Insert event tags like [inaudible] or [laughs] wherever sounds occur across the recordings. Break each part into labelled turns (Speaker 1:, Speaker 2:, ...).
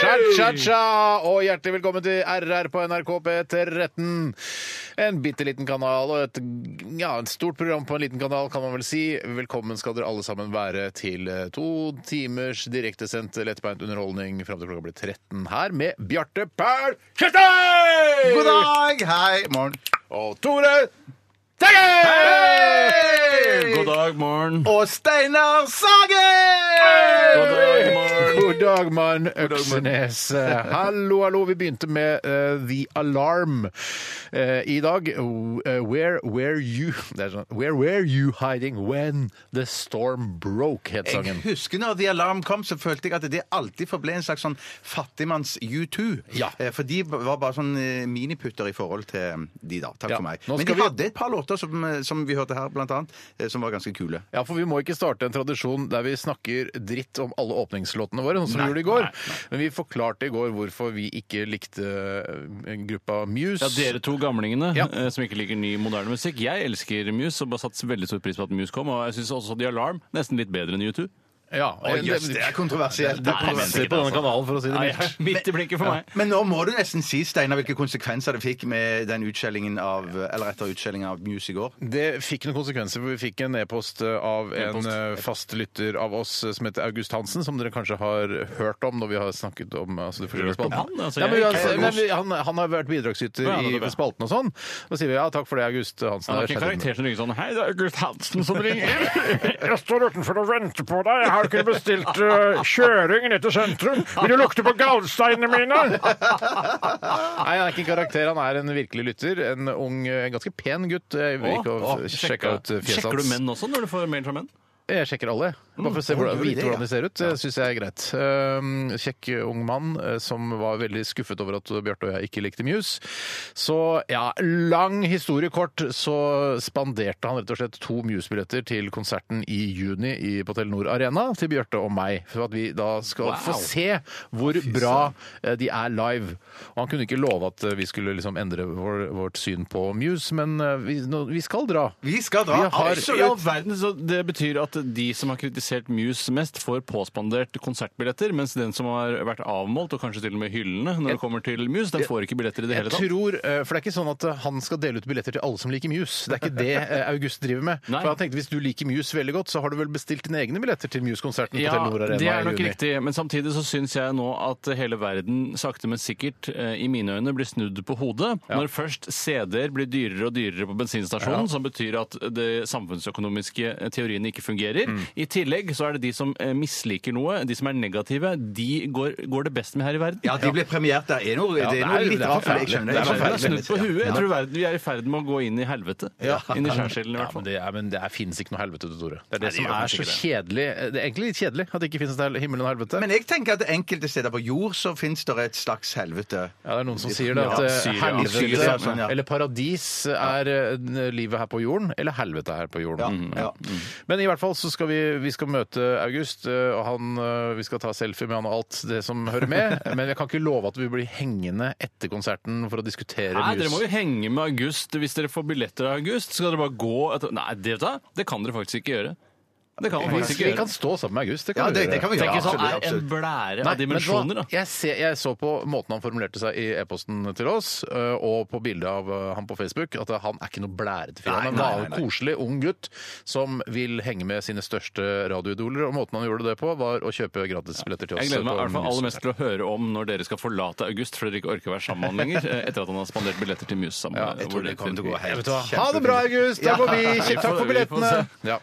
Speaker 1: Cha, cha, cha, og hjertelig velkommen til RR på NRK P13. En bitte liten kanal og et ja, et stort program på en liten kanal, kan man vel si. Velkommen skal dere alle sammen være til eh, to timers direktesendt lettbeint underholdning fram til klokka blir 13 her med Bjarte Perl Kjøstheim!
Speaker 2: God dag! Hei, morgen.
Speaker 1: Og Tore Teigen!
Speaker 3: God dag, morgen.
Speaker 2: Og Steinar Sagen!
Speaker 3: God dag, morgen.
Speaker 1: God dag, mann Øksenes. Hallo, hallo. Vi begynte med eh, The Alarm eh, i dag. w- eh, Where were you det er sånn, Where were you hiding when the storm broke, het
Speaker 2: Jeg
Speaker 1: sangen.
Speaker 2: husker når The Alarm kom, så følte jeg at det alltid forble en slags sånn fattigmanns-U2.
Speaker 1: Ja.
Speaker 2: Eh, For de var bare sånn eh, miniputter i forhold til eh, de, da. Takk
Speaker 1: Ja.
Speaker 2: for meg.
Speaker 1: Nå
Speaker 2: Men
Speaker 1: skal
Speaker 2: de
Speaker 1: vi-
Speaker 2: hadde et par låter som, eh, som vi hørte her, blant annet, eh, som var ganske kule.
Speaker 1: Ja, for Vi må ikke starte en tradisjon der vi snakker dritt om alle åpningslåtene våre. sånn som vi gjorde i går. Men vi forklarte i går hvorfor vi ikke likte eh, gruppa Muse.
Speaker 3: Ja, Dere to gamlingene
Speaker 1: Ja.
Speaker 3: eh, som ikke liker ny, moderne musikk. Jeg elsker Muse og bare satt veldig stor pris på at Muse kom. Og jeg syns også The Alarm nesten litt bedre enn U2.
Speaker 1: Ja,
Speaker 2: Å, jøss, Eh, det er kontroversielt.
Speaker 1: Det passer på denne kanalen, for å si det
Speaker 3: Nei, [laughs]
Speaker 1: mildt.
Speaker 3: Midt i blinken for meg.
Speaker 2: Men nå må du nesten si, Steinar, hvilke konsekvenser det fikk med den utskjellingen av Eller etter utskjellingen av Muse i går.
Speaker 1: Det fikk noen konsekvenser, for vi fikk en e-post av en
Speaker 3: E-post.
Speaker 1: eh, fast lytter av oss eh, som heter August Hansen, som dere kanskje har hørt om når vi har snakket om altså, de forskjellige
Speaker 3: Hørt om
Speaker 1: spaltene.
Speaker 3: han? Altså,
Speaker 1: Nei, men
Speaker 3: jeg
Speaker 1: vi har-
Speaker 3: er ikke
Speaker 1: nei,
Speaker 3: August.
Speaker 1: vi- han, han har vært bidragsyter
Speaker 3: Ja, det er
Speaker 1: i
Speaker 3: bra.
Speaker 1: spalten og sånn. Da sier vi ja, takk for det, August Hansen. har
Speaker 3: Han har ikke en
Speaker 1: skjerpet meg.
Speaker 3: karakter som ringer sånn Hei, det er August Hansen som ringer.
Speaker 4: Jeg står utenfor og venter på deg. Jeg har ikke bestilt eh, kjøring ned til sentrum. Vil du lukte på gallsteinene mine?
Speaker 1: Nei, han er ikke en karakter, han er en virkelig lytter. En ung, eh, en ganske pen gutt. Jeg vil ikke
Speaker 3: Å, å,
Speaker 1: sjekke ut eh, fjeset
Speaker 3: Sjekker du
Speaker 1: hans.
Speaker 3: menn også når du får mail fra menn?
Speaker 1: Jeg sjekker alle. Bare for å se hvordan,
Speaker 2: gjør du
Speaker 1: vite
Speaker 2: det,
Speaker 1: hvordan
Speaker 2: Mm. ja?
Speaker 1: de ser ut. Det syns jeg er greit. Ehm, kjekk ung mann eh, som var veldig skuffet over at Bjarte og jeg ikke likte Muse. Så ja, lang historie kort, så spanderte han rett og slett to Muse-billetter til konserten i juni i, på Telenor Arena til Bjarte og meg. For at vi da skal
Speaker 3: Wow.
Speaker 1: få se hvor bra eh, de er live. Og han kunne ikke love at eh, vi skulle liksom endre vår, vårt syn på Muse, men eh, vi, nå, vi skal dra.
Speaker 2: Vi skal dra.
Speaker 1: Vi har-
Speaker 2: Absolutt.
Speaker 3: I all verden, så Det betyr at de som har kritisert Muse mest, får påspandert konsertbilletter, mens den som har vært avmålt, og kanskje til og med hyllende når det kommer til Muse, den får ikke billetter i det hele tatt.
Speaker 1: Jeg tror, eh, for det er ikke sånn at eh, han skal dele ut billetter til alle som liker Muse. Det er ikke
Speaker 3: [laughs]
Speaker 1: det eh, August driver med.
Speaker 3: Nei.
Speaker 1: For han tenkte Hvis du liker Muse veldig godt, så har du vel bestilt dine egne billetter til Muse-konserten på Telenor Arena
Speaker 3: det er
Speaker 1: i
Speaker 3: nok
Speaker 1: juni.
Speaker 3: riktig, men samtidig så syns jeg nå at hele verden sakte, men sikkert eh, i mine øyne blir snudd på hodet. Når først CD-er blir dyrere og dyrere på bensinstasjonen, som betyr at det samfunnsøkonomiske eh, teoriene ikke fungerer.
Speaker 1: Mm.
Speaker 3: I tillegg så er det de som eh, misliker noe, de som er negative, de går, går det best med her i verden.
Speaker 2: Ja, de ble premiert der. Er noe, det
Speaker 1: det
Speaker 2: er
Speaker 1: er-
Speaker 2: noe
Speaker 1: det
Speaker 2: litt
Speaker 1: er
Speaker 2: forferdelig. Jeg skjønner
Speaker 3: Det
Speaker 2: det.
Speaker 3: er sånn
Speaker 2: Jeg skjønner det.
Speaker 3: snudd på huet. Jeg
Speaker 2: Ja.
Speaker 3: tror verden, vi er i ferd med å gå inn i helvete. Inn i skjærselen, i
Speaker 1: Ja, men
Speaker 3: hvert fall.
Speaker 1: det, er, men det er, finnes ikke noe helvete, Tore. Det er det
Speaker 3: det
Speaker 1: som
Speaker 3: gjør
Speaker 1: er
Speaker 3: kanskje
Speaker 1: så kjedelig. Eh, Det er egentlig litt kjedelig at det ikke finnes noe himmel og helvete.
Speaker 2: Men jeg tenker at enkelte steder på jord så fins det et slags helvete.
Speaker 1: ja, det er noen som sier det at
Speaker 3: Ja,
Speaker 1: eh,
Speaker 3: Syria.
Speaker 1: helvete
Speaker 2: Syria, sånn, ja.
Speaker 1: eller paradis er eh, livet her på jorden, eller helvete her på jorden. Mhm.
Speaker 2: Ja.
Speaker 1: Men i hvert fall så skal vi, vi skal møte August, eh, og han, eh, vi skal ta selfie med han og alt det som hører med.
Speaker 3: [laughs]
Speaker 1: Men jeg kan ikke love at vi blir hengende etter konserten for å diskutere
Speaker 3: Nei, dere må
Speaker 1: mus.
Speaker 3: jo henge med August. Hvis dere får billetter av August, skal dere bare gå etter... Nei, det, vet du hva? det kan dere faktisk ikke gjøre. Det kan dere
Speaker 1: Vi,
Speaker 3: faktisk
Speaker 1: vi
Speaker 3: ikke
Speaker 1: kan
Speaker 3: gjøre.
Speaker 1: stå sammen med August. Det
Speaker 2: Ja,
Speaker 1: kan
Speaker 2: det,
Speaker 1: vi
Speaker 2: det kan vi
Speaker 1: gjøre.
Speaker 3: Tenk
Speaker 2: gjøre.
Speaker 3: hvis han
Speaker 2: Absolutt.
Speaker 3: er en
Speaker 2: absolutt.
Speaker 3: blære
Speaker 1: Nei, men vet du hva?
Speaker 3: av dimensjoner, da.
Speaker 1: jeg, ser, jeg så på måten han formulerte seg i e-posten til oss, eh, og på bildet av eh, han på Facebook, at han er ikke noe blærete fyr. Han er en
Speaker 2: Nei, nei,
Speaker 1: vanlig, koselig ung gutt som vil henge med sine største radioidoler. Og måten han gjorde det på, var å kjøpe gratisbilletter til oss.
Speaker 3: Jeg gleder meg i
Speaker 1: på
Speaker 3: hvert fall
Speaker 1: Muse.
Speaker 3: aller mest til å høre om når dere skal forlate August fordi dere ikke orker å være sammen med han lenger, eh, etter at han har spandert billetter til Muse sammen.
Speaker 1: Ja, jeg
Speaker 2: Jeg tror det kommer til å gå
Speaker 1: Vet
Speaker 2: helt
Speaker 1: du hva? Ha det bra, August! Da må vi
Speaker 3: vi får-
Speaker 1: Takk for
Speaker 3: vi får
Speaker 1: billettene! Ja.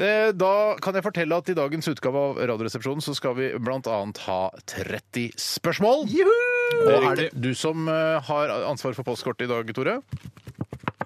Speaker 1: Eh, Da kan jeg fortelle at i dagens utgave av Radioresepsjonen så skal vi bl.a. ha 30 spørsmål. Og er det du som eh, har ansvaret for postkortet i dag, Tore?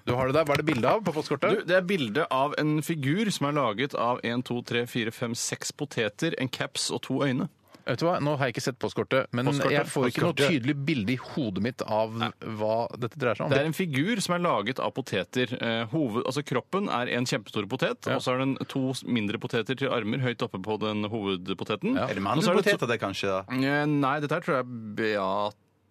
Speaker 1: Du har det der. Hva er det bilde av på
Speaker 3: Du,
Speaker 1: postkortet?
Speaker 3: det er bilde av en figur som er laget av 1, 2, 3, 4, 5, 6 poteter, en caps og to øyne.
Speaker 1: Vet du hva, Nå har jeg ikke sett postkortet, men
Speaker 3: Postkortet,
Speaker 1: jeg får ikke noe
Speaker 3: postkortet.
Speaker 1: tydelig bilde i hodet mitt av hva dette dreier seg om.
Speaker 3: Det er en figur som er laget av poteter. Eh, Hoved, altså kroppen er en kjempestor potet, og så er den to mindre poteter til armer høyt oppe på den hovedpoteten.
Speaker 2: Er det
Speaker 3: Og så er det
Speaker 2: mandelpoteter, det, kanskje? da?
Speaker 3: to- Eh, Nei, dette her tror jeg er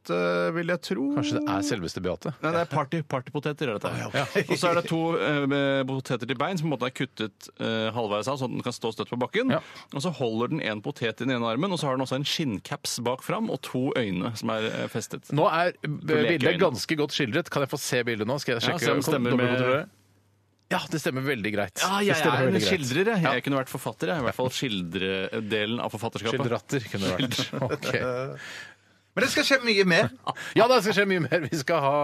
Speaker 3: Beate, vil jeg tro.
Speaker 1: Kanskje det er selveste Beate?
Speaker 3: Nei, det er party, partypoteter. er dette her. [laughs] Og så er det to eh, poteter til bein som på en måte er kuttet eh, halvveis av, sånn at den kan stå støtt på bakken.
Speaker 1: Ja.
Speaker 3: Og så holder den en potet i den ene armen, og så har den også en skinncaps bak fram og to øyne som er eh, festet.
Speaker 1: Nå er b-
Speaker 3: lekeøyne.
Speaker 1: bildet ganske godt skildret. Kan jeg få se bildet nå? Skal jeg
Speaker 3: Ja,
Speaker 1: sjekke
Speaker 3: se om det
Speaker 1: Kom,
Speaker 3: stemmer med-
Speaker 1: dobbeltkontrollere. Ja, det stemmer veldig greit.
Speaker 3: Ja,
Speaker 1: Det
Speaker 3: jeg
Speaker 1: stemmer
Speaker 3: er en
Speaker 1: veldig greit.
Speaker 3: skildrer, jeg. Jeg kunne vært forfatter, jeg. I hvert fall skildredelen av forfatterskapet.
Speaker 1: Skildratter kunne det vært. [laughs] Ok.
Speaker 2: Men det skal skje mye
Speaker 1: [laughs]
Speaker 2: mer.
Speaker 1: Ja, det skal skje mye mer. Vi skal, ha,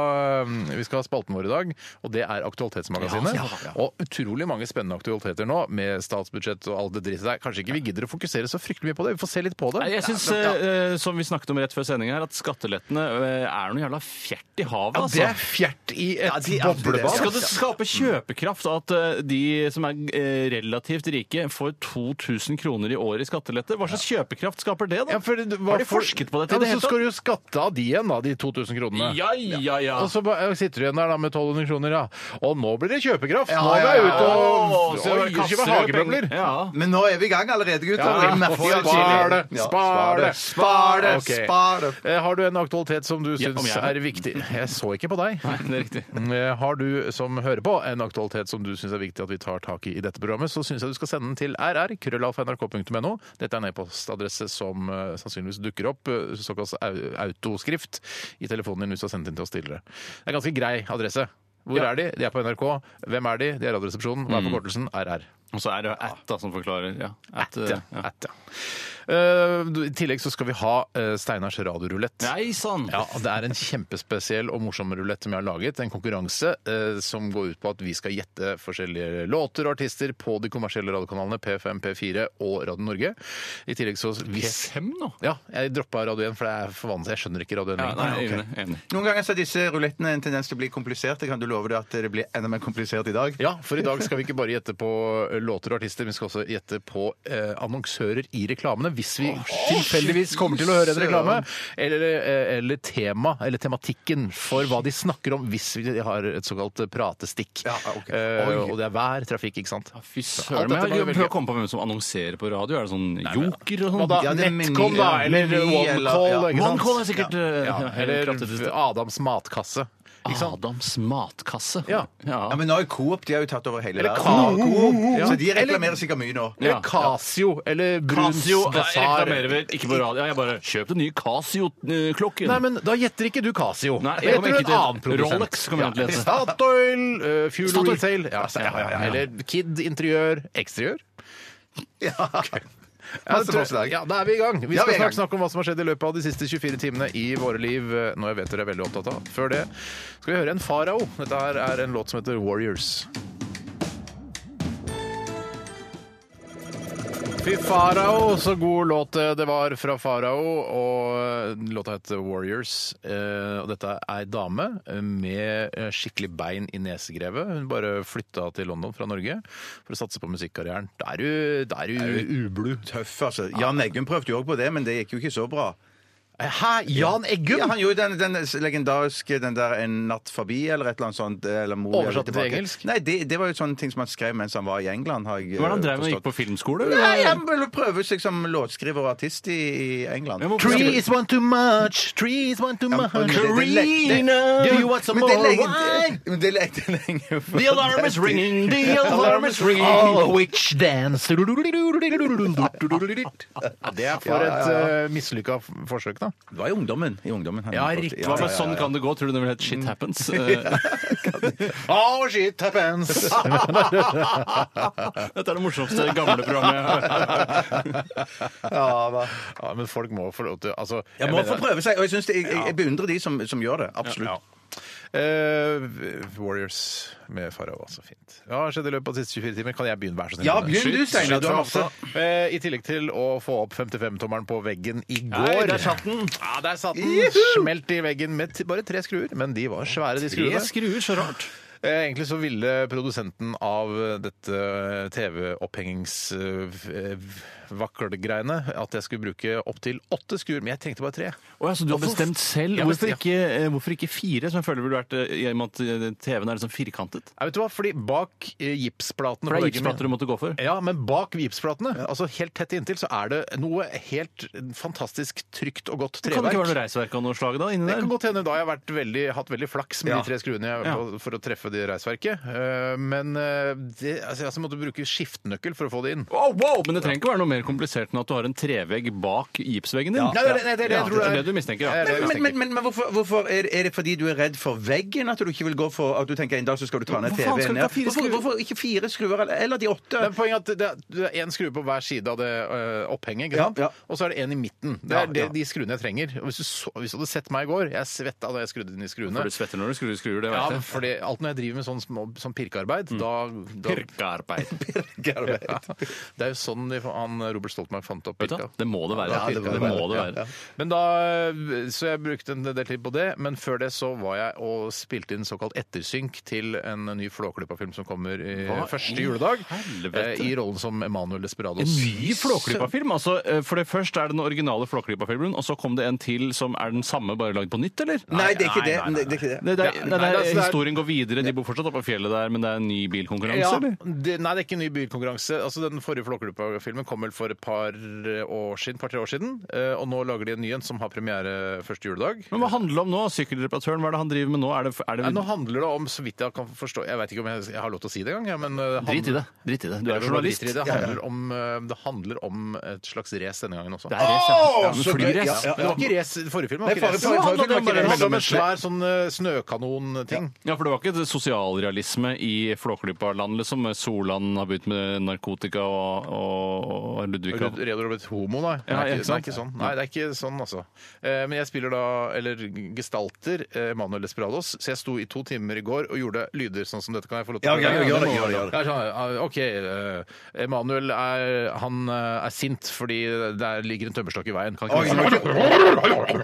Speaker 1: eh, vi skal ha spalten vår i dag, og det er Aktualitetsmagasinet.
Speaker 3: Ja, ja, ja.
Speaker 1: Og utrolig mange spennende aktualiteter nå, med statsbudsjett og alt det drittet der. Kanskje ikke vi gidder å fokusere så fryktelig mye på det. Vi får se litt på det.
Speaker 3: Nei, Jeg synes, eh, eh, som vi snakket om rett før sendingen her, at skattelettene eh, er noe jævla fjert i havet,
Speaker 1: Ja,
Speaker 3: altså.
Speaker 1: det er fjert i et
Speaker 2: Ja, de er alltid det.
Speaker 1: boblebad.
Speaker 3: Skal det skape kjøpekraft at eh, de som er eh, relativt rike, får 2000 kroner i året i skattelette? Hva slags kjøpekraft skaper det, da?
Speaker 1: Ja, for det- hva
Speaker 3: Har de
Speaker 1: for-
Speaker 3: forsket på dette
Speaker 1: Ja,
Speaker 3: i det
Speaker 1: men så
Speaker 3: hele tatt?
Speaker 1: skal du jo skatte av de igjen, da, de 2000 kronene.
Speaker 3: Ja, ja, ja.
Speaker 1: Og så ba- ja, sitter du igjen der da med 1200 kroner, ja. Og nå blir det kjøpekraft!
Speaker 2: Ja,
Speaker 1: nå må
Speaker 2: ja,
Speaker 1: jeg
Speaker 2: ja,
Speaker 1: ut og
Speaker 3: Å, så
Speaker 1: Oi,
Speaker 3: kaster
Speaker 1: kjøpe
Speaker 3: du
Speaker 1: hagemøbler!
Speaker 3: penger. Ja.
Speaker 2: Men nå er vi i gang allerede, gutter.
Speaker 1: Ja,
Speaker 2: Vi får jo
Speaker 1: spar det,
Speaker 2: tidlig. Ja,
Speaker 1: spar det,
Speaker 2: Spar det!
Speaker 1: Ok.
Speaker 2: Spar det!
Speaker 1: Eh, Har du en aktualitet som du
Speaker 3: Ja, om
Speaker 1: syns
Speaker 3: jeg har.
Speaker 1: er viktig? Jeg så ikke på deg.
Speaker 3: Nei, det er riktig.
Speaker 1: [laughs] Eh, Har du som hører på en aktualitet som du syns er viktig at vi tar tak i i dette programmet, så syns jeg du skal sende den til rr.krøllalfa.nrk.no. Dette er en e-postadresse som eh, sannsynligvis dukker opp, eh, såkalt au- autoskrift, i telefonen din hvis du har sendt den til oss tidligere. Det er en ganske grei adresse. Hvor er de? De er på NRK. Hvem er de? De er i Radioresepsjonen. Hva er forkortelsen? RR.
Speaker 3: Og så er det at da, som forklarer. Ja. At, eh,
Speaker 1: Ja.
Speaker 3: ja.
Speaker 1: At, ja. Eh, du- I tillegg så skal vi ha eh, Steinars radiorulett.
Speaker 3: Nei sann!
Speaker 1: Ja, og Det er en kjempespesiell og morsom rulett som jeg har laget. En konkurranse eh, som går ut på at vi skal gjette forskjellige låter og artister på de kommersielle radiokanalene P5, P4 og Radio Norge. I tillegg så hvis
Speaker 3: P5 nå?
Speaker 1: Ja, jeg droppa Radio 1, for det er for vanlig. Jeg skjønner ikke Radio 1
Speaker 3: Ja, nei,
Speaker 1: lenger.
Speaker 3: enig, enig.
Speaker 2: Noen ganger så er disse rulettene en tendens til å bli kompliserte. Kan du love deg at det blir enda mer komplisert i dag?
Speaker 1: Ja, for i dag skal vi ikke bare gjette på eh, låter og artister, men vi skal også gjette på eh, annonsører i reklamene, hvis vi tilfeldigvis kommer til å høre en reklame. Eller, eh, eller tema, eller tematikken for hva de snakker om, hvis vi har et såkalt pratestikk.
Speaker 2: Ja, ok.
Speaker 1: Eh,
Speaker 2: Oi.
Speaker 1: og det er vær, trafikk, ikke sant?
Speaker 3: Ja, Fy
Speaker 1: dette
Speaker 3: søren. men
Speaker 1: må
Speaker 3: jeg
Speaker 1: vi
Speaker 3: Prøv
Speaker 1: velge.
Speaker 3: å komme på hvem som annonserer på radio. Er det sånn Joker
Speaker 1: Hva
Speaker 3: og sånn?
Speaker 1: da?
Speaker 2: Ja, det er Meny,
Speaker 1: Netcom, da?
Speaker 2: ja.
Speaker 1: Eller
Speaker 2: Meny, eller-
Speaker 1: OneCall?
Speaker 2: ja.
Speaker 1: ikke sant?
Speaker 3: OneCall er sikkert, eh,
Speaker 1: ja.
Speaker 3: helt
Speaker 1: Eller
Speaker 3: kraftig til
Speaker 1: Adams matkasse. Ikke sant?
Speaker 3: Adams matkasse.
Speaker 1: Ja.
Speaker 2: Ja, Men nå er Coop de har jo tatt over hele
Speaker 1: Eller
Speaker 2: verden.
Speaker 1: Coop.
Speaker 2: Så de reklamerer sikkert mye nå.
Speaker 1: Eller
Speaker 3: Ja.
Speaker 1: Casio, eller Bruns
Speaker 3: Casio eh,
Speaker 1: Bazaar.
Speaker 3: reklamerer vel ikke på radio. Jeg bare Kjøp den nye Casio-klokken.
Speaker 1: Nei, men da gjetter ikke du Casio.
Speaker 3: Nei,
Speaker 1: Da
Speaker 3: jeg kommer
Speaker 1: gjetter du
Speaker 3: ikke
Speaker 1: en
Speaker 3: til-
Speaker 1: annen produsent.
Speaker 3: Rolex kommer jeg til å gjette.
Speaker 1: Statoil, eh, Fuel
Speaker 3: Statoil.
Speaker 1: Retail. Ja, ja, ja, ja. Eller Kid Interiør. Eksteriør.
Speaker 2: [laughs] Ja.
Speaker 1: Ja,
Speaker 2: Masse forslag.
Speaker 1: ja, da er vi i gang. Vi
Speaker 2: Ja,
Speaker 1: skal
Speaker 2: vi er i gang.
Speaker 1: snart snakke om hva som har skjedd i løpet av de siste 24 timene i våre liv. eh, Noe jeg vet dere er veldig opptatt av. Før det skal vi høre en farao. Dette her er en låt som heter Warriors. Fy farao, så god låt eh, det var fra farao. Og eh, låta heter Warriors. Eh, Og dette er ei dame med eh, skikkelig bein i nesegrevet. Hun bare flytta til London fra Norge for å satse på musikkarrieren. Da er du- da er du ublu.
Speaker 2: Tøff, altså. Jan Eggum prøvde jo òg på det, men det gikk jo ikke så bra.
Speaker 1: Hæ? Jan Eggum?
Speaker 2: Ja, han gjorde den, den legendariske den der 'En natt forbi' eller et eller annet sånt. eh, Eller Moria,
Speaker 1: Oversatt
Speaker 2: litt tilbake.
Speaker 1: til engelsk?
Speaker 2: Nei, det, det var jo sånne ting som han skrev mens han var i England. Har jeg,
Speaker 3: Hva er det han drev med?
Speaker 2: forstått.
Speaker 3: Gikk på filmskole? eller?
Speaker 2: Nei, han ville prøve seg som låtskriver og artist i, i England.
Speaker 3: Jeg må-
Speaker 1: Tree is one too much. Tree is one too
Speaker 2: Ja,
Speaker 1: much.
Speaker 2: men det- det- det- det-
Speaker 1: Do you want some
Speaker 2: men det
Speaker 1: more
Speaker 2: er lenge,
Speaker 1: wine?
Speaker 2: det- [laughs] men det er lenge, det er lenge for-
Speaker 3: The alarm is ringing,
Speaker 1: [laughs]
Speaker 3: the alarm is ringing.
Speaker 1: Oh, witch dance. Det er for et uh, mislykka f- forsøk, da.
Speaker 2: Det var i ungdommen. I ungdommen han
Speaker 1: Ja, Mm.
Speaker 2: fått-
Speaker 1: riktig.
Speaker 2: ja,
Speaker 3: Hva
Speaker 2: ja,
Speaker 3: med
Speaker 2: ja.
Speaker 3: sånn kan det gå? Tror du det vil hete Shit
Speaker 1: [laughs]
Speaker 3: Happens? Eh,
Speaker 1: Oh, shit happens.
Speaker 3: Dette er det morsomste gamle programmet jeg har hørt.
Speaker 2: Ja, hva-
Speaker 1: [laughs] ja, men folk må få lov til altså,
Speaker 2: Jeg må få prøve seg, og jeg, synes det, jeg, jeg- jeg beundrer de som, som gjør det. Absolutt.
Speaker 1: Ja. Eh, Warriors med Farao, altså. Fint. Ja, skjedde i løpet av de siste 24 timer. Kan jeg begynne, vær så snill?
Speaker 2: Ja,
Speaker 1: med det?
Speaker 2: begynn du,
Speaker 3: Skyt,
Speaker 2: Steinar. Du
Speaker 3: skyt
Speaker 2: har
Speaker 3: fra
Speaker 2: masse.
Speaker 1: Eh, I tillegg til å få opp 55-tommeren på veggen i går.
Speaker 3: Nei, der satt den.
Speaker 1: Ja, der satt den. Smelt i veggen med t bare tre skruer, men de var svære, de
Speaker 3: Tre
Speaker 1: skruene.
Speaker 3: skruer, så rart.
Speaker 1: Eh, Eh, Egentlig så ville produsenten av dette TV-opphengingsvaklegreiene at jeg skulle bruke opptil åtte skur, men jeg trengte bare tre.
Speaker 3: Å ja, så du har
Speaker 1: Hvorfor-
Speaker 3: bestemt selv?
Speaker 1: Ja,
Speaker 3: Hvorfor
Speaker 1: bestemt-
Speaker 3: ikke, eh, hvorfor ikke fire, som jeg føler ville vært eh, i og med at eh, TV-en er liksom firkantet?
Speaker 1: Nei, vet du hva? Fordi bak eh, gipsplatene på
Speaker 3: For det er
Speaker 1: veggene-
Speaker 3: gipsplater du måtte gå for.
Speaker 1: Ja, men bak gipsplatene, altså helt tett inntil, så er det noe helt fantastisk trygt og godt
Speaker 3: Det kan det ikke
Speaker 1: treverk.
Speaker 3: være noe reisverk av noe slag da, inni
Speaker 1: Det
Speaker 3: der?
Speaker 1: kan godt hende. Da har jeg vært veldig, hatt veldig flaks med
Speaker 2: Ja.
Speaker 1: de tre skruene jeg, på, for å treffe det reisverket. Eh, men eh, det, altså, jeg altså måtte bruke skiftenøkkel for å få det inn.
Speaker 3: Wow, wow, men det trenger ikke være noe mer komplisert enn at du har en trevegg bak gipsveggen din.
Speaker 1: Nei, nei, nei, det er det jeg
Speaker 3: Ja,
Speaker 1: tror
Speaker 3: det
Speaker 1: det
Speaker 3: er
Speaker 1: er.
Speaker 3: det du mistenker,
Speaker 1: Det er
Speaker 3: ja.
Speaker 1: det jeg
Speaker 2: Men,
Speaker 1: mistenker.
Speaker 2: men, men, men hvorfor, hvorfor er, er det fordi du er redd for veggen at du ikke vil gå for at du tenker en dag så skal du ta ned
Speaker 3: Hvor faen
Speaker 2: TV-en?
Speaker 3: skal du
Speaker 2: ja?
Speaker 3: ta fire
Speaker 2: Hvorfor,
Speaker 3: skruer?
Speaker 2: hvorfor ikke fire skruer, eller, eller de åtte? [laughs]
Speaker 1: Det er poenget at det er- det er én skrue på hver side av det øh, opphenget. Ikke
Speaker 2: Ja,
Speaker 1: sant?
Speaker 2: ja.
Speaker 1: Og så er det én i midten. Det er
Speaker 2: Ja, ja.
Speaker 1: Det, de skruene jeg trenger. Og hvis, du så, hvis du hadde sett meg i går Jeg svetta da jeg skrudde inn de skruene.
Speaker 3: For du svetter når du skrur, skrur det
Speaker 1: Ja,
Speaker 3: vet jeg.
Speaker 1: fordi alt når jeg driver med sånn, små, sånn pirkearbeid,
Speaker 3: Mm. [laughs]
Speaker 1: da, da
Speaker 3: Pirkearbeid.
Speaker 1: [laughs] ja. Det er jo sånn de- han Robert Stoltenberg fant opp
Speaker 3: Vet du
Speaker 1: pirka.
Speaker 3: hva? Det må det være.
Speaker 1: Ja,
Speaker 3: det,
Speaker 1: pirka,
Speaker 3: må det
Speaker 1: Ja,
Speaker 3: være.
Speaker 1: ja. Men da, så jeg brukte en del tid på det, men før det så var jeg og spilte inn såkalt ettersynk til en ny Flåklypa-film som kommer i
Speaker 3: Hva
Speaker 1: første
Speaker 3: i
Speaker 1: juledag,
Speaker 3: helvete?
Speaker 1: eh, i rollen som Emanuel
Speaker 3: En
Speaker 1: Desperados.
Speaker 3: ny Flåklypa-film? Altså, eh, for det Først er det den originale Flåklypa-filmen, og så kom det en til som er den samme, bare lagd på nytt, eller?
Speaker 2: Nei, det er ikke det. det, er ikke det.
Speaker 3: Nei, det er,
Speaker 1: Ja, nei,
Speaker 3: nei, det
Speaker 1: altså,
Speaker 3: er,
Speaker 1: det er-
Speaker 3: historien går videre, de bor fortsatt oppe på fjellet der, men det er en ny bilkonkurranse,
Speaker 1: Ja,
Speaker 3: eller?
Speaker 1: det, nei, det er ikke en ny bykonkurranse. Altså, den forrige Flåklypa-filmen kom vel for et par eh, år siden, par-tre år siden, eh, og nå lager de en ny en som har premiere første juledag.
Speaker 3: Men hva handler det om nå? Sykkelreparatøren, hva er det han driver med nå? Er det, er det
Speaker 1: Ja, nå handler det om, så vidt jeg kan forstå Jeg vet ikke om jeg, jeg har lov til å si det engang. Ja, men, eh, han-
Speaker 3: Drit i det. Drit i det. Du
Speaker 1: Jeg
Speaker 3: er
Speaker 1: tror
Speaker 3: journalist.
Speaker 1: det driter i Det Det handler, om, eh, det handler om et slags race denne gangen også.
Speaker 3: Det er race, ja. ja.
Speaker 2: så
Speaker 3: Men
Speaker 2: gøy.
Speaker 3: flyrace.
Speaker 2: Ja,
Speaker 1: Men det var ikke race i forrige film.
Speaker 2: Nei,
Speaker 1: Det var
Speaker 2: forrige-
Speaker 1: ikke
Speaker 2: forrige-
Speaker 1: race.
Speaker 2: forrige film
Speaker 1: Det
Speaker 2: var ikke
Speaker 1: handler
Speaker 2: race,
Speaker 1: om en
Speaker 2: men-
Speaker 1: svær sånn eh, snøkanon-ting.
Speaker 3: Ja, for det var ikke sosialrealisme i Flåklypa-land, liksom. Solan har begynt med narkotika og, og, og Ludvig
Speaker 1: Redd redd og blitt homo, nei.
Speaker 3: Ja,
Speaker 1: det, er
Speaker 3: ja,
Speaker 1: ikke, det er
Speaker 3: ikke
Speaker 1: ikke sånn.
Speaker 3: sant.
Speaker 1: Nei, det er ikke sånn, altså. Eh, Men jeg spiller da, eller gestalter, eh, Manuel Desperados, så jeg sto i to timer i går og gjorde lyder sånn som dette. Kan jeg få lov til
Speaker 2: Ja, ja, ja, gjør det, gjør det, gjør det.
Speaker 1: Jeg er sånn, eh, OK, eh, Emanuel er, han eh, er sint fordi det er- ligger en tømmerstokk i veien. Kan ikke
Speaker 2: Oi,
Speaker 1: du-
Speaker 2: nå-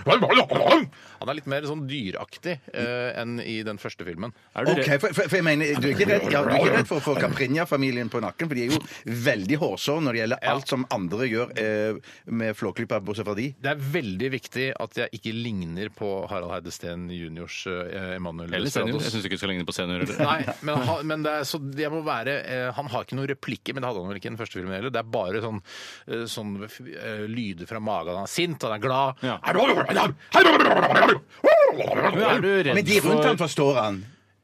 Speaker 1: Han er litt mer sånn dyraktig eh, enn i den første filmen.
Speaker 3: Er du
Speaker 2: Ok,
Speaker 3: redd?
Speaker 2: for, for, for jeg mener, Du er ikke redd, ja, du er ikke redd for å få Caprinja-familien på nakken, for de er jo veldig hårsåre når det gjelder alt som andre gjør eh, med Flåklypa, bortsett fra de.
Speaker 1: Det er veldig viktig at jeg ikke ligner på Harald Heide Steen juniors eh, Emanuel
Speaker 3: Eller senior?
Speaker 1: Desperados.
Speaker 3: Jeg syns ikke du skal ligne på senior. eller?
Speaker 1: Nei, men, han, men det er, så jeg må være eh, Han har ikke noen replikker, men det hadde han vel ikke i den første filmen heller. Det er bare sånn, eh, sånn eh, lyder fra magen. Han er sint, han er glad.
Speaker 3: Ja. Men er
Speaker 1: Er
Speaker 3: du redd
Speaker 2: Men de rundt
Speaker 3: for
Speaker 2: ham forstår han.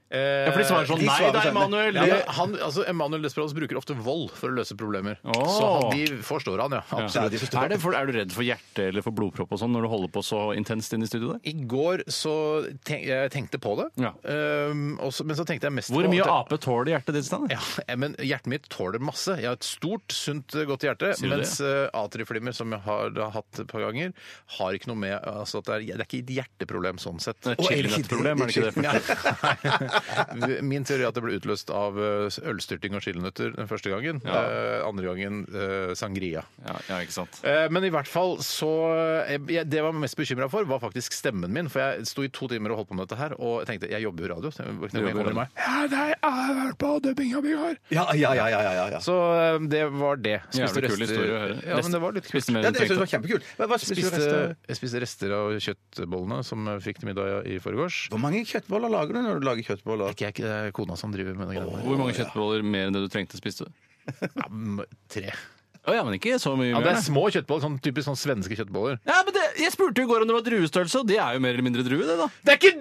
Speaker 3: Ja, for de svarer sånn
Speaker 2: De
Speaker 3: Nei
Speaker 2: svarer
Speaker 3: da,
Speaker 2: sånn,
Speaker 3: Emanuel!
Speaker 1: Ja, men
Speaker 3: det-
Speaker 1: han, altså, Emanuel Desperados bruker ofte vold for å løse problemer.
Speaker 3: Åh.
Speaker 1: Så han, de forstår han, ja. Absolutt.
Speaker 2: de forstår.
Speaker 3: Er, det for, er du redd for hjerte eller for blodpropp og sånn når du holder på så intenst inne i studio der?
Speaker 1: I går så tenk, jeg tenkte på det,
Speaker 3: Ja.
Speaker 1: Ehm, og så- men så tenkte jeg mest
Speaker 3: Hvor
Speaker 1: på
Speaker 3: mye
Speaker 1: at-
Speaker 3: ape tåler hjertet ditt, Stanley?
Speaker 1: Ja, men hjertet mitt tåler masse. Jeg har et stort, sunt, godt hjerte.
Speaker 3: Sier du det?
Speaker 1: Mens eh, atrieflimmer, som jeg har, da hatt et par ganger, har ikke noe med altså, at det, er, det er ikke et hjerteproblem sånn sett.
Speaker 3: Det er et chillenøttproblem, er det [laughs] ikke det?
Speaker 1: Nei. [laughs] Min teori er at det ble utløst av eh, ølstyrting og chillenøtter den første gangen. Eh, andre gangen eh, sangria.
Speaker 3: Ja, ja, ikke sant.
Speaker 1: Eh, Men i hvert fall så jeg, jeg- Det jeg var mest bekymra for, var faktisk stemmen min. For jeg sto i to timer og holdt på med dette her, og jeg tenkte jeg jobber jo i radio. Så jeg, må ikke noe mer
Speaker 3: jobber i
Speaker 1: komme til meg. Ja, nei, jeg har hørt på dubbinga mi i går.
Speaker 2: Ja, ja, ja. ja, ja, ja.
Speaker 1: Så eh, det var det.
Speaker 3: Jævlig kul historie å høre.
Speaker 1: Ja, men det var litt kult.
Speaker 3: Spiste mer
Speaker 2: ja
Speaker 3: enn
Speaker 2: det synes
Speaker 3: du
Speaker 2: jeg
Speaker 3: trengte.
Speaker 2: var kjempekult. Hva, hva spiser du
Speaker 1: Spiste,
Speaker 2: resten?
Speaker 1: jeg spiste rester av kjøttbollene som jeg fikk til middag i forgårs.
Speaker 2: Hvor mange kjøttboller lager du når du lager
Speaker 1: Det er
Speaker 2: kjøttboller?
Speaker 1: ikke jeg, ikke- det er kona som driver med det greiene der.
Speaker 3: Hvor mange kjøttboller mer enn det du trengte, spiste du?
Speaker 1: Ja, m- Tre.
Speaker 3: Å ja, men ikke så mye
Speaker 1: Ja, det
Speaker 3: mer.
Speaker 1: er små kjøttboller. Sånn, typisk sånn svenske kjøttboller.
Speaker 3: Ja, men det, Jeg spurte jo i går om det var druestørrelse, og det er jo mer eller mindre drue, det, da.
Speaker 1: Det er ikke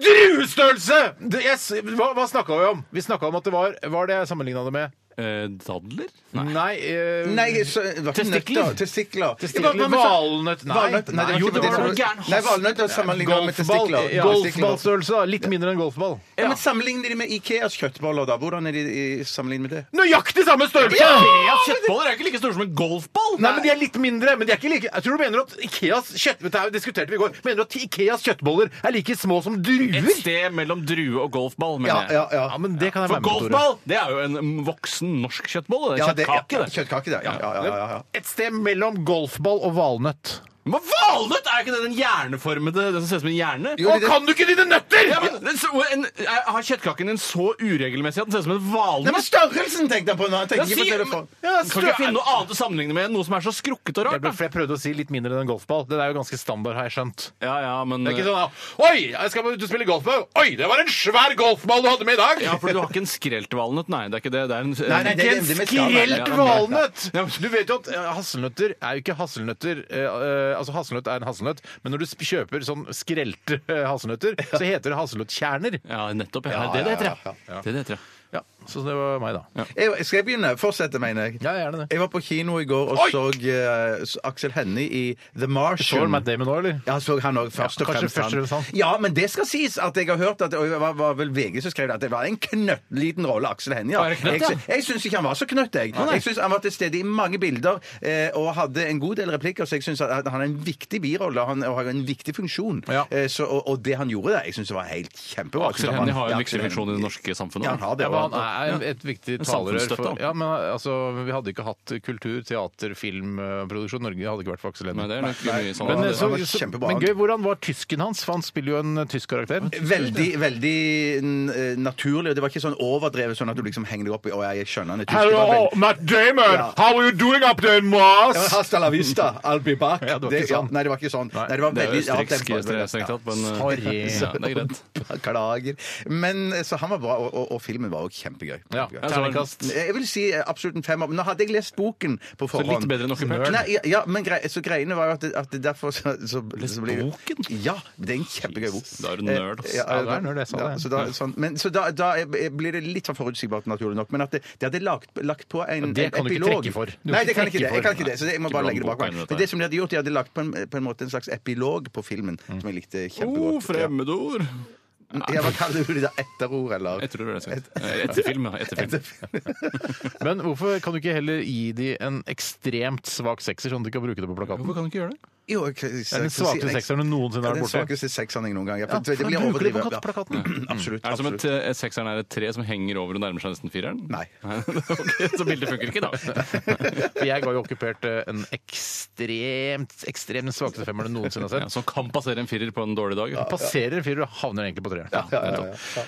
Speaker 1: druestørrelse! Det- jeg s- hva hva snakka vi om? Vi snakka om at det var Var det jeg sammenligna det med?
Speaker 3: Eh, dadler?
Speaker 1: Nei, eh,
Speaker 2: Nei, så, det var ikke
Speaker 3: Testikler.
Speaker 2: nøtter. Testikler.
Speaker 1: Testikler.
Speaker 2: Hva- hva- hva-
Speaker 1: Valnøtt. Nei.
Speaker 2: Valnøtt. Nei,
Speaker 1: Nei,
Speaker 2: det,
Speaker 1: jo,
Speaker 2: jo,
Speaker 1: det
Speaker 2: det
Speaker 1: var
Speaker 2: var
Speaker 1: noe
Speaker 3: gæren hals.
Speaker 2: Nei, valnøtt er sammenlignet med testikler.
Speaker 1: Golfball- ja,
Speaker 2: Testikler.
Speaker 1: Golfballstørrelse. da. Litt mindre enn golfball.
Speaker 2: Ja, men Sammenligner de med Ikeas kjøttboller, da? Hvordan er de i- sammenlignet med det?
Speaker 1: Nøyaktig samme størrelse!
Speaker 3: Ikeas kjøttboller er ikke like store som en golfball!
Speaker 1: Nei, men De er litt mindre, men de er ikke like Jeg tror du mener at Ikeas kjøtt... Dette her diskuterte vi i går. Mener du at Ikeas kjøttboller er like små som
Speaker 3: Et
Speaker 1: druer?
Speaker 3: sted mellom drue og golfball, mener jeg.
Speaker 2: ja.
Speaker 1: men det kan jeg
Speaker 3: For
Speaker 1: være med på, Tore.
Speaker 3: golfball det er jo en voksen norsk kjøttbolle. Det er
Speaker 2: det-
Speaker 3: kjøttkake, det.
Speaker 2: Kjøttkake, det. Ja, ja, ja, ja, ja.
Speaker 1: Et sted mellom golfball og valnøtt.
Speaker 3: Men Valnøtt! Er ikke det den hjerneformede? Den som ser ut som en hjerne?
Speaker 2: Jo, det-
Speaker 1: Kan du ikke dine nøtter?!
Speaker 3: Ja, men, den, så- en, er- har kjøttkaken en så uregelmessig at den ser ut som en
Speaker 2: Nei, men
Speaker 3: valnøtt?
Speaker 2: størrelsen tenkte jeg på nå! Jeg
Speaker 3: Ja,
Speaker 2: tenker ikke
Speaker 3: si-
Speaker 2: på telefon.
Speaker 3: Ja, Kan ikke jeg finne noe annet å sammenligne med enn noe som er så skrukket og
Speaker 1: Jeg,
Speaker 3: rart?
Speaker 1: ble,
Speaker 3: da?
Speaker 1: for jeg prøvde å si litt mindre enn en golfball. Den er jo ganske standard, har jeg skjønt.
Speaker 3: Ja, ja, men
Speaker 1: Det er ikke sånn at, Oi, jeg skal ut og spille golf med Oi, det var en svær golfball du hadde med i dag!
Speaker 3: Ja, for du har ikke en skreltvalnøtt, nei. Det er ikke det. Det er en
Speaker 2: Nei, nei, det er det med skallen.
Speaker 3: skrelt
Speaker 1: Helt valnøtt! Du vet jo at eh, hasselnøtter er jo ikke hasselnøtter eh, eh, Altså, hasselnøtt er en hasselnøtt, men når du sp- kjøper sånn skrelte eh, hasselnøtter, så heter det hasselnøttkjerner.
Speaker 3: Ja, nettopp. Ja. Det er det det heter, ja.
Speaker 1: ja.
Speaker 3: Det er det det heter, ja.
Speaker 1: Ja, så det var meg, da.
Speaker 2: Jeg, skal jeg begynne? Fortsette, mener jeg.
Speaker 1: Ja, gjerne det.
Speaker 2: Jeg var på kino i går og
Speaker 1: Oi!
Speaker 2: så eh, s- Aksel Hennie i The
Speaker 1: Så
Speaker 2: Martian.
Speaker 1: Matt Damon òg, eller?
Speaker 2: Ja, så han også, først og
Speaker 1: Ja, kanskje
Speaker 2: fremst
Speaker 1: først og fremst han.
Speaker 2: Ja, men det skal sies at jeg har hørt at, og det var, var vel VG som skrev det, at det var en knøttliten rolle Aksel Hennie har.
Speaker 3: Er det knøtt,
Speaker 2: Jeg,
Speaker 3: ja?
Speaker 2: sy- jeg syns ikke han var så knøtt, jeg. jeg syns han var til stede i mange bilder eh, og hadde en god del replikker, så jeg syns at han er en viktig birolle han, og har en viktig funksjon.
Speaker 1: Ja.
Speaker 2: Eh, så, og, og det han gjorde der, jeg syns det var helt kjempebra.
Speaker 3: Aksel Hennie har jo en viktig funksjon i det norske samfunnet.
Speaker 2: Ja, han har det.
Speaker 1: Ja, men
Speaker 2: og-
Speaker 1: han er et viktig
Speaker 3: En
Speaker 1: talerør
Speaker 3: samfunnsstøtte,
Speaker 1: for
Speaker 3: da.
Speaker 1: Ja, men altså, vi hadde ikke hatt kultur, teater, filmproduksjon. Norge hadde ikke vært for Aksel
Speaker 3: Nei,
Speaker 1: Hennie.
Speaker 3: det er nok mye sånn.
Speaker 1: Men,
Speaker 2: Han-
Speaker 1: eh, så,
Speaker 2: han var
Speaker 1: så,
Speaker 2: kjempebra.
Speaker 1: men gøy, hvordan var tysken hans? For han spiller jo en eh, tysk karakter.
Speaker 2: Veldig veldig n- eh, naturlig. og Det var ikke sånn overdrevet sånn at du liksom henger deg opp i Å, jeg skjønner han er tysk. Det var veldig-
Speaker 1: Matt Damon! How are you doing up there,
Speaker 2: Ja,
Speaker 1: Mars?
Speaker 2: Hasta la vista, I'll be back.
Speaker 1: Ja, det var ikke
Speaker 2: ja,
Speaker 1: sånn.
Speaker 2: nei, det var ikke sånn. Nei, det var
Speaker 3: Det er jo
Speaker 2: veldig ja, det
Speaker 3: østerriksk
Speaker 2: var-
Speaker 3: strengt tatt, men eh,
Speaker 1: Sorry.
Speaker 3: [laughs] ja, det er greit.
Speaker 2: Beklager. Men eh, så han var bra, og, og, og filmen var jo kjempegøy.
Speaker 1: Ja, altså,
Speaker 2: Kjempegøy.
Speaker 1: terningkast.
Speaker 2: Jeg vil si eh, absolutt en femmer. Men nå hadde jeg lest boken på forhånd.
Speaker 3: litt bedre enn okkupert?
Speaker 2: Nei, ja, ja, men grei, så greiene var jo at, det- at det derfor så, så
Speaker 3: Lest
Speaker 2: så ble-
Speaker 3: boken?
Speaker 2: Ja, det er en kjempegøy bok.
Speaker 3: Da er du nerd, ass.
Speaker 2: Eh,
Speaker 1: Ja, du er nerd, jeg sa
Speaker 2: ja,
Speaker 1: det.
Speaker 2: Så da, sånn, men, så da, da eh, blir det litt sånn forutsigbart, naturlig nok. Men at det, det hadde lagt, lagt på en,
Speaker 1: det
Speaker 2: en
Speaker 1: kan du ikke
Speaker 2: epilog.
Speaker 1: trekke for. Du
Speaker 2: Nei,
Speaker 1: kan
Speaker 2: det kan jeg ikke
Speaker 1: ikke
Speaker 2: det. Jeg
Speaker 1: trekke
Speaker 2: kan ikke det, så det, jeg må
Speaker 3: Ikke
Speaker 2: bare
Speaker 3: bland
Speaker 2: legge det bak
Speaker 3: boka
Speaker 2: meg.
Speaker 3: inn i dette
Speaker 2: Men det som de hadde gjort, de hadde lagt på en, på en måte en slags epilog på filmen,
Speaker 1: Mm.
Speaker 2: som jeg likte
Speaker 3: Oh,
Speaker 2: kjempegodt. Ja.
Speaker 3: fremmedord!
Speaker 2: Ja, hva kaller du det da? Etterord, eller?
Speaker 3: Jeg tror det er sant. Eh, Etterfilm, ja. Etterfilm.
Speaker 1: [laughs] Men hvorfor kan du ikke heller gi de en ekstremt svak sekser, sånn at de kan bruke det på plakaten?
Speaker 3: Hvorfor kan du ikke gjøre det?
Speaker 2: Jo, jeg- jeg-
Speaker 1: Det er den svakeste sekseren du noensinne
Speaker 2: Ja,
Speaker 1: har
Speaker 2: den
Speaker 1: vært borti.
Speaker 2: svakeste sekseren jeg noen gang. Ja, for det
Speaker 1: for
Speaker 2: blir
Speaker 1: da bruker du
Speaker 2: overdrevet.
Speaker 1: på
Speaker 2: Ja.
Speaker 1: plakaten.
Speaker 2: Absolutt.
Speaker 3: Er det som
Speaker 2: absolutt.
Speaker 3: et, eh, sekseren er et tre som henger over og nærmer seg nesten fireren?
Speaker 2: Nei.
Speaker 3: [laughs] Ok, så bildet funker ikke, da.
Speaker 2: [laughs]
Speaker 1: For Jeg ga jo okkupert eh, en ekstremt, ekstremt svakeste femmer du noensinne har
Speaker 3: Ja,
Speaker 1: sett.
Speaker 3: som kan passere en firer på en dårlig dag.
Speaker 1: Passerer en firer og havner egentlig på treeren.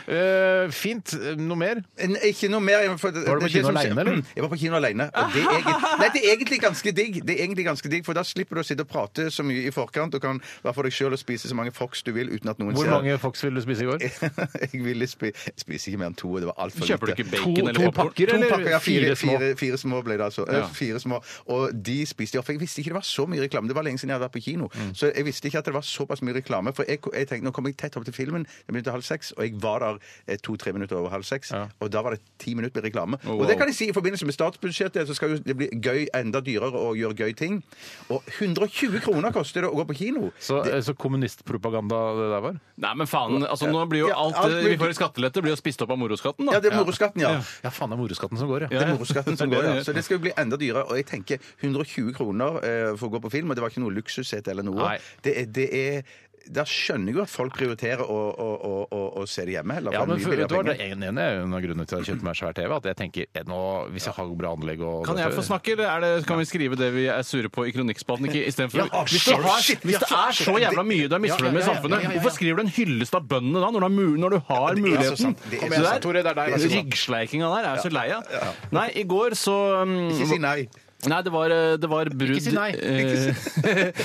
Speaker 1: Eh, fint. Eh, Noe mer?
Speaker 2: En- Ikke noe mer. jeg- For,
Speaker 1: Var du på kino
Speaker 2: som-
Speaker 1: alene, eller?
Speaker 2: Jeg var på kino alene. Og det, er egentlig, nei, det er egentlig ganske digg. Det er egentlig ganske digg, For da slipper du å sitte og prate så mye i forkant. Du kan være for deg sjøl og spise så mange Fox du vil uten at noen
Speaker 1: Hvor
Speaker 2: ser
Speaker 1: mange Fox ville du spise i går?
Speaker 2: [laughs] Jeg ville spi, spise ikke mer enn to. Det var altfor lite.
Speaker 3: Kjøper du ikke
Speaker 1: To,
Speaker 3: bacon eller
Speaker 1: to
Speaker 3: popcorn?
Speaker 1: pakker,
Speaker 2: To
Speaker 1: eller
Speaker 2: pakker, ja, fire,
Speaker 1: fire små?
Speaker 2: fire, fire små ble det altså. Eh,
Speaker 3: Ja.
Speaker 2: Fire små. Og de spiste de opp. Jeg visste ikke det var så mye reklame. Det var lenge siden jeg hadde vært på kino. Så jeg visste ikke at det var såpass mye reklame. For jeg, jeg tenkte, nå kom jeg tett opp til filmen, det begynte halv seks, og jeg var der eh, to-tre minutter over halv seks. Og da var det ti minutter med reklame.
Speaker 3: wow.
Speaker 2: Og det kan jeg si i forbindelse med statsbudsjettet, så skal jo det bli gøy, enda dyrere å gjøre gøy ting. Og 120 kroner koster det å gå på kino.
Speaker 1: Så, eh, så kommunistpropaganda det der var?
Speaker 3: Nei, men faen, altså nå blir jo
Speaker 2: Ja,
Speaker 3: alt,
Speaker 2: alt
Speaker 3: eh,
Speaker 2: blir-
Speaker 3: vi får i skattelette, blir jo spist opp av moroskatten, da.
Speaker 2: Ja, det er moroskatten, ja.
Speaker 1: Ja, faen, det er moroskatten som går,
Speaker 2: Det
Speaker 1: ja.
Speaker 2: er moroskatten som går,
Speaker 3: det
Speaker 2: ja.
Speaker 3: gjør.
Speaker 2: Så det skal jo bli enda dyrere. Og jeg tenker 120 kroner eh, for å gå på film, og det var ikke noe luksussete eller noe.
Speaker 1: Nei.
Speaker 2: Det er, det er, da skjønner jeg jo at folk prioriterer å, å, å, å, å se det hjemme. Eller
Speaker 1: Ja,
Speaker 2: for
Speaker 1: men
Speaker 2: mye
Speaker 1: for,
Speaker 2: billigere
Speaker 1: vet du hva, det
Speaker 2: penger.
Speaker 1: ene ene er jo en av grunnene til at jeg kjøpte meg svær TV. At jeg tenker, eh, nå, hvis jeg har bra anlegg og
Speaker 3: Kan jeg få snakke, eller er det, kan vi skrive det vi er sure på i kronikkspalten? Ikke istedenfor
Speaker 2: Ja, ah,
Speaker 3: hvis,
Speaker 2: shit,
Speaker 3: du har-
Speaker 2: shit,
Speaker 3: hvis det
Speaker 2: ja,
Speaker 3: er så jævla mye du er misfornøyd
Speaker 1: Ja, ja, ja, ja,
Speaker 3: med i
Speaker 1: ja,
Speaker 3: samfunnet,
Speaker 1: ja, ja.
Speaker 3: hvorfor skriver du en hyllest av bøndene da, når du har, mu- når du har
Speaker 2: det er så
Speaker 3: muligheten?
Speaker 2: sant. Det er så
Speaker 3: Så der-
Speaker 2: sant. Tore, det er deg, vær
Speaker 3: Altså,
Speaker 2: så god.
Speaker 3: Ryggsleikinga der er jeg så lei av. Nei, i går så um,
Speaker 2: Ikke si nei.
Speaker 3: Nei, det var, eh, det var brudd
Speaker 1: si nei.
Speaker 3: eh,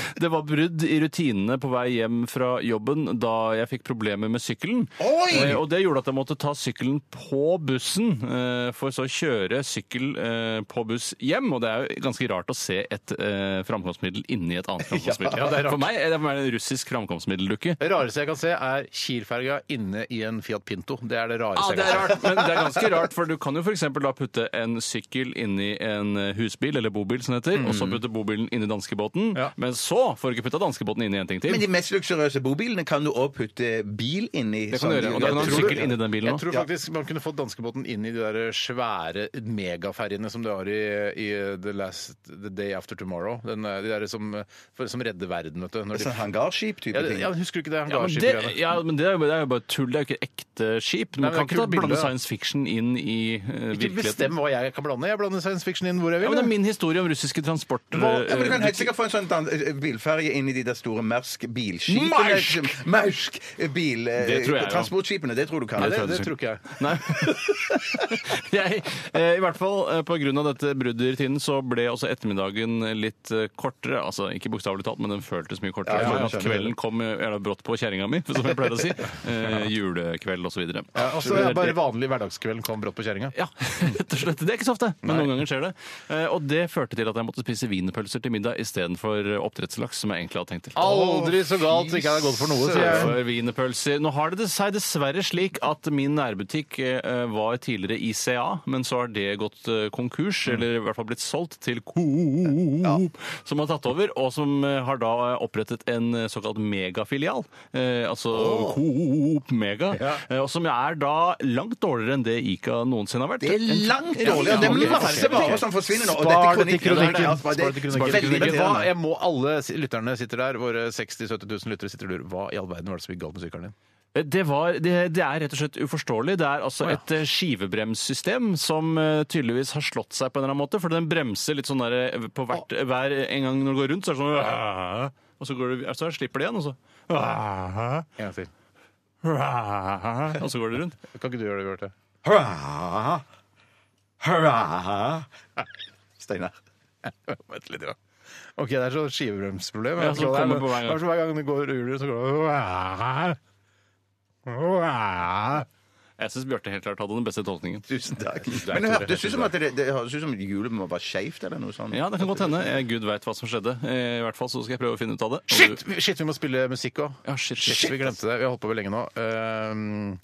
Speaker 3: [laughs] Det var brudd i rutinene på vei hjem fra jobben da jeg fikk problemer med sykkelen.
Speaker 2: Oi!
Speaker 3: Eh, Og det gjorde at jeg måtte ta sykkelen på bussen, eh, for så å kjøre sykkel eh, på buss hjem. Og det er jo ganske rart å se et eh, framkomstmiddel inni et annet framkomstmiddel.
Speaker 1: Ja, det er rart.
Speaker 3: for meg er det for meg en russisk framkomstmiddeldukke.
Speaker 1: Det rareste jeg kan se, er Kiel-ferga inne i en Fiat Pinto. Det er det rareste
Speaker 3: Ah, det
Speaker 1: jeg
Speaker 3: er
Speaker 1: kan se.
Speaker 3: rart, men det er
Speaker 1: [laughs]
Speaker 3: ganske rart, for du kan jo f.eks. da putte en sykkel inni en eh, husbil, eller bobil som det heter, og så putte bobilen inni danskebåten,
Speaker 1: Mm. Ja.
Speaker 3: men så får du ikke putta danskebåten inni en ting til.
Speaker 2: Men de mest luksuriøse bobilene kan du òg putte bil inni.
Speaker 3: Det kan du gjøre, og da kan du ha en
Speaker 2: tror-
Speaker 3: sykkel inni den bilen
Speaker 1: Jeg
Speaker 3: òg.
Speaker 1: tror faktisk man kunne fått danskebåten inn i de der svære megaferjene som du har i, i The Last The Day After Tomorrow. Den, eh, de der som, for, som redder verden, vet du. Når de,
Speaker 2: Sånn hangarskip-type
Speaker 1: ja, det-
Speaker 2: ting.
Speaker 1: ja, husker du ikke det?
Speaker 3: Ja, men det,
Speaker 1: hangarskipet-greiene?
Speaker 3: ja, men det, er jo, det er jo bare tull. Det er jo ikke ekte skip.
Speaker 1: Nei, men det
Speaker 3: Man
Speaker 1: er
Speaker 3: kan ikke
Speaker 1: kult
Speaker 3: ta- blande
Speaker 1: bilde, da.
Speaker 3: science fiction inn i eh,
Speaker 1: Ikke
Speaker 3: virkeligheten.
Speaker 1: bestem hva jeg kan blande. Jeg blander science fiction inn hvor jeg
Speaker 3: Ja,
Speaker 1: vil.
Speaker 3: men det er min historie om russiske eh, transporter...
Speaker 2: Ja, men Du kan helt sikkert få en sånn dan- eh, bilferje inn i de der store Mersk-bilskipene. Mersk! Mersk eh, bil, eh,
Speaker 3: Det tror jeg, ja.
Speaker 2: transportskipene. Det tror du kan.
Speaker 1: Nei,
Speaker 2: Det
Speaker 1: det,
Speaker 2: tror jeg.
Speaker 1: det tror ikke jeg.
Speaker 3: Nei. [laughs] Jeg, eh, I hvert fall eh, på grunn av dette bruddet i tiden så ble også ettermiddagen litt eh, kortere. Altså ikke bokstavelig talt, men den føltes mye kortere.
Speaker 2: Ja, ja,
Speaker 3: at
Speaker 2: skjønner det.
Speaker 3: kvelden kom eh, jævla brått på kjerringa mi, [laughs] som jeg pleier å si. Eh, julekveld og så videre.
Speaker 1: Ja, også, bare vanlig hverdagskvelden kom brått på kjerringa.
Speaker 3: Ja, [laughs] rett og slett. Det er ikke så ofte, men noen ganger skjer det. Eh, Og det førte til at jeg måtte spise wienerpølser til middag istedenfor eh, oppdrettslaks, som jeg egentlig hadde tenkt til.
Speaker 1: Aldri så galt ikke hadde gått for noe, sier jeg.
Speaker 3: For wienerpølser. Nå har det dess- seg dessverre slik at min nærbutikk eh, var tidligere ICA, men så har det gått eh, konkurs,
Speaker 2: Mm.
Speaker 3: eller i hvert fall blitt solgt til Coop, som har tatt over, og som eh, har da opprettet en eh, såkalt megafilial. Eh, altså Coop Mega. Eh, og som er da langt dårligere enn det Ica noensinne har vært.
Speaker 2: Det er langt
Speaker 3: Ja,
Speaker 2: dårligere. Det
Speaker 3: ja,
Speaker 2: er masse
Speaker 3: forferdelig.
Speaker 2: varer som forsvinner nå. og dette
Speaker 1: Spar det til
Speaker 2: kronikken-
Speaker 1: kronikken.
Speaker 2: Ja, spar det-
Speaker 1: Spar det til
Speaker 2: spar
Speaker 1: kronikken.
Speaker 2: det til
Speaker 1: Vet du Hva,
Speaker 2: kronikken.
Speaker 1: jeg må alle s- lytterne sitter der, våre 60 000-70 000 lyttere sitter og lurer Hva i all verden var det som gikk galt med sykkelen din?
Speaker 3: Eh, Det, var, det, det er rett og slett uforståelig. Det er altså et eh, skivebremssystem som eh, tydeligvis har slått seg på en eller annen måte, for den bremser litt sånn der eh, på hvert, hver en gang når det går rundt, så er det sånn «Åh», og så, går det, så slipper det igjen, og så «Åh»,
Speaker 1: En gang til.
Speaker 3: «Åh», Og så går det rundt.
Speaker 1: Kan ikke du gjøre det, Bjarte? [laughs]
Speaker 2: Steinar.
Speaker 1: Vent litt, ja. OK, det er så skivebremsproblem.
Speaker 3: Ja, som
Speaker 1: Det er-
Speaker 3: kommer på hver gang.
Speaker 1: det er så Hver gang det går uler, så går det
Speaker 3: Jeg syns Bjarte helt klart hadde den beste tolkningen.
Speaker 2: Tusen takk. Men det hørtes ut som at det, det høres ut som hjulet må være skeivt eller noe sånt.
Speaker 3: Ja, det kan godt hende. Eh, Gud veit hva som skjedde. Eh, I hvert fall så skal jeg prøve å finne ut av det. Og
Speaker 1: Shit!
Speaker 3: du-
Speaker 1: vi- Shit, vi må spille musikk òg.
Speaker 3: Ja, shit,
Speaker 1: Shit,
Speaker 3: shit.
Speaker 1: vi glemte det. Vi har holdt på vel lenge nå. Ehm,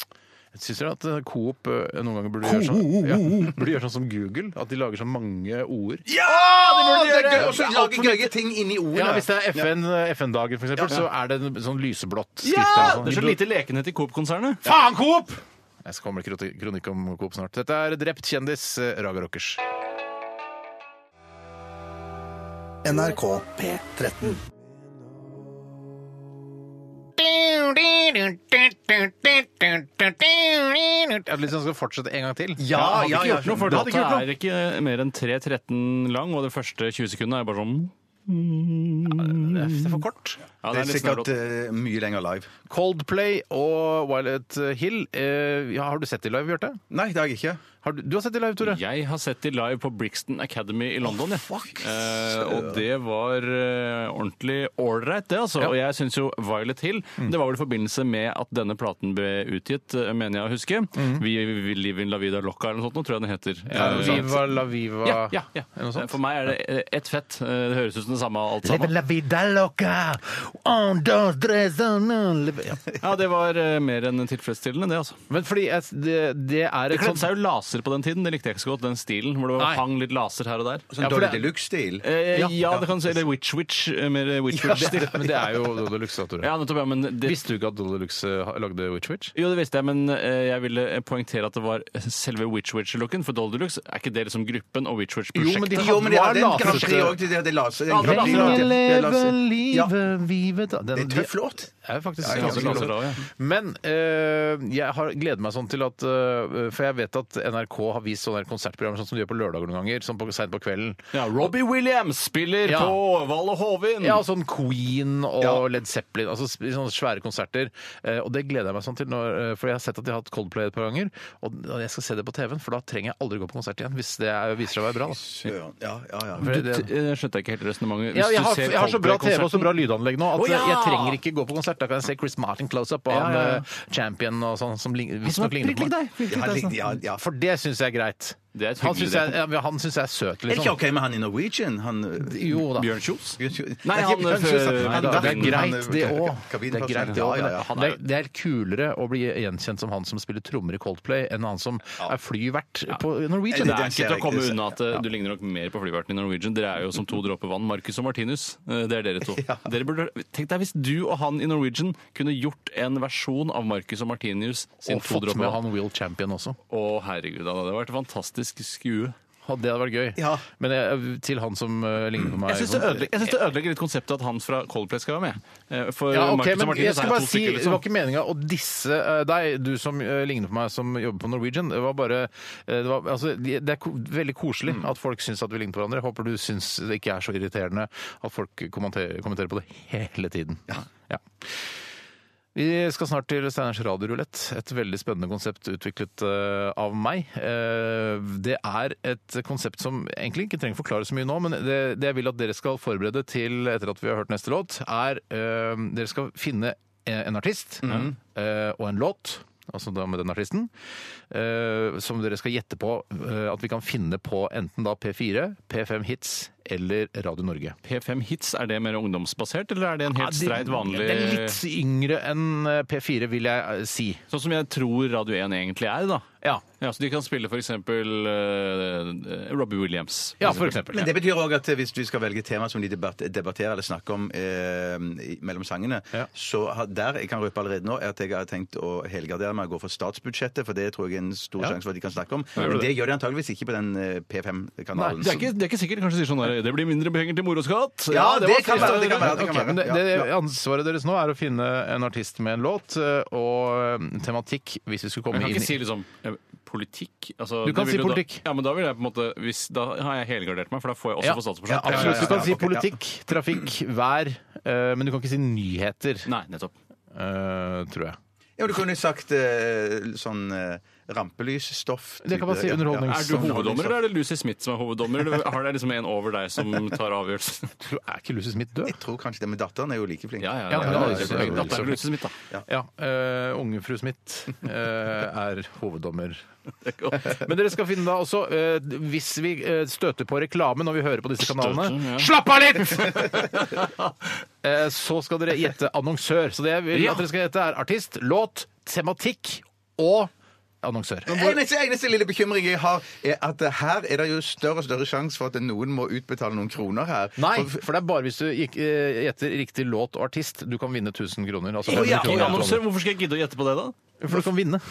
Speaker 1: jeg syns dere at eh, Coop eh, noen ganger burde gjøre, sånn, ja, [laughs] burde gjøre sånn som Google, at de lager så mange ord.
Speaker 2: Å, det er gøy! Og så lage gøye ting inni ordene.
Speaker 1: Ja, Hvis det er FN, FN-dagen, for eksempel, så er det en sånn lyseblått skrift.
Speaker 3: Ja,
Speaker 1: eller
Speaker 3: det er så
Speaker 1: sånn.
Speaker 3: lite lekenhet i Coop-konsernet.
Speaker 1: Faen, Coop! Jeg skal komme med kroti- kronikk om Coop snart. Dette er Drept kjendis, eh, Raga Rockers.
Speaker 5: NRK P13.
Speaker 1: Jeg hadde lyst til sånn at den skal fortsette en gang til.
Speaker 3: Ja,
Speaker 1: Jeg hadde
Speaker 3: ja,
Speaker 1: ikke
Speaker 3: ja,
Speaker 1: gjort noe, for det
Speaker 3: Data
Speaker 1: hadde ikke gjort noe.
Speaker 3: er ikke mer enn 3.13 lang, og de første 20 sekundene er bare sånn
Speaker 1: Det er for kort.
Speaker 3: ja,
Speaker 2: Det er
Speaker 3: litt
Speaker 2: sikkert
Speaker 3: snarlåt.
Speaker 2: eh, mye lenger live.
Speaker 1: Coldplay og Violet Hill. Eh, ja, har du sett de live, Bjarte?
Speaker 2: Nei, det har jeg ikke.
Speaker 1: Har du, du har sett de live, Tore?
Speaker 3: Jeg har sett de live på Brixton Academy i London. ja. eh, og det var eh, ordentlig ålreit, det. altså. Og jeg syns jo Violet Hill
Speaker 1: Mm.
Speaker 3: Det var vel i forbindelse med at denne platen ble utgitt, eh, mener jeg å huske.
Speaker 1: Mm.
Speaker 3: Vi, vi Live in la vida loca eller noe sånt, nå tror jeg den heter. Eh,
Speaker 1: Viva la viva
Speaker 3: ja, ja, ja.
Speaker 1: eller noe sånt?
Speaker 3: For meg er det eh, ett fett. Eh, Det høres ut som det samme alt sammen.
Speaker 1: la vida loca! On dos, tres, on, live- ja.
Speaker 3: Ja, det var eh, mer enn tilfredsstillende, det, altså.
Speaker 1: Men fordi jeg, det, det er
Speaker 3: Det
Speaker 1: et sånt
Speaker 3: kledde seg jo laser på den tiden. Det likte jeg ikke så godt, den stilen hvor det var-
Speaker 1: Nei.
Speaker 3: hang litt laser her og der.
Speaker 2: Sånn
Speaker 1: Ja, for
Speaker 2: Dolly
Speaker 1: det-
Speaker 2: Deluxe-stil.
Speaker 3: Eh, ja, det kan du si. Eller Witch Witch. eh, Mer Witch Witch.
Speaker 1: det, Men det er jo Dodo Lux, da, Tore.
Speaker 3: Ja, nettopp, ja, men det,
Speaker 1: Visste du ikke at Dodo Lux eh, lagde Witch Witch?
Speaker 3: jo, det visste jeg, men eh, jeg ville poengtere at det var selve Witch Witch-looken. For Dolly Deluxe er ikke det liksom gruppen og Witch Witch-prosjektet?
Speaker 1: Jo, men de
Speaker 2: Jo, men de
Speaker 1: Hva er
Speaker 2: hadde en
Speaker 1: lasete?
Speaker 2: Grand Prix òg. De hadde laser.
Speaker 3: Ja,
Speaker 2: en Grand Prix,
Speaker 3: lenge
Speaker 2: ja, de hadde laser. Ja.
Speaker 1: vivet da. Den-
Speaker 2: Det er tøff låt.
Speaker 1: er jo faktisk
Speaker 2: Ja, jeg
Speaker 3: Ja, så
Speaker 2: ganske
Speaker 1: ganske
Speaker 3: laser da, ja.
Speaker 1: Men eh, jeg har gleder meg sånn til at eh, For jeg vet at NRK har vist sånne her konsertprogrammer sånn som de gjør på lørdager noen ganger, sånn på, sent på kvelden.
Speaker 3: ja, Robbie Williams spiller
Speaker 1: Ja.
Speaker 3: på Valle Hovin!
Speaker 1: Ja, sånn Queen og
Speaker 2: Ja.
Speaker 1: Led Zeppelin. Altså sp- sånne svære konserter. Eh, og det gleder jeg meg sånn til, når, eh, for jeg har sett at de har hatt Coldplay et par ganger. Og og jeg skal se det på TV-en, for da trenger jeg aldri gå på konsert igjen, hvis det er, viser seg å være bra. Da.
Speaker 2: Søren. Ja, ja, ja.
Speaker 3: Du,
Speaker 1: For
Speaker 3: t-
Speaker 1: det,
Speaker 3: eh, skjønte jeg ikke helt resonnementet.
Speaker 1: ja, jeg, har, jeg har så bra TV og så bra lydanlegg nå at
Speaker 3: Å, ja!
Speaker 1: eh, jeg trenger ikke gå på konsert. Da kan jeg se Chris Martin close up og
Speaker 3: Ja,
Speaker 1: han
Speaker 3: ja, ja.
Speaker 1: eh, Champion og sånn, som lign-
Speaker 3: Som er
Speaker 1: visstnok ligner
Speaker 3: prikk
Speaker 1: på meg.
Speaker 3: lik deg! prikk lik
Speaker 2: Ja,
Speaker 3: deg,
Speaker 2: litt-
Speaker 3: sånn.
Speaker 2: ja, ja.
Speaker 1: For det syns jeg er greit.
Speaker 3: Det er et
Speaker 1: Han
Speaker 3: hyggelig
Speaker 1: syns jeg, ja, han synes jeg er
Speaker 2: Er
Speaker 1: søt,
Speaker 2: sånn. det ikke
Speaker 1: liksom.
Speaker 2: OK med han i Norwegian? Han øh,
Speaker 1: Jo da.
Speaker 3: Bjørn Kjos?
Speaker 2: Nei,
Speaker 3: han,
Speaker 2: ikke Bjørn Kjos, han-
Speaker 3: øh,
Speaker 1: Nei,
Speaker 2: han-
Speaker 1: da, eh, det er
Speaker 2: han-
Speaker 1: greit,
Speaker 2: han-
Speaker 1: det òg. Det er
Speaker 2: kabinpersonell.
Speaker 1: greit, det
Speaker 2: Ja,
Speaker 1: også,
Speaker 2: ja,
Speaker 1: men
Speaker 2: ja.
Speaker 1: Det, er- det er kulere å bli gjenkjent som han som spiller trommer i Coldplay, enn han som er flyvert på Norwegian.
Speaker 3: Det
Speaker 2: Det
Speaker 3: er
Speaker 2: ser
Speaker 3: ikke til
Speaker 2: jeg
Speaker 3: å komme
Speaker 2: ikke.
Speaker 3: unna at eh, du ligner nok mer på flyverten i Norwegian. Dere er jo som to dråper vann. Marcus og Martinus, eh, det er dere [laughs] to. Dere burde, tenk deg hvis du og han i Norwegian kunne gjort en versjon av Marcus og Martinus sin
Speaker 1: Og
Speaker 3: to
Speaker 1: fått
Speaker 3: dråper
Speaker 1: med
Speaker 3: vann.
Speaker 1: han Will Champion også.
Speaker 3: Å herregud, det hadde vært et fantastisk skue.
Speaker 1: Og det hadde vært gøy.
Speaker 2: Ja.
Speaker 1: Men jeg, til han som eh, ligner på meg
Speaker 3: Jeg syns det, ødelegger- jeg synes det ødelegger litt konseptet at han fra Coldplay skal være med. Eh, For
Speaker 1: Ja, ok,
Speaker 3: Marcus og
Speaker 1: men
Speaker 3: Martinus
Speaker 1: jeg
Speaker 3: er
Speaker 1: skal
Speaker 3: to
Speaker 1: bare si,
Speaker 3: stykker,
Speaker 1: Det
Speaker 3: liksom.
Speaker 1: var ikke meninga å disse eh, deg, du som eh, ligner på meg, som jobber på Norwegian. Det var bare eh, Det, var, altså, de- det er ko veldig koselig
Speaker 3: Mm.
Speaker 1: at folk syns at vi ligner på hverandre. Jeg håper du syns det ikke er så irriterende at folk kommenter, kommenterer på det hele tiden. Ja. Vi skal snart til Steiners radiorulett. Et veldig spennende konsept utviklet eh, av meg. Eh, det er et konsept som egentlig ikke trenger forklare så mye nå, men det, det jeg vil at dere skal forberede til etter at vi har hørt neste låt, er eh, dere skal finne en artist
Speaker 3: Mhm.
Speaker 1: eh, og en låt. Altså da med den artisten. eh, som dere skal gjette på eh, at vi kan finne på enten da P4, P5 Hits eller Radio Norge.
Speaker 3: P5 Hits, er det mer ungdomsbasert, eller er det en helt streit vanlig
Speaker 1: Det er litt yngre enn eh, P4, vil jeg eh, si.
Speaker 3: Sånn som jeg tror Radio 1 egentlig er, da.
Speaker 1: Ja.
Speaker 3: Ja, så de kan spille f.eks. Uh, Robbie Williams.
Speaker 1: Ja, for eksempel.
Speaker 2: Men det betyr òg at eh, hvis vi skal velge tema som de debat- debatterer eller snakker om eh, i- mellom sangene,
Speaker 1: Ja.
Speaker 2: så har- der jeg kan røpe allerede nå, er at jeg har tenkt å helgardere meg og gå for statsbudsjettet, for det tror jeg er en stor
Speaker 1: Ja.
Speaker 2: sjanse for at de kan snakke om.
Speaker 3: gjør
Speaker 2: Men
Speaker 3: det.
Speaker 2: det gjør de antageligvis ikke på den eh,
Speaker 3: Nei,
Speaker 2: P5-kanalen.
Speaker 3: det, er ikke, det er ikke sikkert. Kanskje de sier sånn der, det blir mindre penger til moroskatt.
Speaker 2: Ja, det
Speaker 3: var
Speaker 2: kan
Speaker 3: fristende.
Speaker 2: være, det kan være, det
Speaker 1: Ok,
Speaker 2: kan være.
Speaker 1: men det,
Speaker 2: Ja,
Speaker 1: det
Speaker 2: ja.
Speaker 1: Ansvaret deres nå er å finne en artist med en låt eh, og eh, tematikk, hvis vi skulle
Speaker 3: Men
Speaker 1: komme inn
Speaker 3: Jeg kan ikke si
Speaker 1: i
Speaker 3: liksom eh, politikk. Altså,
Speaker 1: Du kan
Speaker 3: det vil
Speaker 1: si
Speaker 3: jo
Speaker 1: politikk.
Speaker 3: Da, ja, men da vil jeg på en måte hvis, Da har jeg helgardert meg, for da får jeg også
Speaker 1: Ja.
Speaker 3: få statsbudsjett.
Speaker 1: Ja, absolutt. Du
Speaker 2: ja,
Speaker 1: kan si
Speaker 2: ja, ok, ja.
Speaker 1: politikk, trafikk, vær, eh, men du kan ikke si nyheter,
Speaker 3: Nei, nettopp.
Speaker 1: eh, tror jeg.
Speaker 2: Ja, du kunne sagt eh, sånn eh, rampelysstoff.
Speaker 1: Det kan man si,
Speaker 2: type- Sånn
Speaker 1: underholdnings-
Speaker 3: Er du hoveddommer, eller er Sånn det Lucy Smith som er hoveddommer? Eller har det liksom en over deg som tar avgjørelsen?
Speaker 1: Tror- Er ikke Lucy Smith død?
Speaker 2: Jeg tror kanskje det med datteren er jo like flink.
Speaker 3: [laughs] Ja, ja,
Speaker 1: Ja,
Speaker 3: ja,
Speaker 1: ja,
Speaker 3: ja,
Speaker 1: det er
Speaker 3: ja,
Speaker 1: det.
Speaker 3: Datteren til Lucy Smith, da.
Speaker 1: Ja. eh, Ungefru Smith eh, er hoveddommer. Men dere skal finne da også, eh, hvis vi eh, støter på reklame når vi hører på disse kanalene
Speaker 3: ja.
Speaker 1: Slapp av litt!
Speaker 3: [laughs]
Speaker 1: Eh, så skal dere gjette annonsør. Så det jeg vil
Speaker 3: Ja.
Speaker 1: at dere skal gjette, er artist, låt, tematikk og annonsør.
Speaker 2: Eneste, eneste lille bekymring jeg har, er at eh, her er det jo større og større sjanse for at noen må utbetale noen kroner her.
Speaker 1: Nei,
Speaker 2: For-
Speaker 1: for det er bare hvis du gikk- eh, gjetter riktig låt og artist du kan vinne 1000 kroner. Altså 500
Speaker 3: Ja,
Speaker 1: kroner.
Speaker 3: annonsør, hvorfor skal jeg gidde å gjette på det, da?
Speaker 1: For du kan vinne.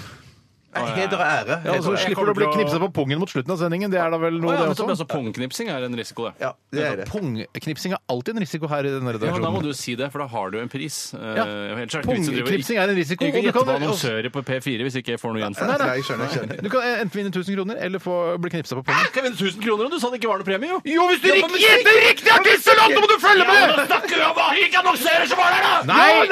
Speaker 2: Nei, Heder og ære.
Speaker 1: Ja,
Speaker 2: Heder
Speaker 1: og så
Speaker 2: og ære.
Speaker 1: slipper du å bli knipsa på pungen mot slutten av sendingen. Det er da vel
Speaker 3: Å
Speaker 1: noe,
Speaker 3: ja,
Speaker 1: det
Speaker 3: nettopp,
Speaker 1: også?
Speaker 3: altså, Pungknipsing er en risiko, det.
Speaker 2: Ja, det er det.
Speaker 1: Pungknipsing er alltid en risiko her i denne
Speaker 3: Ja, men Da må
Speaker 1: redaksjonen.
Speaker 3: du si det, sånn- for da har du en pris.
Speaker 1: Ja. Pungknipsing er en risiko,
Speaker 3: Jeg
Speaker 1: og
Speaker 3: kan
Speaker 1: du
Speaker 3: gjette på
Speaker 1: kan-
Speaker 3: annonsører på P4 hvis ikke jeg får noe igjen for
Speaker 2: Nei,
Speaker 3: det.
Speaker 2: jeg skjønner, jeg skjønner.
Speaker 1: Du kan eh, enten vinne 1000 kroner eller få bli knipsa på pungen.
Speaker 3: Jeg kan vinne 1000 kroner, og du sa det ikke var noe premie, jo!
Speaker 1: Jo, hvis du ikke gjetter riktig artist, så langt, da må du følge med!
Speaker 3: snakker vi om hva ikke annonserer som var der, da!
Speaker 1: Nei!
Speaker 2: Nei, han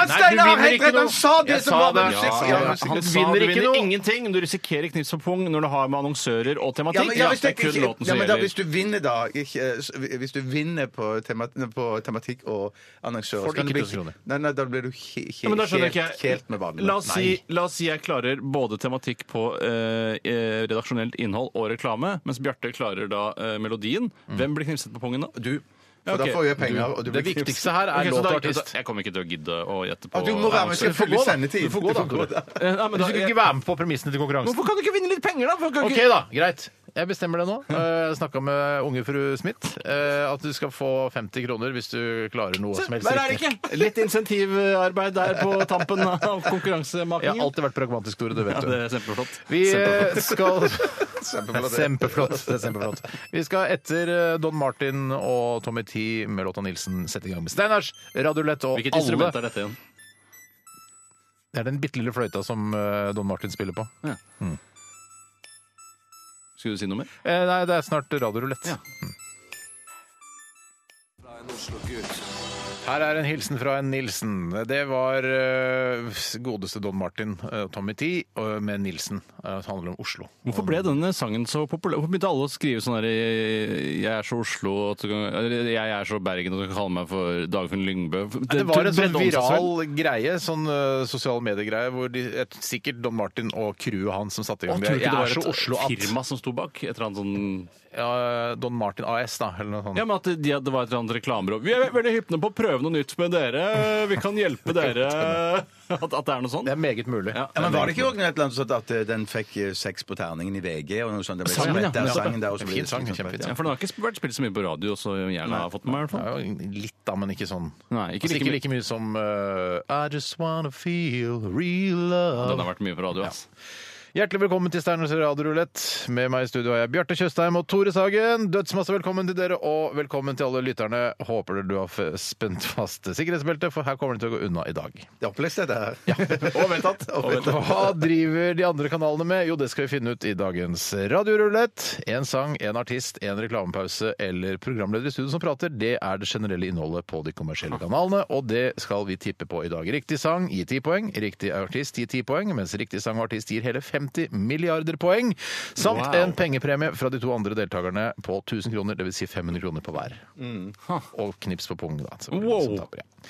Speaker 1: Nei, du
Speaker 2: Steinar har
Speaker 1: vinner
Speaker 2: helt
Speaker 1: ikke
Speaker 2: rett! Han
Speaker 1: noe.
Speaker 2: sa det
Speaker 1: Jeg
Speaker 2: som
Speaker 1: sa
Speaker 2: var
Speaker 1: det.
Speaker 2: den siste-
Speaker 1: Ja,
Speaker 2: Ja,
Speaker 1: ja.
Speaker 2: men-
Speaker 1: Du
Speaker 3: Han sa
Speaker 1: vinner
Speaker 3: du
Speaker 1: ikke
Speaker 3: vinner
Speaker 1: noe.
Speaker 3: ingenting, men du risikerer knips på pung når du har med annonsører og
Speaker 2: ja,
Speaker 3: tematikk.
Speaker 2: men, ja, hvis,
Speaker 3: det er
Speaker 2: det ikke-
Speaker 3: kun låten
Speaker 2: ja,
Speaker 3: som
Speaker 2: men da, hvis
Speaker 3: gjelder.
Speaker 2: du vinner da ikke, eh, s- Hvis du vinner på, tema, på tematikk og annonsører
Speaker 1: Får du
Speaker 2: så kan
Speaker 1: ikke
Speaker 2: bli-
Speaker 1: 1000 kroner.
Speaker 2: Nei, nei, da blir du he, he,
Speaker 3: Ja, men da skjønner
Speaker 2: helt,
Speaker 3: jeg ikke
Speaker 2: helt med vanlig.
Speaker 3: La oss, si, la oss si jeg klarer både tematikk på eh, eh, redaksjonelt innhold og reklame, mens Bjarte klarer da eh, melodien. Hvem blir knipset på pungen da?
Speaker 2: Du, for
Speaker 3: Ja,
Speaker 2: da
Speaker 3: ok.
Speaker 2: får jeg penger, og du
Speaker 1: Det
Speaker 2: blir
Speaker 1: viktigste her er
Speaker 3: Ok, så
Speaker 1: låt
Speaker 3: da-
Speaker 1: og artist.
Speaker 3: Jeg kommer ikke til å gidde å gjette
Speaker 2: Ja,
Speaker 3: på
Speaker 2: du må være med
Speaker 3: annonser.
Speaker 2: til fulle sendetid.
Speaker 1: Du får gå, da.
Speaker 2: Du får gå, da.
Speaker 3: Eh, nei, men
Speaker 1: Du
Speaker 3: da-
Speaker 1: skal ikke
Speaker 3: jeg-
Speaker 1: være med på premissene til konkurransen.
Speaker 3: Hvorfor kan du ikke vinne litt penger, da? Hvorfor kan du
Speaker 1: OK,
Speaker 3: ikke-
Speaker 1: da. Greit. Jeg bestemmer det nå. Eh, Jeg snakka med unge fru Smith. eh, At du skal få 50 kroner hvis du klarer noe som helst
Speaker 3: Der er det
Speaker 1: riktig.
Speaker 3: ikke! Litt insentivarbeid der på tampen av
Speaker 1: Jeg har
Speaker 3: konkurransemakingen.
Speaker 1: alltid vært pragmatisk, Tore. Det
Speaker 3: Ja,
Speaker 1: vet du.
Speaker 3: det er kjempeflott.
Speaker 1: Vi eh, skal [laughs]
Speaker 2: Kjempeflott.
Speaker 1: Kjempeflott. Det er kjempeflott. Vi skal etter eh, Don Martin og Tommy T med låta Nilsen sette i gang med Steinars radiolett og
Speaker 3: Hvilket
Speaker 1: alle.
Speaker 3: instrument er dette igjen?
Speaker 1: Det er den bitte lille fløyta som eh, Don Martin spiller på.
Speaker 3: Mm. Skulle du si noe mer?
Speaker 1: Eh, Nei, det er snart radiorulett.
Speaker 3: Ja.
Speaker 1: Her er en hilsen fra en Nilsen. Det var eh, godeste Don Martin eh, og Tommy T eh, med Nilsen. Eh, Det handler om Oslo.
Speaker 3: Hvorfor ble denne sangen så populær? Hvorfor begynte alle å skrive sånn her Jeg er så Oslo at du kan, eller, Jeg er så Bergen at du kan kalle meg for Dagfinn Lyngbø.
Speaker 1: Det var en sånn
Speaker 3: breddeomsorgsvenn.
Speaker 1: viral greie, sånn uh, sosial mediegreie, hvor de, et, sikkert Don Martin og crewet hans som satte i gang
Speaker 3: Og tror du
Speaker 1: Jeg
Speaker 3: ikke
Speaker 1: er
Speaker 3: det
Speaker 1: så
Speaker 3: var et
Speaker 1: Oslo at
Speaker 3: firma som sto bak? Et eller annet sånn
Speaker 1: ja, Don Martin AS, da, eller noe sånt.
Speaker 3: Ja, men at de, det var et eller annet reklamebyrå. Vi er veldig hypne på å prøve noe nytt med dere. Vi kan [laughs] hjelpe dere. At, at det er noe sånt?
Speaker 1: Det er meget mulig.
Speaker 3: Ja.
Speaker 2: Ja, men Var det ikke også noe et eller annet sånt at eh, den fikk eh, seks på terningen i VG? og noe sånt? Det ble
Speaker 3: Sangen, ja.
Speaker 2: spredt der,
Speaker 3: Ja.
Speaker 2: sangen der, og så
Speaker 1: En
Speaker 2: ble
Speaker 1: fin
Speaker 2: det
Speaker 1: sang,
Speaker 2: spredt.
Speaker 1: kjempefin
Speaker 3: Ja,
Speaker 1: sang.
Speaker 3: for den har ikke vært spilt så mye på radio, så jeg har fått med meg i hvert fall.
Speaker 1: Ja, Litt, da, men ikke sånn.
Speaker 3: Nei, ikke
Speaker 1: Altså,
Speaker 3: like
Speaker 1: ikke
Speaker 3: mye.
Speaker 1: like mye som uh, I just wanna feel real
Speaker 3: Den har
Speaker 1: love.
Speaker 3: vært mye på radio. ass.
Speaker 1: Hjertelig velkommen til Steiners radiorulett. Med meg i studio har jeg Bjarte Tjøstheim og Tore Sagen. Dødsmasse velkommen til dere, og velkommen til alle lytterne. Håper dere du har f- spent fast sikkerhetsbeltet, for her kommer det til å gå unna i dag.
Speaker 2: Det er opplest, dette her. [laughs] Og vedtatt. Og vedtatt.
Speaker 1: Hva driver de andre kanalene med? Jo, det skal vi finne ut i dagens radiorulett. En sang, en artist, en reklamepause eller programleder i studio som prater. Det er det generelle innholdet på de kommersielle kanalene, og det skal vi tippe på i dag. Riktig sang gir 10 poeng, riktig artist gir 10 poeng, mens riktig sang og artist gir hele 50 milliarder poeng, samt
Speaker 3: Wow.
Speaker 1: en pengepremie fra de to andre deltakerne på 1000 kroner, dvs. Si 500 kroner på hver. Og knips på pungen, da. selvfølgelig, som
Speaker 3: Wow.
Speaker 1: taper, ja.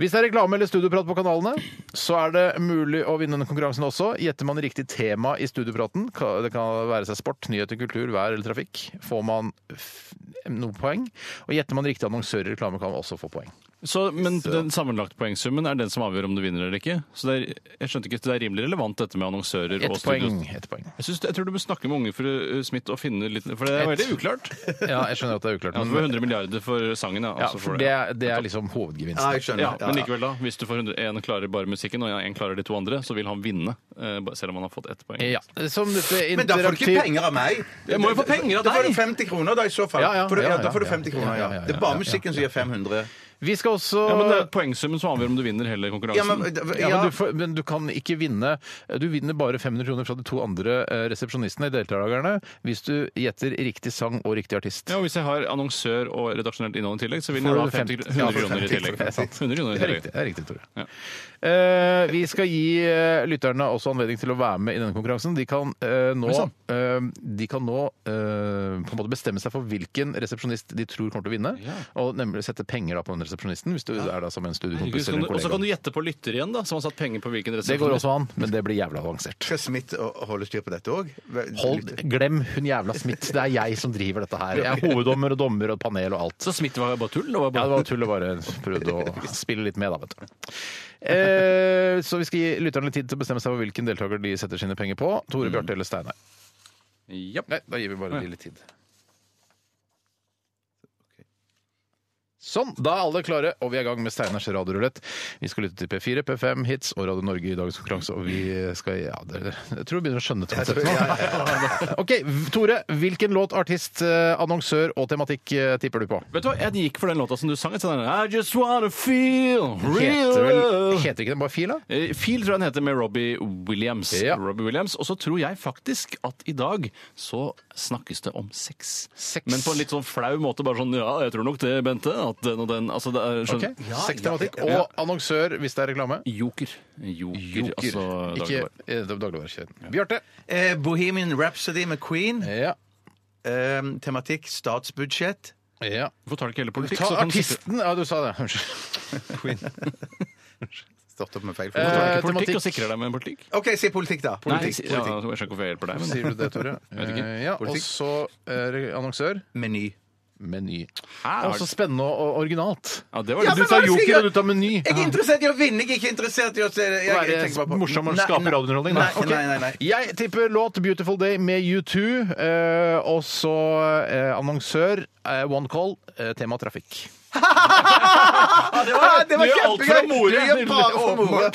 Speaker 1: Hvis det er reklame eller studioprat på kanalene, så er det mulig å vinne denne konkurransen også. Gjetter man riktig tema i studiopraten, ka- det kan være seg sport, nyheter, kultur, vær eller trafikk, får man f- noen poeng. Og gjetter man riktig annonsør i reklame, kan man også få poeng.
Speaker 3: Så, men den sammenlagte poengsummen er den som avgjør om du vinner eller ikke. Så det er, jeg skjønte ikke at det er rimelig relevant dette med annonsører
Speaker 1: Ett
Speaker 3: og
Speaker 1: poeng.
Speaker 3: studios.
Speaker 1: Ett poeng.
Speaker 3: Jeg, synes, jeg tror du bør snakke med unge fru eh, Smith og finne litt For det
Speaker 1: Et.
Speaker 3: er veldig uklart.
Speaker 1: Ja, jeg skjønner at det er uklart.
Speaker 3: Ja, du får
Speaker 1: Men,
Speaker 3: 100 milliarder for sangen, ja.
Speaker 1: ja,
Speaker 3: altså
Speaker 1: for
Speaker 3: for
Speaker 1: det, er- det er liksom
Speaker 2: Ja,
Speaker 1: hovedgevinsten.
Speaker 2: jeg skjønner.
Speaker 3: Ja, men likevel, da. Hvis du får 100, en klarer bare musikken, og en klarer de to andre, så vil han vinne. eh, bare Selv om han har fått ett poeng.
Speaker 1: Ja, som dette
Speaker 2: Men da får du ikke
Speaker 1: interaktiv-
Speaker 2: penger av meg!
Speaker 3: Jeg må jo få penger av
Speaker 2: Da får
Speaker 3: deg.
Speaker 2: du 50 kroner, da, i så fall.
Speaker 1: Ja, ja,
Speaker 2: Får du-
Speaker 1: ja,
Speaker 2: da får du
Speaker 1: ja,
Speaker 2: 50 kroner,
Speaker 1: ja,
Speaker 2: ja.
Speaker 1: ja, ja,
Speaker 2: Det er bare
Speaker 1: ja,
Speaker 2: musikken som gir 500.
Speaker 1: Vi skal også
Speaker 3: Ja, men det er poengsummen som avgjør om du vinner hele
Speaker 2: Ja,
Speaker 3: konkurransen.
Speaker 2: men,
Speaker 1: Ja, men,
Speaker 2: ja.
Speaker 1: du får, men du kan ikke vinne Du vinner bare 500 kroner fra de to andre eh, resepsjonistene, deltakerne, hvis du gjetter riktig sang og riktig artist.
Speaker 3: Ja, og Hvis jeg har annonsør og redaksjonelt innhold i tillegg, så vil
Speaker 1: Får
Speaker 3: jeg
Speaker 1: du
Speaker 3: ha 50,
Speaker 1: 50 [laughs] ja,
Speaker 3: 100 kroner i
Speaker 1: 50,
Speaker 3: tillegg.
Speaker 1: det er sant.
Speaker 3: 100 kroner i
Speaker 1: Det er
Speaker 3: tillegg.
Speaker 1: riktig, det er riktig Tore.
Speaker 3: Ja.
Speaker 1: Eh, vi skal gi eh, lytterne også anledning til å være med i denne konkurransen. De kan eh, nå,
Speaker 3: Oi, sann.
Speaker 1: eh, de kan nå eh, på en måte bestemme seg for hvilken resepsjonist de tror kommer til å vinne, og nemlig sette penger da på den resepsjonisten, hvis du er da som en
Speaker 3: Herregud,
Speaker 1: studiekompis
Speaker 3: så kan
Speaker 1: eller
Speaker 3: du- Og så kan
Speaker 1: en
Speaker 3: du
Speaker 1: kollega.
Speaker 3: gjette på lytter igjen, da, som har satt penger på hvilken
Speaker 1: Det
Speaker 3: resepsjon.
Speaker 1: går også an, men det blir jævla avansert.
Speaker 2: Skal Smith å- holde styr på dette òg?
Speaker 1: Hold, glem hun jævla Smith. Det er jeg som driver dette her. Jeg er hoveddommer og dommer og panel og alt.
Speaker 3: Så Smith var bare tull? Det
Speaker 1: Ja,
Speaker 3: var bare...
Speaker 1: det var tull å bare prøvde å spille litt med, da, vet du. Eh, så vi skal gi lytterne litt tid til å bestemme seg for hvilken deltaker de setter sine penger på. Tore, Bjarte eller Steinar.
Speaker 3: Ja.
Speaker 1: Nei, da gir vi bare de litt tid. Sånn, da er alle klare, og vi er i gang med Steiners radiorulett. Vi skal lytte til P4, P5, Hits og Radio Norge i dagens konkurranse, og vi skal Ja, dere, jeg tror du begynner å skjønne det. OK, Tore. Hvilken låt, artist, eh, annonsør og tematikk eh, tipper du på?
Speaker 3: Vet du hva, Jeg gikk for den låta som du sang. jeg sa den der, I just wanna feel real
Speaker 1: Heter, vel,
Speaker 3: love.
Speaker 1: heter ikke den bare Fila?
Speaker 3: Eh, Feel tror jeg den heter med Robbie Williams.
Speaker 1: Ja.
Speaker 3: Robbie Williams. Og så tror jeg faktisk at i dag så snakkes det om sex.
Speaker 1: Sex.
Speaker 3: Men på en litt sånn flau måte. Bare sånn Ja, jeg tror nok det, Bente. At den og den Altså, det er
Speaker 1: Ok,
Speaker 3: skjønner-
Speaker 1: Sextematikk
Speaker 3: ja.
Speaker 1: og annonsør hvis det er reklame.
Speaker 3: Joker. Joker. Altså
Speaker 1: ikke
Speaker 3: dagligvare.
Speaker 1: eh, dagligvarekjeden. Bjarte.
Speaker 2: Eh, Bohemian Rhapsody med Queen.
Speaker 1: Ja.
Speaker 2: Eh, tematikk statsbudsjett.
Speaker 1: ja.
Speaker 3: Hvorfor tar du ikke hele politikk?
Speaker 1: Ta
Speaker 3: så kan du sitte-
Speaker 1: artisten Ja, du sa det. Unnskyld.
Speaker 2: Startet opp med feil.
Speaker 3: Hvorfor tar du
Speaker 1: Eh,
Speaker 3: ikke politikk og
Speaker 1: tematikk.
Speaker 3: sikrer deg med politikk?
Speaker 2: OK, si politikk, da. Politikk.
Speaker 3: Nei, si- ja,
Speaker 2: politikk.
Speaker 3: jeg skjønner ikke hvorfor jeg hjelper deg. Men...
Speaker 1: Sier du det,
Speaker 3: [laughs]
Speaker 1: Tore?
Speaker 3: vet ikke.
Speaker 1: Eh, Ja, og
Speaker 2: Politikk.
Speaker 1: så eh, re- annonsør.
Speaker 2: Meny.
Speaker 1: Meny.
Speaker 3: Hæ?
Speaker 1: Og så spennende og originalt.
Speaker 3: Ja, det var
Speaker 2: Ja,
Speaker 3: litt
Speaker 2: men
Speaker 1: Du
Speaker 2: hva
Speaker 1: tar
Speaker 2: skal jeg
Speaker 1: joker, og
Speaker 2: gjøre?
Speaker 1: du tar meny.
Speaker 2: Jeg er interessert i å vinne, jeg er ikke interessert i å se jeg,
Speaker 1: Være
Speaker 2: tenker bare på-
Speaker 1: morsom og
Speaker 2: Nei,
Speaker 1: skape
Speaker 2: nei.
Speaker 1: radiounderholdning,
Speaker 2: Nei,
Speaker 1: da. Ok.
Speaker 2: nei, nei, nei.
Speaker 1: Jeg tipper låt 'Beautiful Day' med U2. Eh, og så eh, annonsør eh, One Call, eh, tema trafikk.
Speaker 2: Det var, Ah, det var
Speaker 3: Du gjør alt for å more.
Speaker 2: Du gjør bare å more.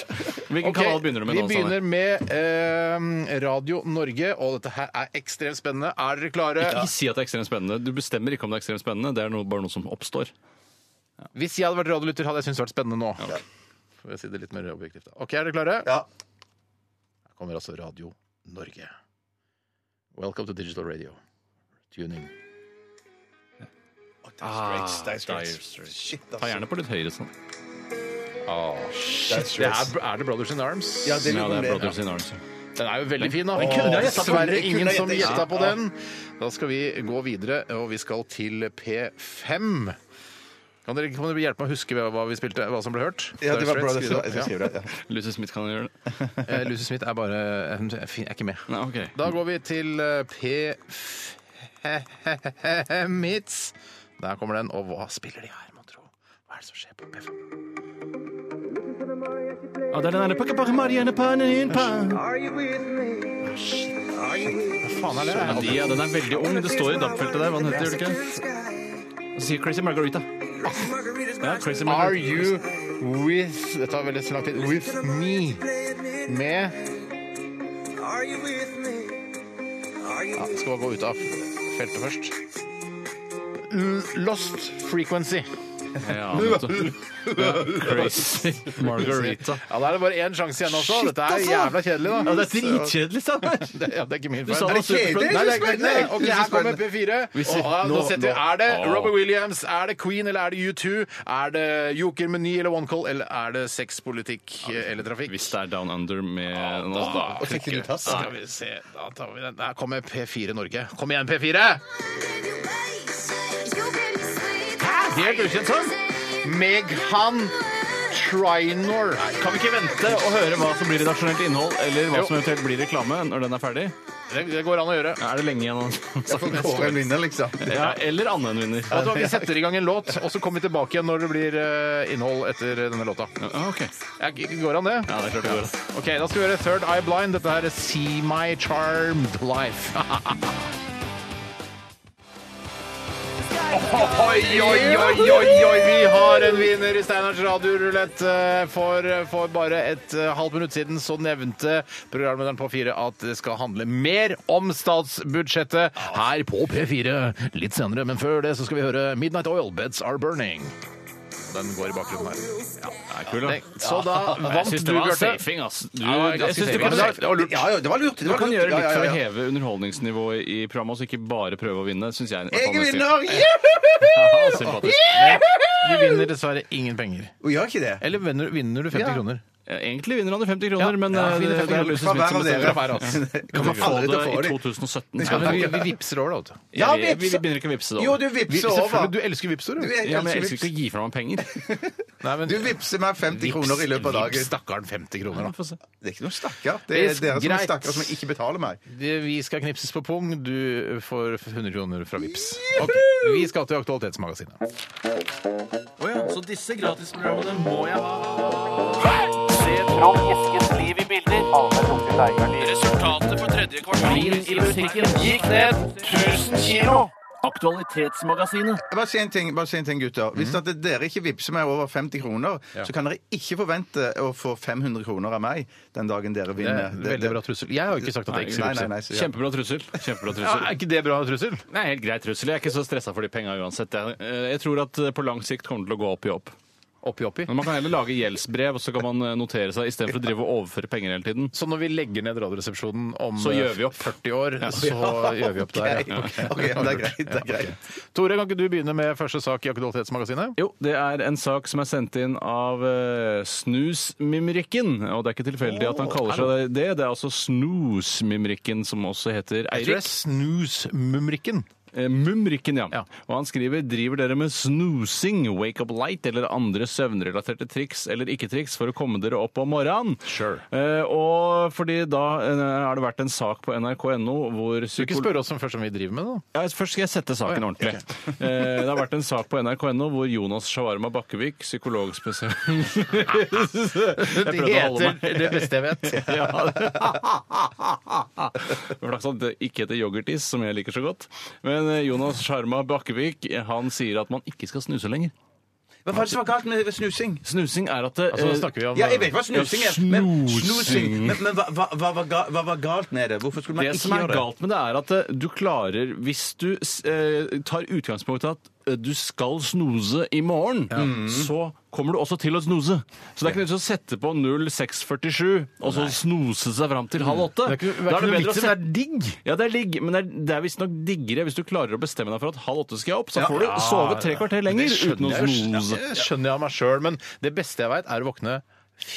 Speaker 3: Hvilken
Speaker 1: Ok,
Speaker 3: kanal begynner du med
Speaker 1: Vi
Speaker 3: nå? Steinar?
Speaker 1: begynner med eh, Radio Norge, og dette her er ekstremt spennende. Er dere klare?
Speaker 3: Ikke si at det er ekstremt spennende. Du bestemmer ikke om det er ekstremt spennende. Det er noe, bare noe som oppstår.
Speaker 1: Hvis jeg hadde vært radiolytter, hadde jeg syntes det vært spennende nå. Får jeg si det litt mer objektivt da. Ok, er dere klare?
Speaker 2: Ja.
Speaker 1: Her kommer altså Radio Norge. Welcome to digital radio. Tuning.
Speaker 2: Dire Straits.
Speaker 3: Ta
Speaker 2: Shit, altså.
Speaker 3: gjerne på litt høyere sånn.
Speaker 2: Dire
Speaker 1: Det
Speaker 2: Straits.
Speaker 1: er, er det Brothers in Arms?
Speaker 2: Ja, det
Speaker 3: Ja, det
Speaker 2: lurer
Speaker 3: er
Speaker 2: jeg på.
Speaker 3: Brothers in Arms.
Speaker 1: Den er jo veldig fin, da.
Speaker 3: Den kunne jeg
Speaker 1: Åh,
Speaker 3: gjettet på.
Speaker 1: Dessverre
Speaker 2: Jeg kunne
Speaker 1: ingen som
Speaker 2: gjettet.
Speaker 1: gjetta på
Speaker 2: Ja.
Speaker 1: den. Da skal vi gå videre, og vi skal til P5. Kan dere, kan dere hjelpe meg å huske hva vi spilte, hva som ble hørt?
Speaker 2: Ja, det var
Speaker 1: Dire
Speaker 2: Brothers
Speaker 1: Straits,
Speaker 2: in Arms. Jeg
Speaker 1: skriv det
Speaker 2: skriver det. ja.
Speaker 3: Lucy Smith kan gjøre det.
Speaker 1: opp. Ja. Eh, Lucy Smith er bare hun er fin- er ikke med.
Speaker 3: Nei, ok.
Speaker 1: Da går vi til eh, P5 hits. Der kommer den, og hva spiller de her, må tro? Hva er det som skjer på P5?
Speaker 3: Ja, det er den der pakka pakka Marianne pannen inn pa. Ah,
Speaker 1: Faen, er det?
Speaker 3: Ja, de, ja, den er veldig ung. Det står i dampfeltet der. Hva den heter, gjør det ikke? Og så sier Crazy Margarita. Ja, Crazy
Speaker 1: Are
Speaker 3: Margarita.
Speaker 1: you with Det tar veldig lang tid. With me. Med
Speaker 6: Are you with
Speaker 1: Ja, skal bare gå ut av feltet først. L Lost Frequency.
Speaker 3: Ja, Crazy Margarita.
Speaker 1: Ja, Da er det bare én sjanse igjen også. Dette altså! er jævla kjedelig, da.
Speaker 3: det er dritkjedelig, Steinar!
Speaker 1: [laughs] Det, ja, det er ikke min
Speaker 3: Du sa
Speaker 1: feil.
Speaker 3: det var superspennende.
Speaker 1: Nei, det er ikke min feil. Ok, her kommer P4.
Speaker 3: Hvis vi-
Speaker 1: Og, ja, nå
Speaker 3: nå-
Speaker 1: setter vi,
Speaker 3: nå-
Speaker 1: er det
Speaker 3: Åh.
Speaker 1: Robert Williams, er det Queen eller er det U2? Er det Joker Meny eller One Call, eller er det sex, politikk eh, eller trafikk?
Speaker 3: Hvis det er Down Under med nå,
Speaker 1: da-
Speaker 3: da-
Speaker 2: Trekker du tass?
Speaker 1: Skal vi se, da tar vi den. Der kommer P4 Norge. Kom igjen, P4! Helt ukjent sånn. sang. Meghan Trinor.
Speaker 3: Kan vi ikke vente og høre hva som blir redaksjonelt innhold, eller hva
Speaker 1: Jo.
Speaker 3: som eventuelt blir reklame når den er ferdig?
Speaker 1: Det, det går an å gjøre.
Speaker 3: Er det lenge igjen?
Speaker 2: For å kåre en vinner, liksom.
Speaker 3: Ja, eller annen vinner.
Speaker 1: Vet du hva, Vi setter i gang en låt, og så kommer vi tilbake igjen når det blir eh, innhold etter denne låta.
Speaker 3: Ja, ok.
Speaker 1: Jeg, går an det?
Speaker 3: Ja, det er klart det går an.
Speaker 1: Ok, Da skal vi gjøre Third Eye Blind. Dette her er See My Charmed Life. [laughs] Oi, oi, oi, oi, oi! Vi har en vinner i Steinars radiorulett. Eh, For, for bare et eh, halvt minutt siden så nevnte programlederen på Fire at det skal handle mer om statsbudsjettet her på P4 litt senere. Men før det så skal vi høre Midnight Oil Beds Are Burning. Den går i bakgrunnen her. Det- Så da vant
Speaker 3: [laughs] Jeg syns
Speaker 1: du,
Speaker 3: det var
Speaker 1: Bjarte.
Speaker 3: safing, ass. Du,
Speaker 1: Ja, det var ganske
Speaker 3: jeg syns du
Speaker 1: safing.
Speaker 3: kan,
Speaker 1: Men det var- det var lurt.
Speaker 2: Ja, ja, det var lurt. Det
Speaker 3: du
Speaker 2: var
Speaker 3: kan
Speaker 2: lurt.
Speaker 3: gjøre litt
Speaker 2: Ja, ja,
Speaker 3: for å
Speaker 2: ja.
Speaker 3: heve underholdningsnivået i programmet, så ikke bare prøve å vinne. Synes
Speaker 2: Jeg
Speaker 3: jeg, neste gang.
Speaker 2: vinner! Juhu!
Speaker 3: Ja, sympatisk.
Speaker 1: Du vinner dessverre ingen penger.
Speaker 2: Og gjør ikke det.
Speaker 1: Eller vinner, vinner du 50 kroner?
Speaker 3: Egentlig vinner han i 50 kroner, men
Speaker 1: ja,
Speaker 3: eh,
Speaker 1: vinner 50
Speaker 3: det, det er
Speaker 1: kroner.
Speaker 3: Lucy
Speaker 2: Fra
Speaker 3: Smith
Speaker 2: hver
Speaker 3: som
Speaker 2: av
Speaker 3: bestemmer.
Speaker 2: dere.
Speaker 1: hver av oss.
Speaker 2: [laughs] Kommer
Speaker 3: Få
Speaker 2: aldri til å få
Speaker 3: det i
Speaker 2: dem.
Speaker 3: 2017.
Speaker 1: Ja, men vi, vi vipser over det, vet du.
Speaker 2: Ja,
Speaker 3: vi, vi
Speaker 2: vips.
Speaker 3: begynner ikke å vipse det
Speaker 2: Jo,
Speaker 3: over.
Speaker 2: du
Speaker 1: Vi,
Speaker 2: vipser over.
Speaker 1: selvfølgelig, du elsker vipser, du.
Speaker 2: Du er-
Speaker 3: Ja, men jeg elsker
Speaker 2: elsker
Speaker 3: ikke å gi fra meg [laughs] penger.
Speaker 1: Nei, men,
Speaker 2: Du vipser meg 50 kroner i løpet av
Speaker 1: Vips,
Speaker 2: dagen.
Speaker 1: stakkaren 50 kroner, da.
Speaker 2: Det er ikke noen stakkar. Det er dere som er
Speaker 1: Greit.
Speaker 2: stakkar som ikke betaler meg.
Speaker 1: Det- Vi skal knipses på pung. Du får 100 kroner fra Vips. Ok, Vi skal til Aktualitetsmagasinet.
Speaker 3: Så disse gratisprogrammene må jeg ha. Resultatet på tredje kvartal i musikken gikk ned 1000 kilo. Aktualitetsmagasinet.
Speaker 2: Bare si en ting, bare si en ting
Speaker 1: Mhm.
Speaker 2: gutter. Hvis at dere ikke vippser meg over 50 kroner, så kan dere ikke forvente å få 500 kroner av meg den dagen dere
Speaker 1: Det
Speaker 2: vinner.
Speaker 1: er veldig bra trussel. Jeg har jo ikke sagt at jeg ikke
Speaker 2: Nei, nei,
Speaker 1: skal
Speaker 2: nei.
Speaker 1: vipse.
Speaker 2: så- ja.
Speaker 3: Kjempebra trussel. Kjempebra
Speaker 1: Ja,
Speaker 3: trussel.
Speaker 1: er ikke det bra trussel?
Speaker 3: Nei, helt greit trussel. Jeg er ikke så stressa for de penga uansett. Jeg, eh, jeg tror at eh, på lang sikt kommer det til å gå opp i opp.
Speaker 1: Oppi, oppi.
Speaker 3: Men man kan heller lage gjeldsbrev, og så kan man eh, notere seg istedenfor å drive og overføre penger hele tiden.
Speaker 1: Så når vi legger ned Radioresepsjonen om
Speaker 3: Så gjør vi opp.
Speaker 1: 40 år, så gjør vi opp der. ja.
Speaker 2: Ok, men det er greit. Det er greit.
Speaker 1: Tore, kan ikke du begynne med første sak i Aktualitetsmagasinet?
Speaker 3: Jo, det er en sak som er sendt inn av eh, Snusmimrikken. Og det er ikke tilfeldig at han kaller seg det. Det er altså Snusmimrikken, som også heter
Speaker 1: Jeg tror det
Speaker 3: Eirik.
Speaker 1: er snusmumrikken.
Speaker 3: Eh, Mumrikken, ja.
Speaker 1: Ja.
Speaker 3: Og han skriver driver dere med snoosing, wake up light eller andre søvnrelaterte triks eller ikke-triks for å komme dere opp om morgenen?
Speaker 1: Sure.
Speaker 3: Eh, og fordi da eh, har det vært en sak på nrk.no hvor
Speaker 1: Du ikke
Speaker 3: psykolo-
Speaker 1: spørre oss om først om vi driver med det, da.
Speaker 3: ja, først skal jeg sette
Speaker 1: Å,
Speaker 3: saken
Speaker 1: ja.
Speaker 3: ordentlig. Eh, det har vært en sak på nrk.no hvor Jonas Shawarma Bakkevik, psykologspesial...
Speaker 1: [laughs]
Speaker 3: Jeg
Speaker 1: Det
Speaker 3: prøvde å holde meg.
Speaker 1: heter det beste jeg vet.
Speaker 3: Ja. [laughs] Det var flaks at det ikke heter yoghurtis, som jeg liker så godt. Men eh, Jonas Sjarma Bakkevik eh, han sier at man ikke skal snuse lenger.
Speaker 2: Hva var det som var galt med snusing?
Speaker 3: Snusing er at det,
Speaker 1: Altså,
Speaker 3: eh,
Speaker 1: nå snakker vi om
Speaker 2: Ja, jeg vet hva snusing er. Men, snusing. men, men hva, hva, hva, var ga- hva var galt med det? Hvorfor skulle man
Speaker 3: det
Speaker 2: ikke
Speaker 3: som er
Speaker 2: gjøre det?
Speaker 3: galt med det, er at eh, du klarer Hvis du eh, tar utgangspunkt i at eh, du skal snose i morgen, Mm. så kommer du også til å snose. Så det er ikke nødvendig å sette på 0647 og så snose seg fram til halv åtte.
Speaker 1: Mm. Det er ikke, det er
Speaker 3: Da
Speaker 1: ikke noe
Speaker 3: er det bedre å
Speaker 1: vits i det. Det
Speaker 3: sette
Speaker 1: er digg.
Speaker 3: Ja, det er ligg, men det er, det er visstnok diggere hvis du klarer å bestemme deg for at halv åtte skal jeg opp. Så
Speaker 2: Ja.
Speaker 3: får du sove tre kvarter lenger uten å
Speaker 1: skjønner jeg, jo.
Speaker 3: snose.
Speaker 1: Det skjønner jeg av meg sjøl, men det beste jeg veit, er å våkne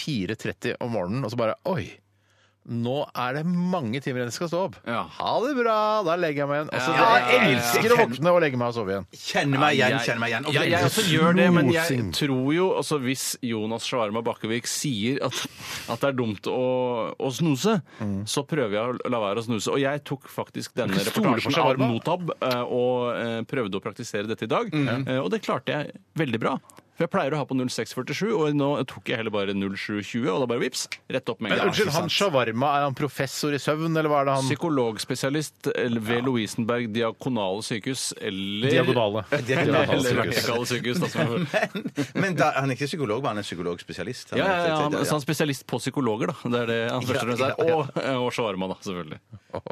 Speaker 1: 4.30 om morgenen og så bare Oi! Nå er det mange timer igjen jeg skal stå opp.
Speaker 3: Ja.
Speaker 1: Ha det bra! Da legger jeg meg igjen. Altså,
Speaker 3: Ja,
Speaker 1: jeg
Speaker 2: ja, ja, ja.
Speaker 1: elsker å våkne og legge meg og sove igjen.
Speaker 2: Kjenner meg igjen, kjenner meg igjen. Ok.
Speaker 3: Ja, jeg også gjør det, men jeg
Speaker 1: Snosing.
Speaker 3: tror jo altså Hvis Jonas Shawarma Bakkevik sier at, at det er dumt å, å snuse, så prøver jeg å la være å snuse. Og jeg tok faktisk denne
Speaker 1: Du stoler på
Speaker 3: reportasjen
Speaker 1: shawarma?
Speaker 3: av Motab eh, og eh, prøvde å praktisere dette i dag, Eh, og det klarte jeg veldig bra. For jeg pleier å ha på 0647, og nå tok jeg heller bare 0720, og da bare vips, rett opp med en
Speaker 1: Men
Speaker 3: gang.
Speaker 1: unnskyld, han shawarma, er han professor i søvn, eller hva er det han
Speaker 3: Psykologspesialist eller ved Lovisenberg diakonale sykehus eller
Speaker 1: Diagonale.
Speaker 3: Eller
Speaker 1: Diagonale sykehus.
Speaker 3: vertikale sykehus, da, som jeg hører.
Speaker 2: [laughs] Men da, han er ikke psykolog, men han er psykologspesialist. Han
Speaker 3: Ja, sånn
Speaker 2: er-
Speaker 3: ja, ja,
Speaker 2: det- det-
Speaker 3: eh, han- så han er spesialist på psykologer, da. Det er det han først og fremst er. Og, og shawarma, da, selvfølgelig.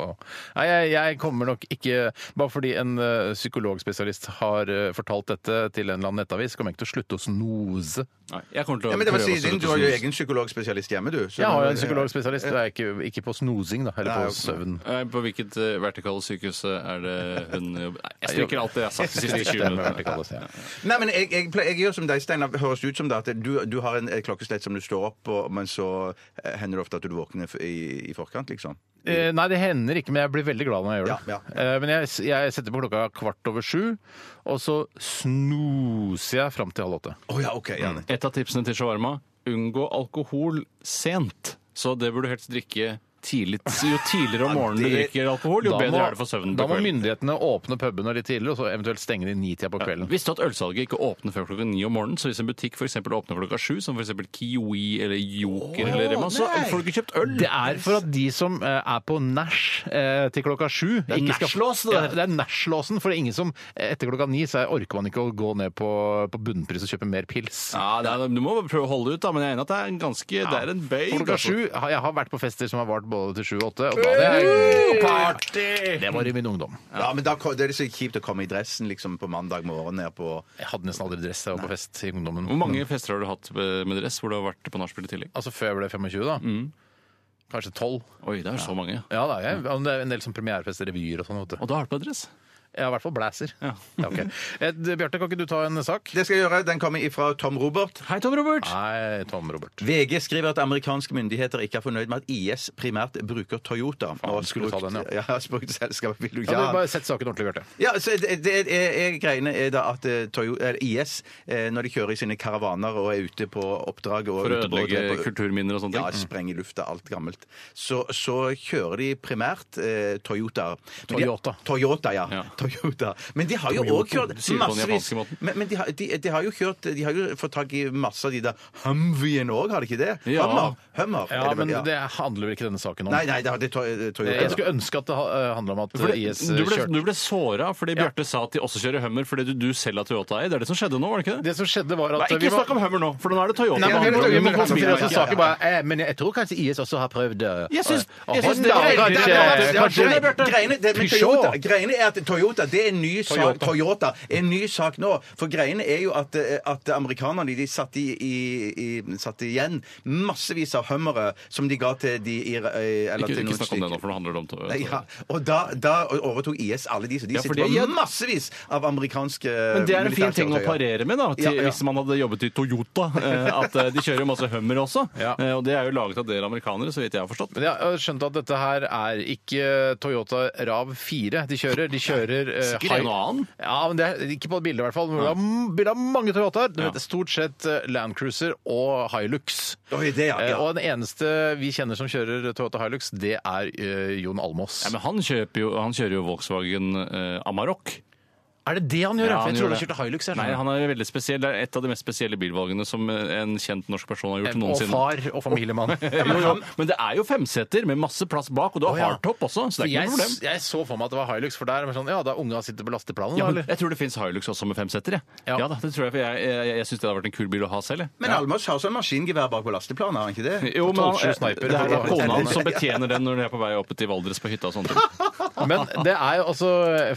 Speaker 1: [laughs] Nei, jeg, jeg kommer nok ikke Bare fordi en eh, psykologspesialist har eh, fortalt dette til en eller annen nettavis, kommer jeg ikke til å slutte å snose.
Speaker 3: Nei, jeg kommer til å
Speaker 2: Ja, men det var
Speaker 3: prøve å
Speaker 2: siden,
Speaker 3: slutte
Speaker 2: Du har jo
Speaker 3: å snuse.
Speaker 2: egen psykologspesialist hjemme, du. så-
Speaker 1: Jeg har jo en psykologspesialist, det er ikke, ikke på snosing, da, eller
Speaker 2: eh, Nei,
Speaker 1: på
Speaker 2: ok.
Speaker 1: søvn.
Speaker 3: Nei, På hvilket uh, vertikale sykehus eh, er det hun jobber Nei, Jeg stryker alt det jeg har sagt de siste 20
Speaker 1: Stemmer,
Speaker 3: minuttene.
Speaker 1: det kalles, ja.
Speaker 2: Nei, men jeg, jeg, pleier- jeg gjør som deg, Steinar. Høres ut som det at du, du har en eh, klokkeslett som du står opp på, men så eh, hender det ofte at du våkner f- i, i forkant, liksom.
Speaker 1: Eh, Nei, det hender ikke, men jeg blir veldig glad når jeg gjør det.
Speaker 2: Ja,
Speaker 1: Eh, Men jeg, jeg setter på klokka kvart over sju, og så snoser jeg fram til halv åtte.
Speaker 2: Å ja, OK. Ja,
Speaker 3: Et av tipsene til shawarma unngå alkohol sent. Så det burde du helst drikke tidlig. Jo tidligere om morgenen du
Speaker 2: det-
Speaker 3: drikker alkohol, jo
Speaker 1: Da
Speaker 3: bedre
Speaker 1: må-
Speaker 3: er det for søvnen
Speaker 1: Da
Speaker 3: på
Speaker 1: må
Speaker 3: kvelden.
Speaker 1: myndighetene åpne pubene litt tidligere, og så eventuelt stenge de nitida på kvelden.
Speaker 3: Visste du at ølsalget ikke åpner før klokka ni om morgenen? Så hvis en butikk for eksempel åpner klokka sju, som f.eks. Kiwi eller Joker eller Rema, så får du ikke kjøpt øl.
Speaker 1: Det er for at de som eh, er på nach eh, til klokka sju
Speaker 3: er
Speaker 1: ikke skal-
Speaker 3: nachlås, det
Speaker 1: Ja,
Speaker 3: der.
Speaker 1: det er nachlåsen. For det er ingen som eh, etter klokka ni så er- orker man ikke å gå ned på, på bunnpris og kjøpe mer pils.
Speaker 3: Ja, det er, Du må prøve å holde ut, da, men jeg er enig at det er en ganske Det er en bøy.
Speaker 1: Klokka sju har- Jeg har vært på fester som har vart både til sju og åtte. Og da det, er, det var i min ungdom.
Speaker 2: ja men da ko- det er så kjipt å komme i dressen liksom på mandag morgen ned på
Speaker 1: Jeg hadde nesten aldri dress da jeg var på fest i ungdommen.
Speaker 3: Hvor mange fester har du hatt eh, med dress hvor du har vært på nachspiel i tillegg?
Speaker 1: Altså før jeg ble 25, da.
Speaker 3: Mm.
Speaker 1: Kanskje 12.
Speaker 3: Oi, det er så mange.
Speaker 1: Ja, da, jeg, og det er en del sånn premierefester, revyer og sånn. vet du.
Speaker 3: Og da har du på deg dress.
Speaker 1: Jeg har i hvert fall blazer.
Speaker 3: Ja.
Speaker 1: Ja, ok. Eh, Bjarte, kan ikke du ta en sak?
Speaker 2: Det skal jeg gjøre. Den kommer ifra Tom Robert.
Speaker 3: Hei, Tom Robert!
Speaker 1: Nei, Tom Robert.
Speaker 2: VG skriver at amerikanske myndigheter ikke er fornøyd med at IS primært bruker Toyota. og har
Speaker 1: skulle ta
Speaker 2: sprukt-
Speaker 1: den,
Speaker 2: ja. [laughs] har sprukt selskapet vil du
Speaker 1: Ja,
Speaker 2: ja.
Speaker 1: du, bare sett saken ordentlig, Bjarte.
Speaker 2: Ja, så det, det er, er, greiene er da at eh, Toyo, eller IS, eh, når de kjører i sine karavaner og er ute på oppdrag og
Speaker 3: For å
Speaker 2: ute på-
Speaker 3: ødelegge
Speaker 2: på-
Speaker 3: kulturminner og sånne
Speaker 2: Ja,
Speaker 3: ting.
Speaker 2: sprenge i lufta, alt gammelt. Så, så kjører de primært eh, Toyotaer. Men de-
Speaker 1: Toyota.
Speaker 2: Toyota, ja.
Speaker 3: Ja.
Speaker 2: [laughs] Toyota. Men de har jo
Speaker 3: Toyota.
Speaker 2: også kjørt
Speaker 3: Du sier det på den
Speaker 2: massevis
Speaker 3: japanske måten.
Speaker 2: Men, men de, har, de, de har jo kjørt De har jo fått tak i masse av de der Humveeene òg, har de ikke det?
Speaker 3: Ja.
Speaker 2: Hummer. Hummer.
Speaker 1: Ja,
Speaker 2: er det vel,
Speaker 1: men det handler vel ikke denne saken om.
Speaker 2: Nei, nei, det har- det er Toy- det er Toyota.
Speaker 1: Jeg skulle ønske at det ha- eh, handla om at
Speaker 3: For
Speaker 1: eh,
Speaker 3: det,
Speaker 1: IS
Speaker 3: du ble,
Speaker 1: kjørte
Speaker 3: du ble såra fordi Bjarte sa at de også kjører Hummer fordi du, du selv har Toyota i. Det er det som skjedde nå, var det ikke det?
Speaker 1: Det som skjedde, var at
Speaker 3: Nei,
Speaker 1: vi
Speaker 3: ikke
Speaker 1: må-
Speaker 3: snakk om Hummer nå, for nå er det Toyota.
Speaker 1: Nei, men,
Speaker 3: med andre ord.
Speaker 1: vi må
Speaker 2: vi må
Speaker 1: konsentrere
Speaker 2: konsentrere
Speaker 1: oss om
Speaker 2: oss.
Speaker 1: saken. Bare, eh, men jeg tror kanskje IS også har prøvd eh,
Speaker 3: Jeg syns-
Speaker 1: å-
Speaker 3: jeg
Speaker 1: å-
Speaker 3: syns det var
Speaker 1: Honda,
Speaker 3: veldig
Speaker 1: kanskje-
Speaker 3: bra. Det var
Speaker 1: kanskje-
Speaker 3: det, Bjarte.
Speaker 2: Greiene, det, men
Speaker 1: Peugeot.
Speaker 2: Toyota, greiene er at Toyota det er en ny sak. Toyota. er en ny sak nå. For greiene er jo at, eh, at amerikanerne de satt, i, i, i, satt igjen massevis av hummere som de ga til de i- eh, eller
Speaker 3: Ikke,
Speaker 2: til
Speaker 3: ikke
Speaker 2: noen
Speaker 3: snakk om det nå,
Speaker 2: stykker.
Speaker 3: for nå handler det om Toyota.
Speaker 2: Nei, ja. Og da, da overtok IS alle de, så de
Speaker 3: Ja, for
Speaker 2: sitter på
Speaker 3: det- ja.
Speaker 2: massevis av amerikanske eh,
Speaker 3: Men det er en fin
Speaker 2: militærkjøretøyer.
Speaker 3: ting å parere med, da, til,
Speaker 2: Ja, ja.
Speaker 3: hvis man hadde jobbet i Toyota. eh, At eh, de kjører jo masse Hummer også.
Speaker 1: Ja.
Speaker 3: Eh, Og det er jo laget av dere amerikanere, så vidt jeg har
Speaker 2: Eh,
Speaker 3: forstått.
Speaker 1: Men jeg har skjønt at dette her er ikke Toyota Rav 4 de kjører. De kjører eh,
Speaker 3: Sikkert
Speaker 1: Hi-
Speaker 3: en og annen.
Speaker 1: Ja, men det er ikke på bildet i hvert fall. Men det er m- bilde av mange Toyotaer. Det
Speaker 3: Ja.
Speaker 1: heter stort sett eh, Land Cruiser og Hilux.
Speaker 2: Oi, det, ja,
Speaker 1: Eh,
Speaker 2: ja.
Speaker 1: Og den eneste vi kjenner som kjører Toyota Hilux, det er eh, Jon Almås.
Speaker 3: Ja, men han, kjøper jo, han kjører jo Volkswagen eh, Amarok.
Speaker 1: er det det han gjør?
Speaker 3: Ja,
Speaker 1: Ja,
Speaker 3: han
Speaker 1: jeg trodde
Speaker 3: gjør
Speaker 1: han
Speaker 3: det.
Speaker 1: kjørte Hilux. Jeg
Speaker 3: Nei,
Speaker 1: skjønner.
Speaker 3: han er veldig spesiell. Det er et av de mest spesielle bilvalgene som eh, en kjent norsk person har
Speaker 1: Eh, og
Speaker 3: gjort noensinne. Eh,
Speaker 1: far og [laughs] familiemann.
Speaker 3: Jo, jo, men det er jo femseter med masse plass bak, og du har
Speaker 1: Å, ja.
Speaker 3: hardtop også, så det er ikke
Speaker 1: Jeg,
Speaker 3: noe problem.
Speaker 1: jeg så for meg at det var Hilux, for der er det sånn, ja, da unga sitter på lasteplanen,
Speaker 3: Ja,
Speaker 1: da,
Speaker 3: men
Speaker 1: eller? [laughs]
Speaker 3: jeg tror det fins Hilux også med femseter. Jeg.
Speaker 1: Ja.
Speaker 3: Ja. da, det tror jeg, for jeg, jeg, jeg, syns det hadde vært en kul bil å ha selv. Jeg.
Speaker 2: Men Almås har sånn maskingevær bak på lasteplanet, har han ikke det?
Speaker 3: Jo, men
Speaker 1: Tolvsju sniper.
Speaker 3: det er
Speaker 1: Ja.
Speaker 3: kona hans som betjener den når de er på vei opp til Valdres på hytta og sånne ting.
Speaker 1: Men det er jo altså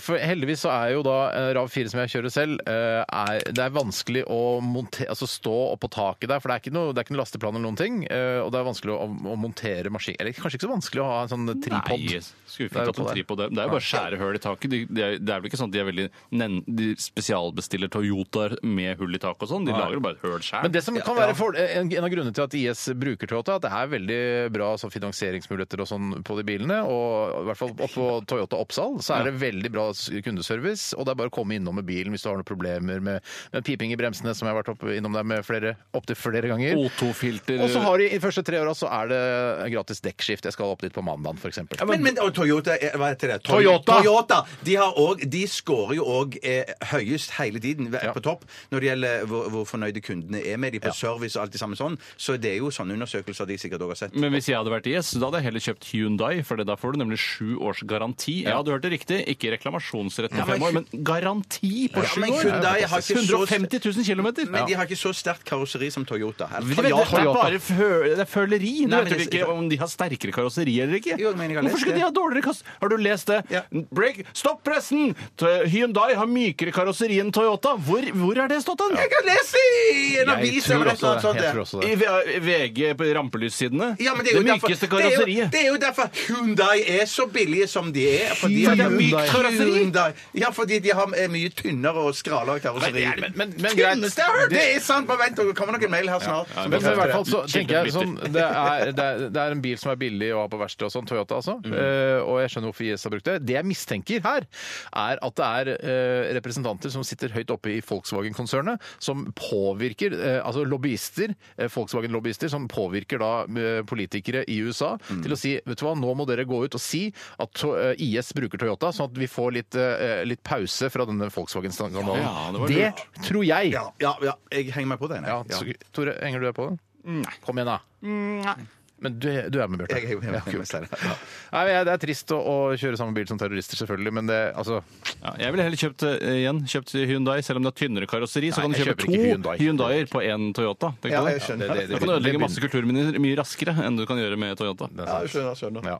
Speaker 1: for Heldigvis så er jo da eh, Rav 4 som jeg kjører selv, eh, er, det er vanskelig å monte, altså stå oppå taket der, for det er ikke noe, det er ikke noe lasteplan eller noen ting. eh, Og det er vanskelig å, å montere maskin... Eller kanskje ikke så vanskelig å ha en sånn tripod.
Speaker 3: Nei, skulle vi
Speaker 1: Der oppe
Speaker 3: fint hatt en
Speaker 1: der.
Speaker 3: tripod. der. Det er jo bare skjære høl i taket. De- Det er, det er vel ikke sånn at de er veldig nen, De spesialbestiller Toyotaer med hull i taket og sånn. De lager jo bare et høl
Speaker 1: Men
Speaker 3: sjæl.
Speaker 1: det som kan være for, en, en av grunnene til at IS bruker Toyota, at det er veldig bra sånn finansieringsmuligheter og sånn på de bilene. Og i hvert fall oppå Toyota Oppsal så er det veldig bra s- kundeservice. Og det er bare å komme innom med bilen hvis du har noen problemer med, med piping i bremsene, som jeg har vært opp, innom der med flere, opptil flere ganger.
Speaker 3: O2-filter
Speaker 1: Og så har de i de første tre åra så er det gratis dekkskift. Jeg skal opp dit på mandagen, f.eks.
Speaker 2: Men, men og Toyota er- Hva heter det? Toy-
Speaker 1: Toyota!
Speaker 2: Toyota de, har også, de scorer jo òg eh, høyest hele tiden hver-
Speaker 1: Ja.
Speaker 2: på topp når det gjelder hvor, hvor fornøyde kundene er med de på service og alt det samme sånn. Så det er jo sånne undersøkelser de sikkert òg har sett.
Speaker 3: Men hvis jeg hadde vært IS, da hadde jeg heller kjøpt Hyundai, for da får du nemlig sju års garanti. Ja, du hørte riktig. Ikke reklamasjonsrett på fem år, men garanti på sju
Speaker 2: men
Speaker 3: år!
Speaker 2: Hyundai har ikke så-
Speaker 3: 150 000 km!
Speaker 2: Men de har ikke så sterkt karosseri som Toyota. Eller
Speaker 3: Det
Speaker 2: Toyota.
Speaker 3: er bare fø- det er føleri. Nå
Speaker 2: Nei, men
Speaker 3: vet vi
Speaker 2: det-
Speaker 3: ikke om de har sterkere karosseri eller ikke.
Speaker 2: Jo, jeg mener jeg har
Speaker 3: Hvorfor
Speaker 2: lest
Speaker 3: skulle de
Speaker 2: det.
Speaker 3: ha dårligere kass... Har du lest det?
Speaker 2: Ja.
Speaker 3: Break! Stopp pressen! T- Hyundai har mykere karosseri enn Toyota. Hvor, hvor har det stått hen?
Speaker 2: Jeg kan lese i en avis eller et eller annet sånt.
Speaker 1: Jeg
Speaker 2: det.
Speaker 1: tror også
Speaker 3: I
Speaker 1: det.
Speaker 3: V- VG på rampelyssidene.
Speaker 2: Ja, men det, er jo
Speaker 3: det mykeste
Speaker 2: derfor, det, er jo,
Speaker 3: karosseriet.
Speaker 2: det er jo derfor Hyundai er så billige som de er. Fordi at-
Speaker 3: Fordi det er mykt karosseri?
Speaker 2: Hyundai. Ja, fordi de har er mye tynnere og skralere karosseri.
Speaker 1: Men- men- men- men greit.
Speaker 2: Tynneste jeg har hørt! Det er sant! Bare vent, det kommer nok en mail her snart. som
Speaker 1: Men i
Speaker 2: bekrefter
Speaker 1: hvert
Speaker 2: det.
Speaker 1: fall så tenker jeg sånn,
Speaker 3: Kjempebitter.
Speaker 1: det er, det, er, det er en bil som er billig å ha på verksted og sånn, Toyota altså.
Speaker 3: Mm.
Speaker 1: Eh, og jeg skjønner hvorfor IS har brukt det. Det jeg mistenker her, er at det er eh, representanter som sitter høyt oppe i Volkswagen-konsernet, som påvirker, eh, altså lobbyister, eh, Volkswagen-lobbyister, som påvirker da eh, politikere i USA
Speaker 3: Mm.
Speaker 1: til å si, vet du hva, nå må dere gå ut og si at to, eh, IS bruker Toyota, sånn at vi får litt, eh, litt pause fra denne Volkswagen-skandalen.
Speaker 3: Ja, det var
Speaker 1: det, tror jeg.
Speaker 2: Ja, ja, ja, jeg henger meg på den. jeg.
Speaker 1: Ja, så- Tore, henger du deg på den? Nei. Kom igjen, da. Nei. Men du, du er med, Bjarte.
Speaker 2: Jeg henger meg
Speaker 1: Ja,
Speaker 2: på den.
Speaker 1: kult.
Speaker 2: Steinar. Ja.
Speaker 1: Nei, men jeg- Det er trist å, å kjøre samme bil som terrorister, selvfølgelig, men det altså
Speaker 3: Ja, jeg ville heller kjøpt eh, igjen kjøpt Hyundai, selv om det er tynnere karosseri.
Speaker 1: Nei,
Speaker 3: Så kan du
Speaker 1: jeg
Speaker 3: kjøpe
Speaker 1: kjøper
Speaker 3: to
Speaker 1: ikke Hyundai.
Speaker 3: Hyundaier på én Toyota. Tenk
Speaker 2: Ja,
Speaker 3: på det.
Speaker 2: jeg skjønner.
Speaker 1: det- det-
Speaker 3: Du
Speaker 1: det-
Speaker 3: kan ødelegge
Speaker 1: det-
Speaker 3: masse kulturminner mye raskere enn du kan gjøre med Toyota.
Speaker 2: Ja, jeg skjønner, jeg skjønner.
Speaker 1: Ja.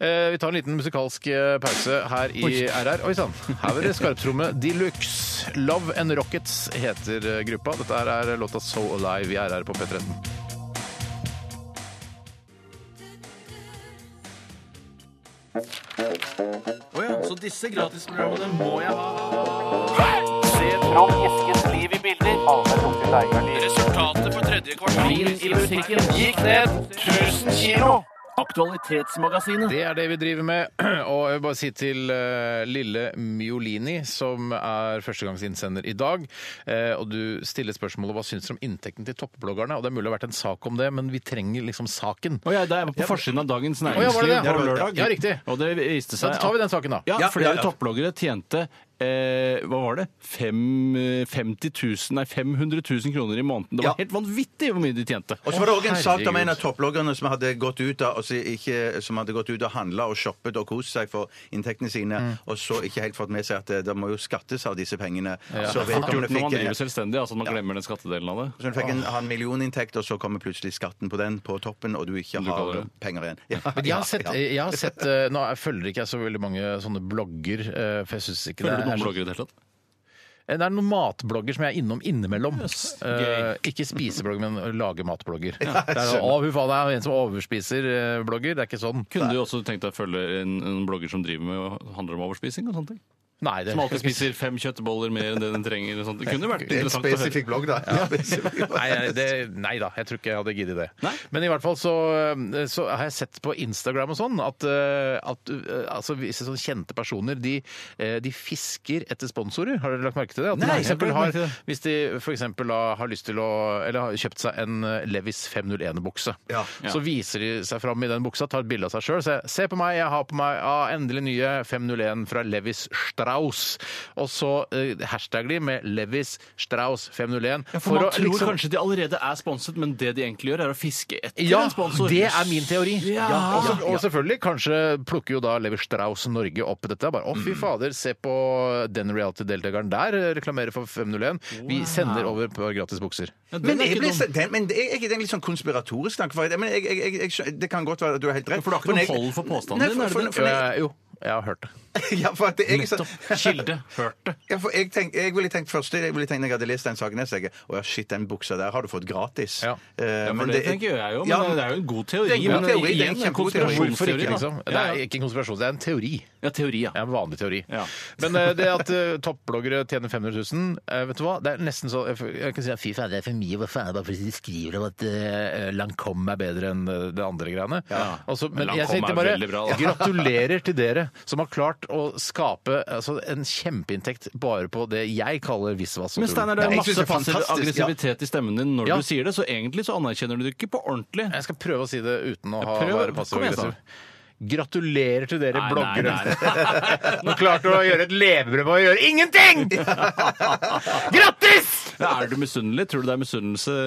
Speaker 1: Eh, vi tar en liten musikalsk eh, pause her i RR. Oi sann, her var det skarptromme de luxe. Love and Rockets heter eh, gruppa. Dette her er låta So Alive i RR på P13.
Speaker 3: Så disse gratisprogrammene må jeg ha. Resultatet på tredje kvartal gikk ned 1000 kilo. Aktualitetsmagasinet.
Speaker 1: Det er det vi driver med. [clears throat] Og jeg vil bare si til eh, lille Miolini, som er førstegangsinnsender i dag, eh, og du stiller spørsmålet hva syns dere om inntekten til toppbloggerne? Og det er mulig det har vært en sak om det, men vi trenger liksom saken.
Speaker 3: Å ja, det er på forsiden av Dagens
Speaker 1: Å ja, var
Speaker 3: Næringsliv
Speaker 1: det det?
Speaker 3: på lørdag.
Speaker 1: Ja, riktig.
Speaker 3: Og det viste
Speaker 1: Så
Speaker 3: seg
Speaker 1: da tar vi den saken, da.
Speaker 3: Ja,
Speaker 2: Ja,
Speaker 3: flere
Speaker 2: ja, ja.
Speaker 3: topploggere tjente eh, hva var det? Fem, eh, 50 000, nei, 500 000 kroner i måneden. Det var
Speaker 2: Ja.
Speaker 3: helt vanvittig hvor mye de tjente.
Speaker 2: Og så var det også en sak om en
Speaker 1: herregud.
Speaker 2: av topploggerne som hadde gått ut av- og så ikke- som hadde gått ut og handla og shoppet og kost seg for inntektene sine,
Speaker 1: Mm.
Speaker 2: og så ikke helt fått med seg at eh, det, det må jo skattes av disse pengene. Så
Speaker 3: Det er fort
Speaker 2: vedkommende
Speaker 3: gjort når man driver
Speaker 2: fikk
Speaker 3: selvstendig, altså at man glemmer den skattedelen av det.
Speaker 2: så hun fikk en, har en millioninntekt, og så kommer plutselig skatten på den på toppen, og du ikke
Speaker 3: Du kaller
Speaker 2: har
Speaker 3: det.
Speaker 2: penger igjen. [laughs] Ja,
Speaker 1: Men jeg har sett,
Speaker 2: ja.
Speaker 1: jeg har sett eh, Nå følger ikke jeg så veldig mange sånne blogger. eh, For jeg synes ikke det er
Speaker 3: Følger du noen
Speaker 1: så-
Speaker 3: bloggere i det hele tatt?
Speaker 1: Eh, Det er noen matblogger som jeg er innom innimellom.
Speaker 3: Yes,
Speaker 1: Eh, ikke spiseblogger, men lage-matblogger. det er sånn, å, fy faen, det er en som overspiser-blogger. Det er ikke sånn.
Speaker 3: Kunne du også tenkt deg å følge en, en blogger som driver med og handler om overspising og sånne ting?
Speaker 1: Nei, det
Speaker 3: Som alltid spiser fem kjøttboller mer enn det den trenger. eller sånt. Det kunne vært
Speaker 2: En
Speaker 3: interessant å høre.
Speaker 2: spesifikk blogg, da. [laughs] Ja.
Speaker 1: [laughs] Nei, jeg-
Speaker 2: [laughs]
Speaker 1: det, nei da, jeg tror ikke jeg hadde giddet det.
Speaker 3: Nei?
Speaker 1: Men i hvert fall så, eh, så har jeg sett på Instagram og sånn at, eh, at eh, altså, visse sånne kjente personer de, eh, de fisker etter sponsorer. Har dere lagt merke til det? At de
Speaker 3: Nei,
Speaker 1: for eksempel
Speaker 3: jeg har ikke lagt
Speaker 1: har,
Speaker 3: merke til det.
Speaker 1: hvis de f.eks. har lyst til å Eller har kjøpt seg en eh, Levis 501-bukse,
Speaker 2: Ja.
Speaker 1: så viser de seg fram i den buksa, tar et bilde av seg sjøl. Se, se på meg, jeg har på meg ah, endelig nye 501 fra Levis Strauss. Og så eh, hashtagger de med Levis Strauss 501.
Speaker 3: Ja, for, man tror
Speaker 1: liksom
Speaker 2: liksom-
Speaker 3: kanskje de allerede er sponset, men det de egentlig gjør, er å fiske etter
Speaker 1: Ja,
Speaker 3: en sponsor.
Speaker 1: det er min teori.
Speaker 3: Ja.
Speaker 1: og,
Speaker 2: altså-
Speaker 1: så- og selvfølgelig, kanskje plukker jo da Lever Strauss Norge opp dette. Bare, å fy
Speaker 3: Mm.
Speaker 1: fader, se på den reality-deltakeren der eh, reklamerer for 501. Vi sender over et par gratis bukser.
Speaker 3: Ja, den
Speaker 2: Men,
Speaker 3: er
Speaker 2: jeg
Speaker 3: ikke
Speaker 2: ble,
Speaker 3: dum.
Speaker 2: den, men er ikke det en litt sånn konspiratorisk tanke? For jeg, men jeg, jeg, jeg, jeg, skjø- det kan godt være at du har helt rett.
Speaker 3: For du har ikke noe
Speaker 2: Men jeg-
Speaker 3: hold for påstanden
Speaker 2: Nei,
Speaker 3: din, er det det?
Speaker 2: for, for,
Speaker 1: Eh, jo, jeg har hørt det.
Speaker 2: [laughs] ja, for at jeg, så,
Speaker 3: Kilde. Hørt det.
Speaker 2: [laughs] ja, for jeg, tenk, jeg ville tenkt først jeg ville tenkt, når jeg hadde lest den saken, jeg tenkte å ja, shit, den buksa der har du fått gratis.
Speaker 1: Ja.
Speaker 2: Eh,
Speaker 3: Ja,
Speaker 2: men
Speaker 3: for det, tenker jeg jo, men
Speaker 2: Ja,
Speaker 3: det er jo en god teori.
Speaker 2: Det er en god
Speaker 3: men
Speaker 2: teori, det er en
Speaker 3: igjen en
Speaker 2: kjempegod teori.
Speaker 1: Hvorfor
Speaker 3: konspirasjonsteori,
Speaker 1: ikke,
Speaker 3: da.
Speaker 1: liksom? Det
Speaker 3: Ja,
Speaker 1: er
Speaker 3: ja.
Speaker 1: ikke en konspirasjon, det er en teori.
Speaker 3: ja, teori, ja.
Speaker 1: Det er en vanlig teori.
Speaker 3: Ja.
Speaker 1: Men eh, det at eh, toppbloggere tjener 500 000, eh, vet du hva? Det er nesten så Jeg, jeg kan si at fy faen, det er for mye. Hva faen er det bare fordi de skriver om at eh, Lancôme er bedre enn eh, det andre greiene? Og så- men
Speaker 3: Men
Speaker 1: jeg
Speaker 3: Lancôme
Speaker 1: tenkte
Speaker 3: er
Speaker 1: bare
Speaker 3: veldig bra,
Speaker 1: [laughs]
Speaker 3: da.
Speaker 1: gratulerer til dere som har klart å skape altså, en kjempeinntekt bare på det jeg kaller visvas og
Speaker 3: Men Steinar, det
Speaker 1: tull.
Speaker 3: er
Speaker 2: Jeg synes
Speaker 3: masse
Speaker 2: det er
Speaker 3: passiv
Speaker 2: fantastisk, ja.
Speaker 3: aggressivitet i stemmen din når
Speaker 1: Ja.
Speaker 3: du sier det, så egentlig så anerkjenner du det ikke på ordentlig.
Speaker 1: Jeg skal prøve å si det uten å ha,
Speaker 3: prøv.
Speaker 1: være
Speaker 3: Kom
Speaker 1: passiv
Speaker 3: igjen, Steinar.
Speaker 1: aggressiv. Gratulerer til dere
Speaker 3: Nei, nei,
Speaker 1: bloggere.
Speaker 3: nei.
Speaker 1: [laughs] Nå klarte du å gjøre et levebrød med å gjøre
Speaker 3: [laughs]
Speaker 1: ingenting! Grattis!
Speaker 3: Ja, Er du misunnelig? Tror du det er misunnelse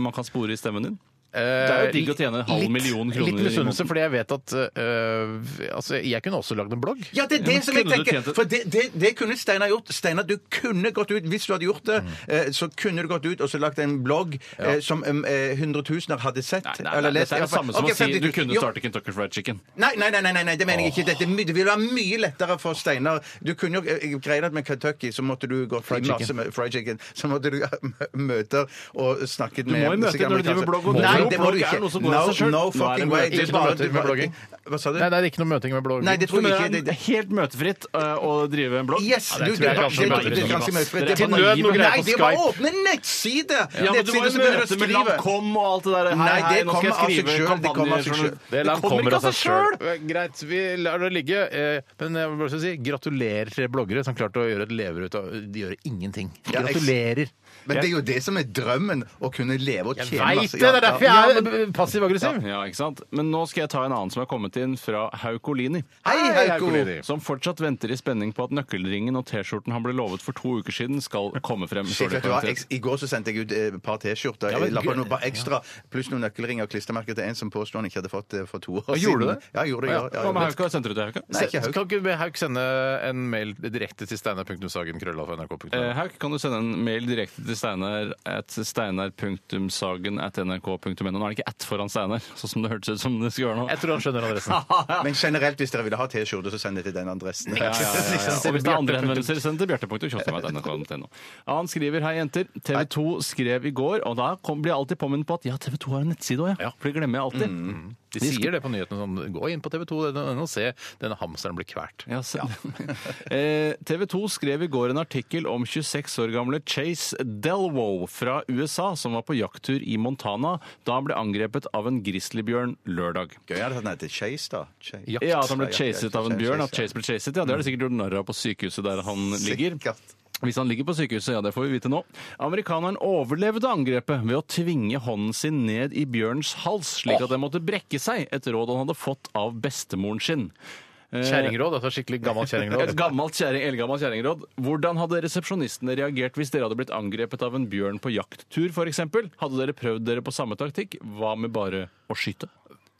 Speaker 3: man kan spore i stemmen din? Det er jo digg å tjene halv million kroner i
Speaker 1: Eh, Litt misunnelse,
Speaker 3: måneden.
Speaker 1: fordi jeg vet at eh, altså, jeg kunne også lagd en blogg.
Speaker 2: Ja, det er det
Speaker 3: men
Speaker 2: som jeg
Speaker 3: kunne du
Speaker 2: tenker.
Speaker 3: tjent et-
Speaker 2: For det, det, det kunne Steinar gjort. Steinar, du kunne gått ut, hvis du hadde gjort det,
Speaker 3: Mm.
Speaker 2: eh, så kunne du gått ut og så lagt en blogg eh, som eh, hundretusener hadde sett
Speaker 3: Nei, nei,
Speaker 2: eller
Speaker 3: nei,
Speaker 2: lest.
Speaker 3: dette er det samme som
Speaker 2: Ok,
Speaker 3: å si
Speaker 2: 50 000.
Speaker 3: du kunne
Speaker 2: Jo,
Speaker 3: starte Kentucky Fried Chicken.
Speaker 2: Nei, nei, nei, nei, nei, det mener jeg ikke. Dette, er my- det ville være mye lettere for Steinar. Du kunne jo eh, greid at med Kentucky så måtte du gått fried masse med fried chicken. Så måtte du [laughs] ha mø- møter og snakket med
Speaker 3: må jo møte
Speaker 2: sikkert
Speaker 3: når du driver
Speaker 2: amerikanske-
Speaker 3: blogg, og
Speaker 2: Nei,
Speaker 3: blogg
Speaker 2: det må du
Speaker 3: er
Speaker 2: ikke.
Speaker 3: noe som går
Speaker 2: No,
Speaker 3: av seg selv.
Speaker 2: no
Speaker 3: Nå er det
Speaker 2: fucking
Speaker 3: mø-
Speaker 2: way.
Speaker 3: ikke
Speaker 2: Det er
Speaker 1: noe
Speaker 2: bare-
Speaker 1: møter med blogging.
Speaker 2: Hva sa du?
Speaker 1: Nei, det er ikke noe møting med blogging.
Speaker 2: Nei, det tror
Speaker 3: Men
Speaker 2: jeg
Speaker 3: det
Speaker 2: ikke.
Speaker 3: er
Speaker 2: Det- det-
Speaker 3: helt møtefritt øh, å drive en blogg.
Speaker 2: Yes! du-
Speaker 1: det tror jeg
Speaker 2: du-
Speaker 1: kanskje
Speaker 2: det-
Speaker 1: møter
Speaker 2: det-
Speaker 1: med
Speaker 2: det-
Speaker 1: blogging,
Speaker 2: kanskje møter med-
Speaker 3: ass.
Speaker 2: det-
Speaker 3: Til
Speaker 2: det-
Speaker 1: nød noe greier
Speaker 2: Nei,
Speaker 1: på
Speaker 2: det var
Speaker 1: Skype.
Speaker 2: åpne nettside!
Speaker 3: Ja, men det var
Speaker 2: Nettside
Speaker 3: jo
Speaker 2: som begynner å
Speaker 3: møte med
Speaker 2: skrive.
Speaker 3: Lancôme og alt det der. Hei,
Speaker 2: Nei, det
Speaker 3: hei, nå skal jeg
Speaker 2: kommer av seg
Speaker 3: skrive
Speaker 2: selv, det kommer av seg
Speaker 3: kampanjer.
Speaker 2: selv.
Speaker 1: Det,
Speaker 3: Det kommer ikke av seg sjøl!
Speaker 1: sjøl! Eh, Greit, vi lar det ligge. eh, Men jeg vil bare si gratulerer til bloggere som klarte å gjøre et lever ut av De gjør ingenting.
Speaker 2: Ja, jeg-
Speaker 1: Gratulerer.
Speaker 2: Men det er jo det som er drømmen, å kunne leve og
Speaker 1: Jeg
Speaker 2: tjene
Speaker 1: veit det! Det er derfor jeg er eh, passiv-aggressiv.
Speaker 3: Ja, ikke sant? Men nå skal jeg ta en annen som er kommet inn fra Haukolini.
Speaker 2: Hei, Heiko!
Speaker 1: Kolini.
Speaker 3: Som fortsatt venter i spenning på at nøkkelringen og T-skjorten han ble lovet for to uker siden, skal komme frem.
Speaker 2: Shit,
Speaker 3: står det
Speaker 2: vet
Speaker 3: på
Speaker 2: du hva?
Speaker 3: nettet.
Speaker 2: Jeg, I går så sendte jeg ut eh, et par T-skjorter.
Speaker 1: men
Speaker 2: Jeg la på
Speaker 1: gøy.
Speaker 2: noe bare ekstra, pluss noen nøkkelringer og klistremerker til en som påstår han ikke hadde fått eh, for to år
Speaker 1: Ja,
Speaker 2: siden.
Speaker 1: gjorde du det?
Speaker 2: Ja, jeg gjorde det.
Speaker 1: Ja,
Speaker 2: Ja, ja,
Speaker 3: Hva med
Speaker 2: jeg gjorde det.
Speaker 3: Hauka? Sendte du til Hauka?
Speaker 2: Nei, ikke
Speaker 1: Se-
Speaker 2: Hauk.
Speaker 1: Kan ikke Hauk sende en mail direkte til steinar.sagen.krøllalfa.nrk.no?
Speaker 3: Eh, Hauk, kan du sende en mail direkte til steinar at steinar.sagen at nrk.no. Nå er det ikke at foran Steinar, sånn som det hørtes ut som det skulle gjøre nå.
Speaker 1: Jeg tror han skjønner adressen.
Speaker 2: Men generelt, hvis dere ville ha T-skjorter, så send det til den adressen. Liksom, [laughs]
Speaker 3: Ja, ja, ja, ja. Eh, Og hvis det er andre henvendelser, send til bjarte.tjostad.nrk.no. Han skriver Hei, jenter. TV 2 skrev i går, og da kom, blir jeg alltid påminnet på at ja, TV 2 har en nettside òg, ja. For det glemmer jeg alltid.
Speaker 1: De sier det på nyhetene sånn Gå inn på TV 2 og se denne hamsteren bli kvert.
Speaker 3: Ja, se- [laughs] Eh, TV 2 skrev i går en artikkel om 26 år gamle Chase Delwoe fra USA, som var på jakttur i Montana da han ble angrepet av en grizzlybjørn lørdag.
Speaker 2: Gøy sånn at han heter Chase, da. Chase.
Speaker 1: Ja.
Speaker 3: Ja, At han
Speaker 2: Ja, ja,
Speaker 3: ble
Speaker 2: ja,
Speaker 3: chaset av en
Speaker 2: chase,
Speaker 3: bjørn. At
Speaker 2: chase, ja.
Speaker 3: Chase ble chaset, ja, Det er det sikkert gjort narr av på sykehuset der han ligger.
Speaker 2: Sikkert.
Speaker 3: Hvis han ligger på sykehuset, ja, det får vi vite nå. Amerikaneren overlevde angrepet ved å tvinge hånden sin ned i bjørns hals, slik at den måtte brekke seg, et råd han hadde fått av bestemoren sin. Eh,
Speaker 1: Kjerringråd. Altså skikkelig gammelt [laughs]
Speaker 3: Et
Speaker 1: kjerringråd.
Speaker 3: gammelt kjæring, eldgammelt kjerringråd. Hvordan hadde resepsjonistene reagert hvis dere hadde blitt angrepet av en bjørn på jakttur, f.eks.? Hadde dere prøvd dere på samme taktikk? Hva med bare å skyte?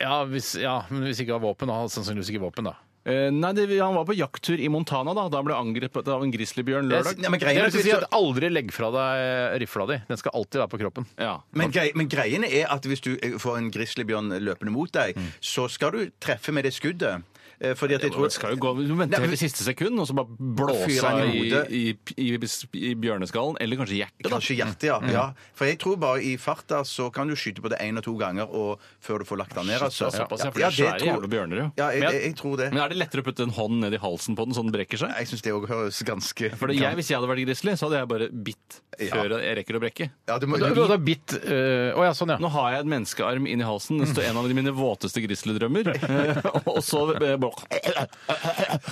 Speaker 1: Ja, hvis, ja, men hvis ikke har våpen, da har han sannsynligvis ikke våpen, da.
Speaker 3: Eh, nei, det, Han var på jakttur i Montana da da han ble angrepet av en grizzlybjørn lørdag.
Speaker 2: Nei, men
Speaker 1: Det
Speaker 2: greien er
Speaker 1: vil
Speaker 2: at
Speaker 1: si
Speaker 2: hvis
Speaker 1: at
Speaker 2: du-
Speaker 1: Aldri legg fra deg eh, rifla di. Den skal alltid være på kroppen.
Speaker 3: Ja.
Speaker 2: Men, grei, men greien er at hvis du eh, får en grizzlybjørn løpende mot deg,
Speaker 3: Mm.
Speaker 2: så skal du treffe med det skuddet. Eh, Fordi at jeg tror
Speaker 3: Det skal jo gå, Du venter helt til siste sekund, og så bare blåse
Speaker 2: Fyre han i
Speaker 3: i,
Speaker 2: hodet.
Speaker 3: i, i, i bjørneskallen. Eller kanskje hjertet, da. Mm.
Speaker 2: Kanskje hjertet, ja. ja. For jeg tror bare i farta så kan du skyte på det én og to ganger og før du får lagt den ned. Altså.
Speaker 3: det er såpass, ja, for det er svære
Speaker 2: tror-
Speaker 3: jævla bjørner, jo.
Speaker 2: Ja, jeg,
Speaker 3: Men-
Speaker 2: jeg, jeg tror det.
Speaker 3: Men er det lettere å putte en hånd ned i halsen på den så den brekker seg?
Speaker 2: Jeg syns det òg høres ganske
Speaker 3: For det, jeg, Hvis jeg hadde vært grizzly, så hadde jeg bare bitt
Speaker 2: Ja.
Speaker 3: før jeg rekker å brekke.
Speaker 2: ja, du må,
Speaker 1: Du, du, du har bitt øh, Å ja, sånn, ja.
Speaker 3: Nå har jeg en menneskearm inn i halsen. Det står en av mine våteste grizzlydrømmer. og så eh, bare-
Speaker 1: ja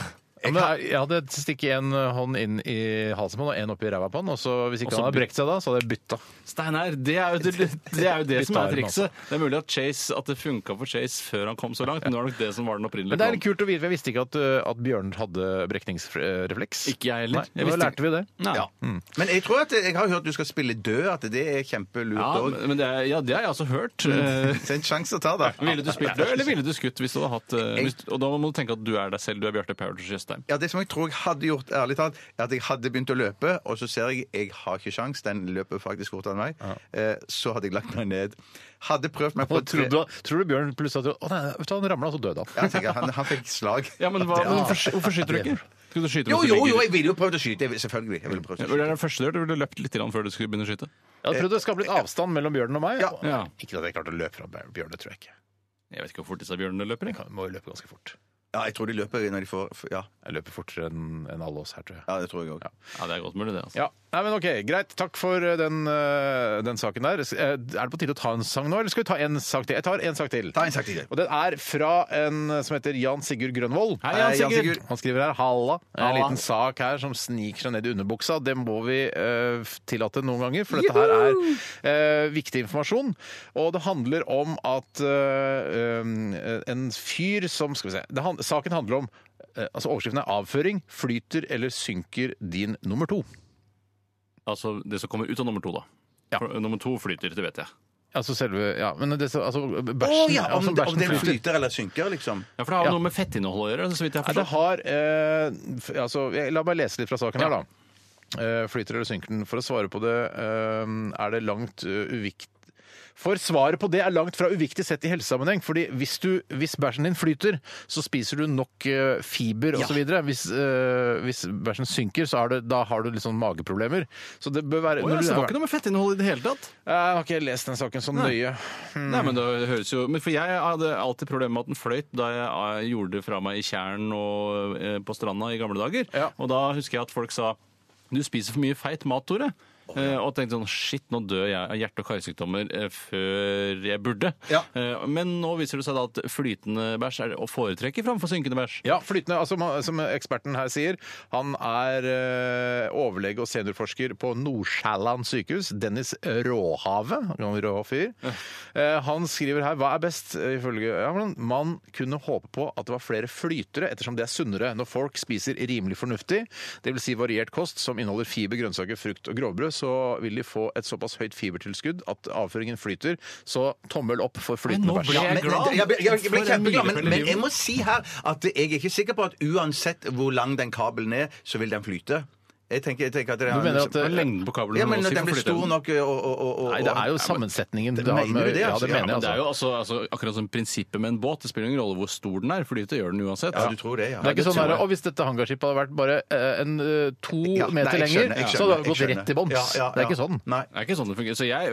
Speaker 1: men jeg jeg hadde stikket en hånd inn i halsen på han og en oppi ræva på han. Og så hvis ikke
Speaker 3: Og så
Speaker 1: han hadde brekt seg da, så hadde jeg bytta.
Speaker 3: Steinar, det er jo det, det, er jo det som er
Speaker 1: Bitarm, altså.
Speaker 3: trikset. Det er mulig at, Chase- at det funka for Chase før han kom så langt, men det var nok det som var den opprinnelige
Speaker 1: Men det er litt
Speaker 3: planen.
Speaker 1: kult å vite. for Jeg visste ikke at, øh, at bjørner hadde brekningsrefleks.
Speaker 3: Ikke jeg heller.
Speaker 1: Nei,
Speaker 3: Jeg
Speaker 1: Nå
Speaker 3: visste-
Speaker 1: lærte vi det.
Speaker 3: Nei. Mm.
Speaker 2: ja. Men jeg tror at jeg har hørt du skal spille død, at det er kjempelurt
Speaker 3: Ja,
Speaker 2: òg.
Speaker 3: men det, er, ja, det har jeg altså hørt.
Speaker 2: [laughs]
Speaker 3: Eh,
Speaker 2: Det er en sjanse å ta, da.
Speaker 3: Ville du spilt død, eller ville du skutt? hvis du hadde hatt... eh, Hvis, og da må du tenke at du er deg selv, du er Bjarte Paradise Tjøstheim.
Speaker 2: Ja, Det som jeg tror jeg hadde gjort, ærlig talt, er at jeg hadde begynt å løpe, og så ser jeg jeg har ikke sjans, den løper faktisk fortere enn meg. Eh, Så hadde jeg lagt meg ned. Hadde prøvd meg på
Speaker 1: Og tror, du, tror du Bjørn plutselig at du, Å nei, vet du, han ramla, så døde han.
Speaker 2: Ja, tenker jeg, han, han fikk slag.
Speaker 3: Ja, men hva, hvorfor, hvorfor skyter du ikke? Skal du skyte
Speaker 2: Jo,
Speaker 3: hvis du
Speaker 2: jo,
Speaker 3: ligger-
Speaker 2: jo, jeg ville jo prøvd å skyte. Jeg ville, selvfølgelig. Jeg ville prøvd å
Speaker 3: Det
Speaker 2: skyte.
Speaker 3: er det første du gjør, du ville løpt litt grann før du skulle begynne å skyte.
Speaker 1: Jeg hadde prøvd å skape litt avstand mellom bjørnen og meg.
Speaker 2: Ja.
Speaker 3: Ja.
Speaker 1: Ikke at jeg klarte å løpe fra bjørn, det tror jeg ikke.
Speaker 3: Jeg vet ikke hvor fort disse bjørnene løper.
Speaker 1: Jeg
Speaker 3: Jeg.
Speaker 1: kan, må jo løpe ganske fort.
Speaker 2: Ja, jeg tror de løper når de får Ja,
Speaker 1: Jeg løper fortere enn enn alle oss her, tror jeg.
Speaker 2: ja det tror jeg òg.
Speaker 3: Ja, det er godt mulig, det. altså.
Speaker 1: Ja, Nei, men ok, Greit. Takk for eh, den, eh, den saken der. S- eh, Er det på tide å ta en sang nå, eller skal vi ta en sak til? Jeg tar en sak til.
Speaker 2: Ta en sak til.
Speaker 1: Og den er fra en eh, som heter Jan Sigurd Grønvoll.
Speaker 3: Hei, Jan Sigurd.
Speaker 1: Han skriver her 'halla'. En
Speaker 3: Halla.
Speaker 1: liten sak her som sniker seg ned i underbuksa. Det må vi eh, f- tillate noen ganger, for dette her er eh, viktig informasjon. Og det handler om at eh, um, en fyr som Skal vi se. Det, han- saken handler om eh, Altså Overskriften er 'Avføring flyter eller synker din nummer to'.
Speaker 3: Altså, Det som kommer ut av nummer to, da. For, nummer to flyter, det vet jeg.
Speaker 1: Altså selve Ja, men det, altså bæsjen
Speaker 2: Å ja,
Speaker 1: ja,
Speaker 2: om,
Speaker 1: som
Speaker 2: det- om
Speaker 1: bæsjen
Speaker 2: den
Speaker 1: flyter.
Speaker 2: flyter eller synker, liksom.
Speaker 3: Ja, for det har
Speaker 1: Ja.
Speaker 3: jo noe med fettinnholdet å gjøre, så vidt jeg
Speaker 1: Nei, det
Speaker 3: forstår.
Speaker 1: har eh, f- altså, jeg, La meg lese litt fra saken her, da. Eh, flyter eller synker den? For å svare på det eh, er det langt eh, uvikt... For svaret på det er langt fra uviktig sett i helsesammenheng. fordi hvis, du, hvis bæsjen din flyter, så spiser du nok eh, fiber osv. videre Hvis, eh, hvis bæsjen synker, så har du, da har du litt sånn mageproblemer. Så det bør være
Speaker 3: Å, ja,
Speaker 1: når du-
Speaker 3: så det var ikke noe med fettinnholdet i det hele tatt?
Speaker 1: Jeg har ikke lest den saken så nøye.
Speaker 3: Nei, men det høres jo men For jeg hadde alltid problemer med at den fløyt da jeg eh, gjorde det fra meg i tjern og eh, på stranda i gamle dager.
Speaker 1: Ja.
Speaker 3: Og da husker jeg at folk sa du spiser for mye feit mat, Tore. Eh, Og tenkte sånn shit, nå dør jeg av hjerte- og karsykdommer eh, før jeg burde.
Speaker 2: Ja.
Speaker 3: Eh, Men nå viser det seg da at flytende bæsj er å foretrekke framfor synkende bæsj.
Speaker 1: Ja, flytende, altså man- Som eksperten her sier, han er eh, overlege og seniorforsker på Nordsjælland sykehus. Dennis Råhave, en rå fyr. Eh, han skriver her hva er best, eh, ifølge Øyhamland? Man kunne håpe på at det var flere flytere, ettersom det er sunnere når folk spiser rimelig fornuftig, dvs. Si variert kost som inneholder fiber, grønnsaker, frukt og grovbrød, så vil de få et såpass høyt fibertilskudd at avføringen flyter. Så tommel opp for flytende
Speaker 3: nå
Speaker 1: bæsj.
Speaker 3: ble
Speaker 2: Ja,
Speaker 3: Jeg er
Speaker 2: men,
Speaker 3: glad.
Speaker 2: men- jeg, ble- jeg, jeg ble
Speaker 3: For en
Speaker 2: kjempeglad, men,
Speaker 3: milepæl i
Speaker 2: men
Speaker 3: livet.
Speaker 2: jeg må si her at jeg er ikke sikker på at uansett hvor lang den kabelen er, så vil den flyte. Jeg tenker, jeg tenker at det er
Speaker 1: Du mener at, eh,
Speaker 3: Lengden på kabelen
Speaker 2: Ja, men
Speaker 3: må også
Speaker 2: den blir
Speaker 3: flyte.
Speaker 2: stor nok eh, og, og, og, og
Speaker 1: Nei, det er jo sammensetningen. du har
Speaker 2: mener du det,
Speaker 1: ja,
Speaker 2: altså?
Speaker 1: det
Speaker 2: Ja,
Speaker 1: mener jeg.
Speaker 3: Men det
Speaker 1: altså.
Speaker 3: er jo altså, altså, akkurat som prinsippet med en båt. Det spiller ingen rolle hvor stor den er, flyte gjør den uansett.
Speaker 2: Ja, du tror det, ja.
Speaker 1: Det er ikke
Speaker 3: det
Speaker 1: sånn
Speaker 3: tror
Speaker 1: der,
Speaker 3: jeg.
Speaker 1: og Hvis dette hangarskipet hadde vært bare eh, en, eh, to
Speaker 2: Ja, nei,
Speaker 1: meter
Speaker 2: jeg skjønner,
Speaker 1: lenger,
Speaker 2: jeg
Speaker 1: så
Speaker 2: skjønner,
Speaker 1: hadde det
Speaker 2: jeg
Speaker 1: gått
Speaker 2: skjønner.
Speaker 1: rett i
Speaker 2: Ja,
Speaker 1: boms.
Speaker 2: ja,
Speaker 1: Det er ikke
Speaker 2: ja.
Speaker 1: sånn.
Speaker 2: Nei. [laughs]
Speaker 3: Det er ikke sånn det fungerer. Så jeg,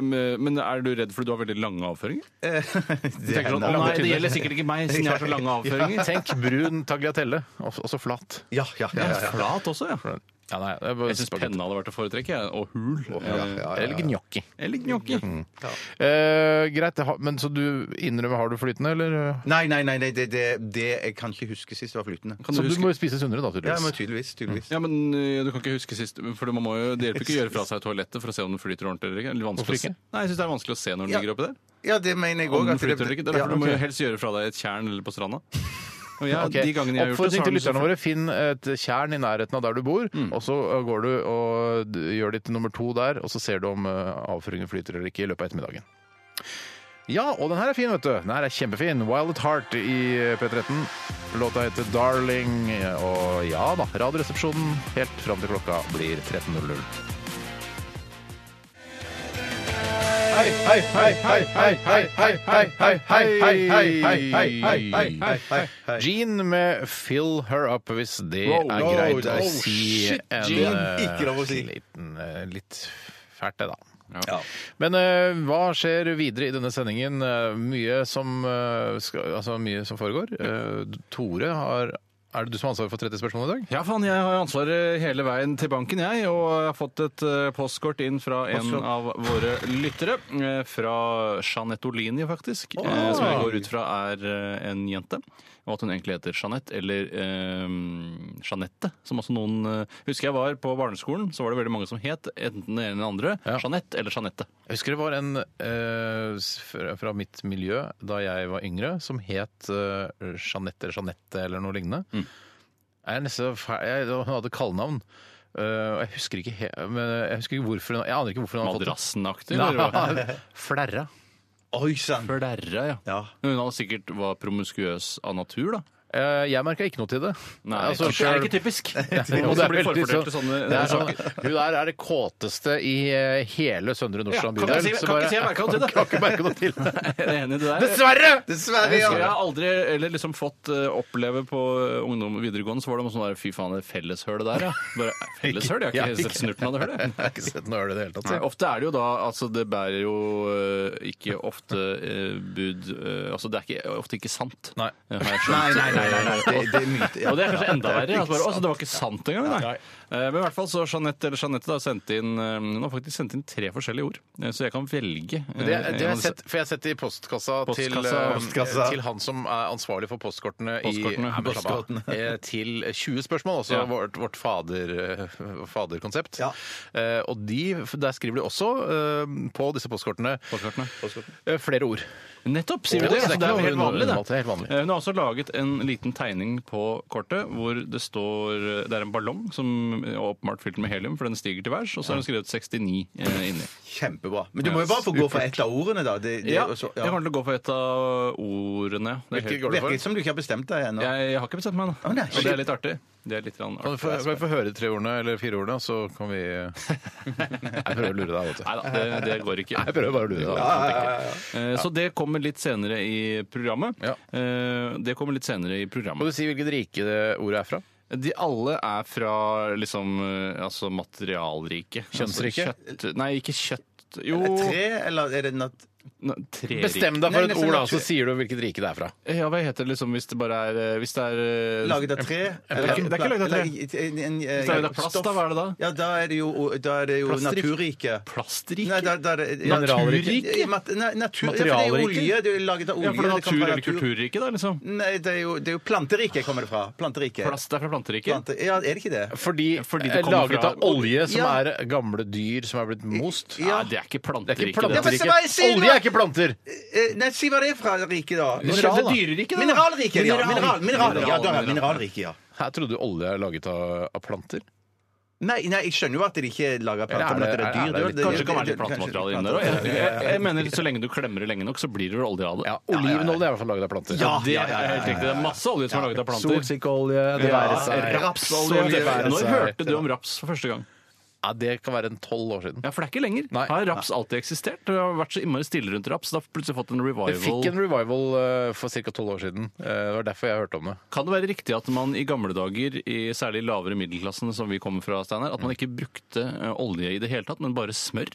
Speaker 3: men er du redd fordi du har veldig lange avføringer?
Speaker 2: Det
Speaker 3: Tenker sånn,
Speaker 2: hender.
Speaker 3: å nei, det gjelder sikkert ikke meg, siden jeg har så
Speaker 2: [laughs]
Speaker 3: lange avføringer.
Speaker 1: Tenk brun tagliatelle, og og så flat.
Speaker 2: Ja, ja, ja. ja, ja.
Speaker 3: Flat også, ja.
Speaker 1: Ja, nei, det er bare
Speaker 3: Jeg syns
Speaker 1: spagetti.
Speaker 3: penne hadde vært å foretrekke, jeg. og hul. Eh,
Speaker 1: Eller gnocchi.
Speaker 3: Eller gnocchi.
Speaker 2: Mm.
Speaker 1: Eh, greit, det har- men så du innrømmer har du flytende, eller?
Speaker 2: Nei, nei, nei, nei det, det, det jeg kan ikke huske sist det var flytende.
Speaker 3: Kan
Speaker 1: Så
Speaker 3: du
Speaker 1: du
Speaker 3: huske?
Speaker 1: må jo spise sunnere, da,
Speaker 2: Ja, men
Speaker 1: tydeligvis.
Speaker 2: tydeligvis. tydeligvis.
Speaker 1: Mm.
Speaker 3: Ja, men ø, du kan ikke huske sist For man må jo, Det hjelper ikke å gjøre fra seg toalettet for å se om den flyter ordentlig eller ikke. Eller vanskelig
Speaker 1: Hvorfor
Speaker 3: å se.
Speaker 1: ikke?
Speaker 3: Nei, jeg syns det er vanskelig å se når den
Speaker 2: Ja.
Speaker 3: ligger oppi der.
Speaker 2: Ja, det mener jeg
Speaker 3: Om
Speaker 2: òg.
Speaker 3: den flyter eller ikke. Det er derfor du må jo helst gjøre fra deg i et tjern eller på stranda. Og jeg,
Speaker 1: [laughs] Ok.
Speaker 3: de gangene jeg har gjort det,
Speaker 1: Oppfordring til
Speaker 3: så
Speaker 1: lytterne
Speaker 3: har den
Speaker 1: våre finn et tjern i nærheten av der du bor, og så eh, går du og d- gjør ditt nummer to der, og så ser du om eh, avføringen flyter eller ikke i løpet av ettermiddagen. Ja, og den her er fin, vet du. Den her er kjempefin. Wild at Heart i P13. Låta heter Darling. Og ja da, Radioresepsjonen helt fram til klokka blir 13.00. Hei, hei, hei, hei, hei, hei, hei, hei, hei, hei, hei, hei, hei, hei, hei, hei. Jean med Fill Her Up, hvis det
Speaker 2: Wow,
Speaker 1: er
Speaker 2: wow,
Speaker 1: greit
Speaker 2: det er-
Speaker 1: å
Speaker 2: oh,
Speaker 1: si.
Speaker 2: shit,
Speaker 1: en,
Speaker 2: Jean,
Speaker 1: eh,
Speaker 2: ikke lov å si.
Speaker 1: Liten, eh, litt fælt det, da.
Speaker 2: Ja.
Speaker 1: Men eh, hva skjer videre i denne sendingen? Eh, mye, som, eh, skal, altså, mye som foregår. Eh, Tore, har, er det du som har ansvaret for 30 spørsmål i dag?
Speaker 3: Ja, faen, jeg har ansvaret hele veien til banken, jeg, og jeg har fått et eh, postkort inn fra en
Speaker 2: Postkort.
Speaker 3: av våre lyttere. eh, Fra Jeanette Olini, faktisk. eh, Som jeg går ut fra er eh, en jente. Og at hun egentlig heter Jeanette, eller eh, Jeanette, som også noen eh, Husker jeg var på barneskolen, så var det veldig mange som het enten den ene eller den andre.
Speaker 1: Ja.
Speaker 3: Jeanette eller Jeanette.
Speaker 1: Jeg husker det var en eh, s- fra fra mitt miljø da jeg var yngre, som het eh, Jeanette eller Jeanette eller noe lignende.
Speaker 3: Mm.
Speaker 1: Jeg er nesten fe- jeg, hun hadde kallenavn. Eh, og jeg husker ikke he men jeg husker ikke hvorfor hun, jeg aner ikke hvorfor hun hadde fått
Speaker 3: Madrassenaktig. eller
Speaker 1: [laughs]
Speaker 3: hva?
Speaker 1: det. Nei, Flerra.
Speaker 2: Oi sann!
Speaker 3: Flerra, ja.
Speaker 2: Ja.
Speaker 3: Hun hadde sikkert var promiskuøs av natur, da.
Speaker 1: Eh, jeg merka ikke noe til det.
Speaker 3: Nei,
Speaker 1: Altså,
Speaker 3: det er
Speaker 1: selv- [laughs]
Speaker 3: ikke typisk. [laughs]
Speaker 1: Og
Speaker 3: Også
Speaker 1: det er
Speaker 3: blir
Speaker 1: veldig
Speaker 3: forfordelt til
Speaker 1: sånn-
Speaker 3: sånne [laughs]
Speaker 1: det er
Speaker 3: saker.
Speaker 1: sånn- Hun der er det kåteste i eh, hele Søndre Nordstrand
Speaker 3: Ja, kan ikke si-
Speaker 1: så
Speaker 3: kan ikke
Speaker 1: bare-
Speaker 3: si jeg merker noe til det.
Speaker 1: [laughs] Kan ikke merke noe til det.
Speaker 3: Jeg er enig i det der.
Speaker 1: Dessverre!
Speaker 2: Dessverre,
Speaker 3: Jeg
Speaker 2: ja.
Speaker 3: husker jeg har aldri eller liksom fått eh, oppleve på eh, ungdom og videregående så var det noe sånn der fy faen, det felleshølet der, ja. Bare, eh, felleshøl?
Speaker 1: [laughs]
Speaker 3: Jeg
Speaker 1: Ja,
Speaker 3: har ikke sett snurten av det hølet.
Speaker 1: Jeg har ikke sett noe øl i det hele tatt.
Speaker 3: Nei,
Speaker 1: så.
Speaker 3: ofte er det jo da altså Det bærer jo eh, ikke ofte eh, bud eh, Altså det er ikke, ofte ikke sant.
Speaker 1: Nei.
Speaker 3: Eh, har jeg skjønt.
Speaker 2: Nei, nei, nei. nei, nei. Det, det er myte. Ja.
Speaker 3: Og det er kanskje enda verre. Altså, bare, altså, det var ikke sant engang. Nei. Eh, Men i hvert fall så Jeanette, eller Jeanette da, sendte inn, eh, hun har faktisk sendt inn tre forskjellige ord, Eh, så jeg kan velge. eh,
Speaker 1: Det, det
Speaker 3: en
Speaker 1: har
Speaker 3: av
Speaker 1: jeg
Speaker 3: disse.
Speaker 1: sett, for jeg har sett det i postkassa, til,
Speaker 3: Postkassa,
Speaker 1: eh,
Speaker 2: postkassa.
Speaker 1: til han som er ansvarlig for postkortene, i
Speaker 3: Postkortene,
Speaker 1: Nei, men slapp av.
Speaker 2: postkortene.
Speaker 1: Eh, til 20 spørsmål, altså
Speaker 3: Ja.
Speaker 1: vårt, vårt fader, eh, faderkonsept.
Speaker 2: Ja.
Speaker 1: Eh, og de, der skriver de også eh, på disse postkortene,
Speaker 3: Postkortene.
Speaker 1: eh, flere ord.
Speaker 3: Nettopp, sier
Speaker 1: Å,
Speaker 3: vi det.
Speaker 1: så
Speaker 3: Så
Speaker 1: det er
Speaker 3: det
Speaker 1: ikke
Speaker 3: er jo helt
Speaker 1: noe
Speaker 3: vanlig, det.
Speaker 1: unormalt, det er helt vanlig.
Speaker 3: Eh, Hun har også laget en liten tegning på kortet hvor det står eh, Det er en ballong som er åpenbart fylt med helium, for den stiger til værs, og så har hun skrevet 69 eh, inni.
Speaker 2: Kjempebra. Men du må jo bare få gå for ett av ordene, da. Det, det,
Speaker 3: Ja,
Speaker 2: og så-
Speaker 3: jeg kommer til å gå for et av ordene. Det er
Speaker 1: Hvilket
Speaker 3: helt-
Speaker 1: går du
Speaker 2: Virker
Speaker 1: for?
Speaker 2: ikke som du ikke har bestemt deg ennå.
Speaker 3: jeg, jeg har ikke bestemt meg ennå.
Speaker 2: Å, nei.
Speaker 3: Og det er litt artig. Det er litt grann
Speaker 1: Kan vi få,
Speaker 3: artig.
Speaker 1: kan vi få høre de tre ordene, eller fire ordene, så kan vi eh,
Speaker 3: [laughs]
Speaker 1: Jeg prøver å lure deg, vet du.
Speaker 3: Nei da, det, det går ikke.
Speaker 1: Jeg prøver bare å lure deg.
Speaker 3: Eh, Så det kommer litt senere i programmet.
Speaker 1: Ja.
Speaker 3: Eh, Det kommer litt senere i
Speaker 1: Må
Speaker 3: programmet.
Speaker 1: du si hvilket rike det ordet er fra?
Speaker 3: De alle er fra liksom eh, altså materialrike.
Speaker 1: Kjønnsrike?
Speaker 3: Altså, kjøtt, nei, ikke kjøtt Jo
Speaker 2: Er det Tre, eller er det natt...
Speaker 3: ne- trerike.
Speaker 1: Bestem deg
Speaker 2: Nei,
Speaker 1: for et
Speaker 2: nesten
Speaker 1: ord, da,
Speaker 2: naturlig.
Speaker 1: så sier du hvilket rike det er fra.
Speaker 3: Ja, hva heter det liksom hvis det bare er eh, Hvis det er eh,
Speaker 2: Laget av tre?
Speaker 3: ikke- det er ikke laget av tre.
Speaker 2: En, en,
Speaker 3: Hvis det er av plast, da, hva er det da?
Speaker 2: Ja, da er det jo, da er det jo
Speaker 3: Plastrike.
Speaker 2: naturrike.
Speaker 3: Plastrike?
Speaker 2: Nei, da, da er det, ja,
Speaker 1: Mineralrike?
Speaker 2: naturrike? Ja, mat- nei, natur, Ja, for det er
Speaker 1: Materialrike?
Speaker 2: jo olje. Det er jo laget av olje.
Speaker 3: ja, for det er
Speaker 2: det kommer
Speaker 3: natur-
Speaker 2: fra
Speaker 3: eller kulturrike, da, liksom.
Speaker 2: Nei, det er jo, det er jo planterike kommer det fra. Planterike.
Speaker 3: Plast det er fra planteriket.
Speaker 2: Plante, ja, er det ikke det?
Speaker 1: Fordi,
Speaker 3: Fordi det
Speaker 1: eh,
Speaker 3: kommer
Speaker 1: laget
Speaker 3: fra-
Speaker 1: av olje som
Speaker 2: Ja.
Speaker 1: er gamle dyr som er blitt most.
Speaker 2: Ja.
Speaker 3: Nei, det er
Speaker 1: Det
Speaker 3: ikke
Speaker 1: er
Speaker 3: planterike.
Speaker 1: ikke
Speaker 3: det.
Speaker 2: men se
Speaker 1: planterike.
Speaker 2: hva jeg sier,
Speaker 1: Olje
Speaker 2: da!
Speaker 1: er ikke planter!
Speaker 2: Eh, Nei, si hva det er fra riket, da.
Speaker 1: Mineral, da.
Speaker 3: dyreriket, da.
Speaker 2: Mineralrike, ja. Mineral,
Speaker 3: Mineral.
Speaker 2: mineral, ja, da er det
Speaker 3: Mineral.
Speaker 2: mineralrike, ja.
Speaker 1: Her trodde du olje er laget av, av planter.
Speaker 2: Nei, nei, jeg skjønner jo at det ikke er laga
Speaker 1: Eller er
Speaker 2: planter, men at
Speaker 1: det-
Speaker 2: det
Speaker 1: er
Speaker 2: er
Speaker 1: det
Speaker 2: dyr.
Speaker 1: litt-
Speaker 2: det-
Speaker 3: Kanskje det kan være
Speaker 2: det-
Speaker 3: litt plantemateriale inni der
Speaker 2: kanskje-
Speaker 3: òg. Jeg, jeg, jeg mener så lenge du klemmer det lenge nok, så blir det vel olje av det.
Speaker 1: Ja, Olivenolje er i hvert fall laget av planter.
Speaker 2: Ja,
Speaker 3: Det
Speaker 2: ja, ja,
Speaker 3: er
Speaker 2: ja,
Speaker 3: helt riktig. Det er masse olje som er laget av planter.
Speaker 1: Solsikkeolje, det
Speaker 3: Ja,
Speaker 1: være seg
Speaker 3: Rapsolje.
Speaker 1: det være
Speaker 3: Når
Speaker 1: seg.
Speaker 3: hørte du om raps for første gang?
Speaker 1: Ja, det kan være en tolv år siden.
Speaker 3: Ja, For det er ikke lenger.
Speaker 1: Nei.
Speaker 3: Har raps alltid eksistert? Det har vært så innmari stille rundt raps. Det har plutselig fått en
Speaker 1: Det fikk en
Speaker 3: revival.
Speaker 1: revival eh, for ca. tolv år siden. Eh, Det var derfor jeg hørte om det.
Speaker 3: Kan det være riktig at man i gamle dager, i særlig lavere middelklassen som vi kommer fra, Steinar, at man ikke brukte eh, olje i det hele tatt, men bare smør?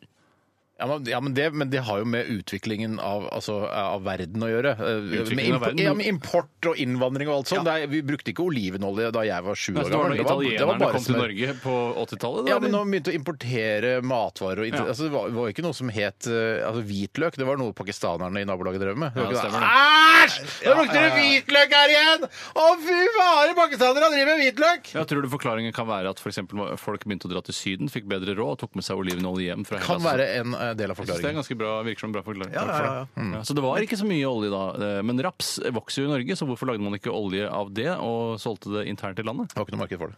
Speaker 1: Ja, men, ja, men, det, men det har jo med utviklingen av, altså, av verden å gjøre. Eh, Med,
Speaker 3: Utviklingen av
Speaker 1: impo
Speaker 3: verden?
Speaker 1: ja, med import og innvandring og alt sånt. Det er- Vi brukte ikke olivenolje da jeg var sju
Speaker 3: Altså,
Speaker 1: år
Speaker 3: Det var
Speaker 1: gammel.
Speaker 3: da
Speaker 1: Det var- det var
Speaker 3: italienerne
Speaker 1: bare
Speaker 3: kom til
Speaker 1: smør.
Speaker 3: Norge på 80-tallet? da,
Speaker 1: Ja, men
Speaker 3: eller?
Speaker 1: når man begynte å importere matvarer og
Speaker 3: Ja.
Speaker 1: altså, Det var det var jo ikke noe som het eh, altså, hvitløk. Det var noe pakistanerne i nabolaget drev med. Det var
Speaker 3: Ja,
Speaker 1: ikke
Speaker 3: stemmer
Speaker 1: da,
Speaker 3: det.
Speaker 1: Æsj! Nå lukter det hvitløk her igjen! Å, fy faen! Pakistanere driver med hvitløk!
Speaker 3: Jeg tror du forklaringen kan være at for eksempel folk begynte å dra til Syden, fikk bedre råd og tok med seg olivenolje hjem fra
Speaker 1: Kan være en eh, del av
Speaker 3: Jeg synes det er
Speaker 1: forklaringen.
Speaker 3: ganske bra, virker som en bra forklaring.
Speaker 2: Ja, ja, ja.
Speaker 3: Mm. Ja, så det var ikke så mye olje da. eh, Men raps vokser jo i Norge, så hvorfor lagde man ikke olje av det og solgte det internt i landet?
Speaker 1: Det var ikke noe marked for det.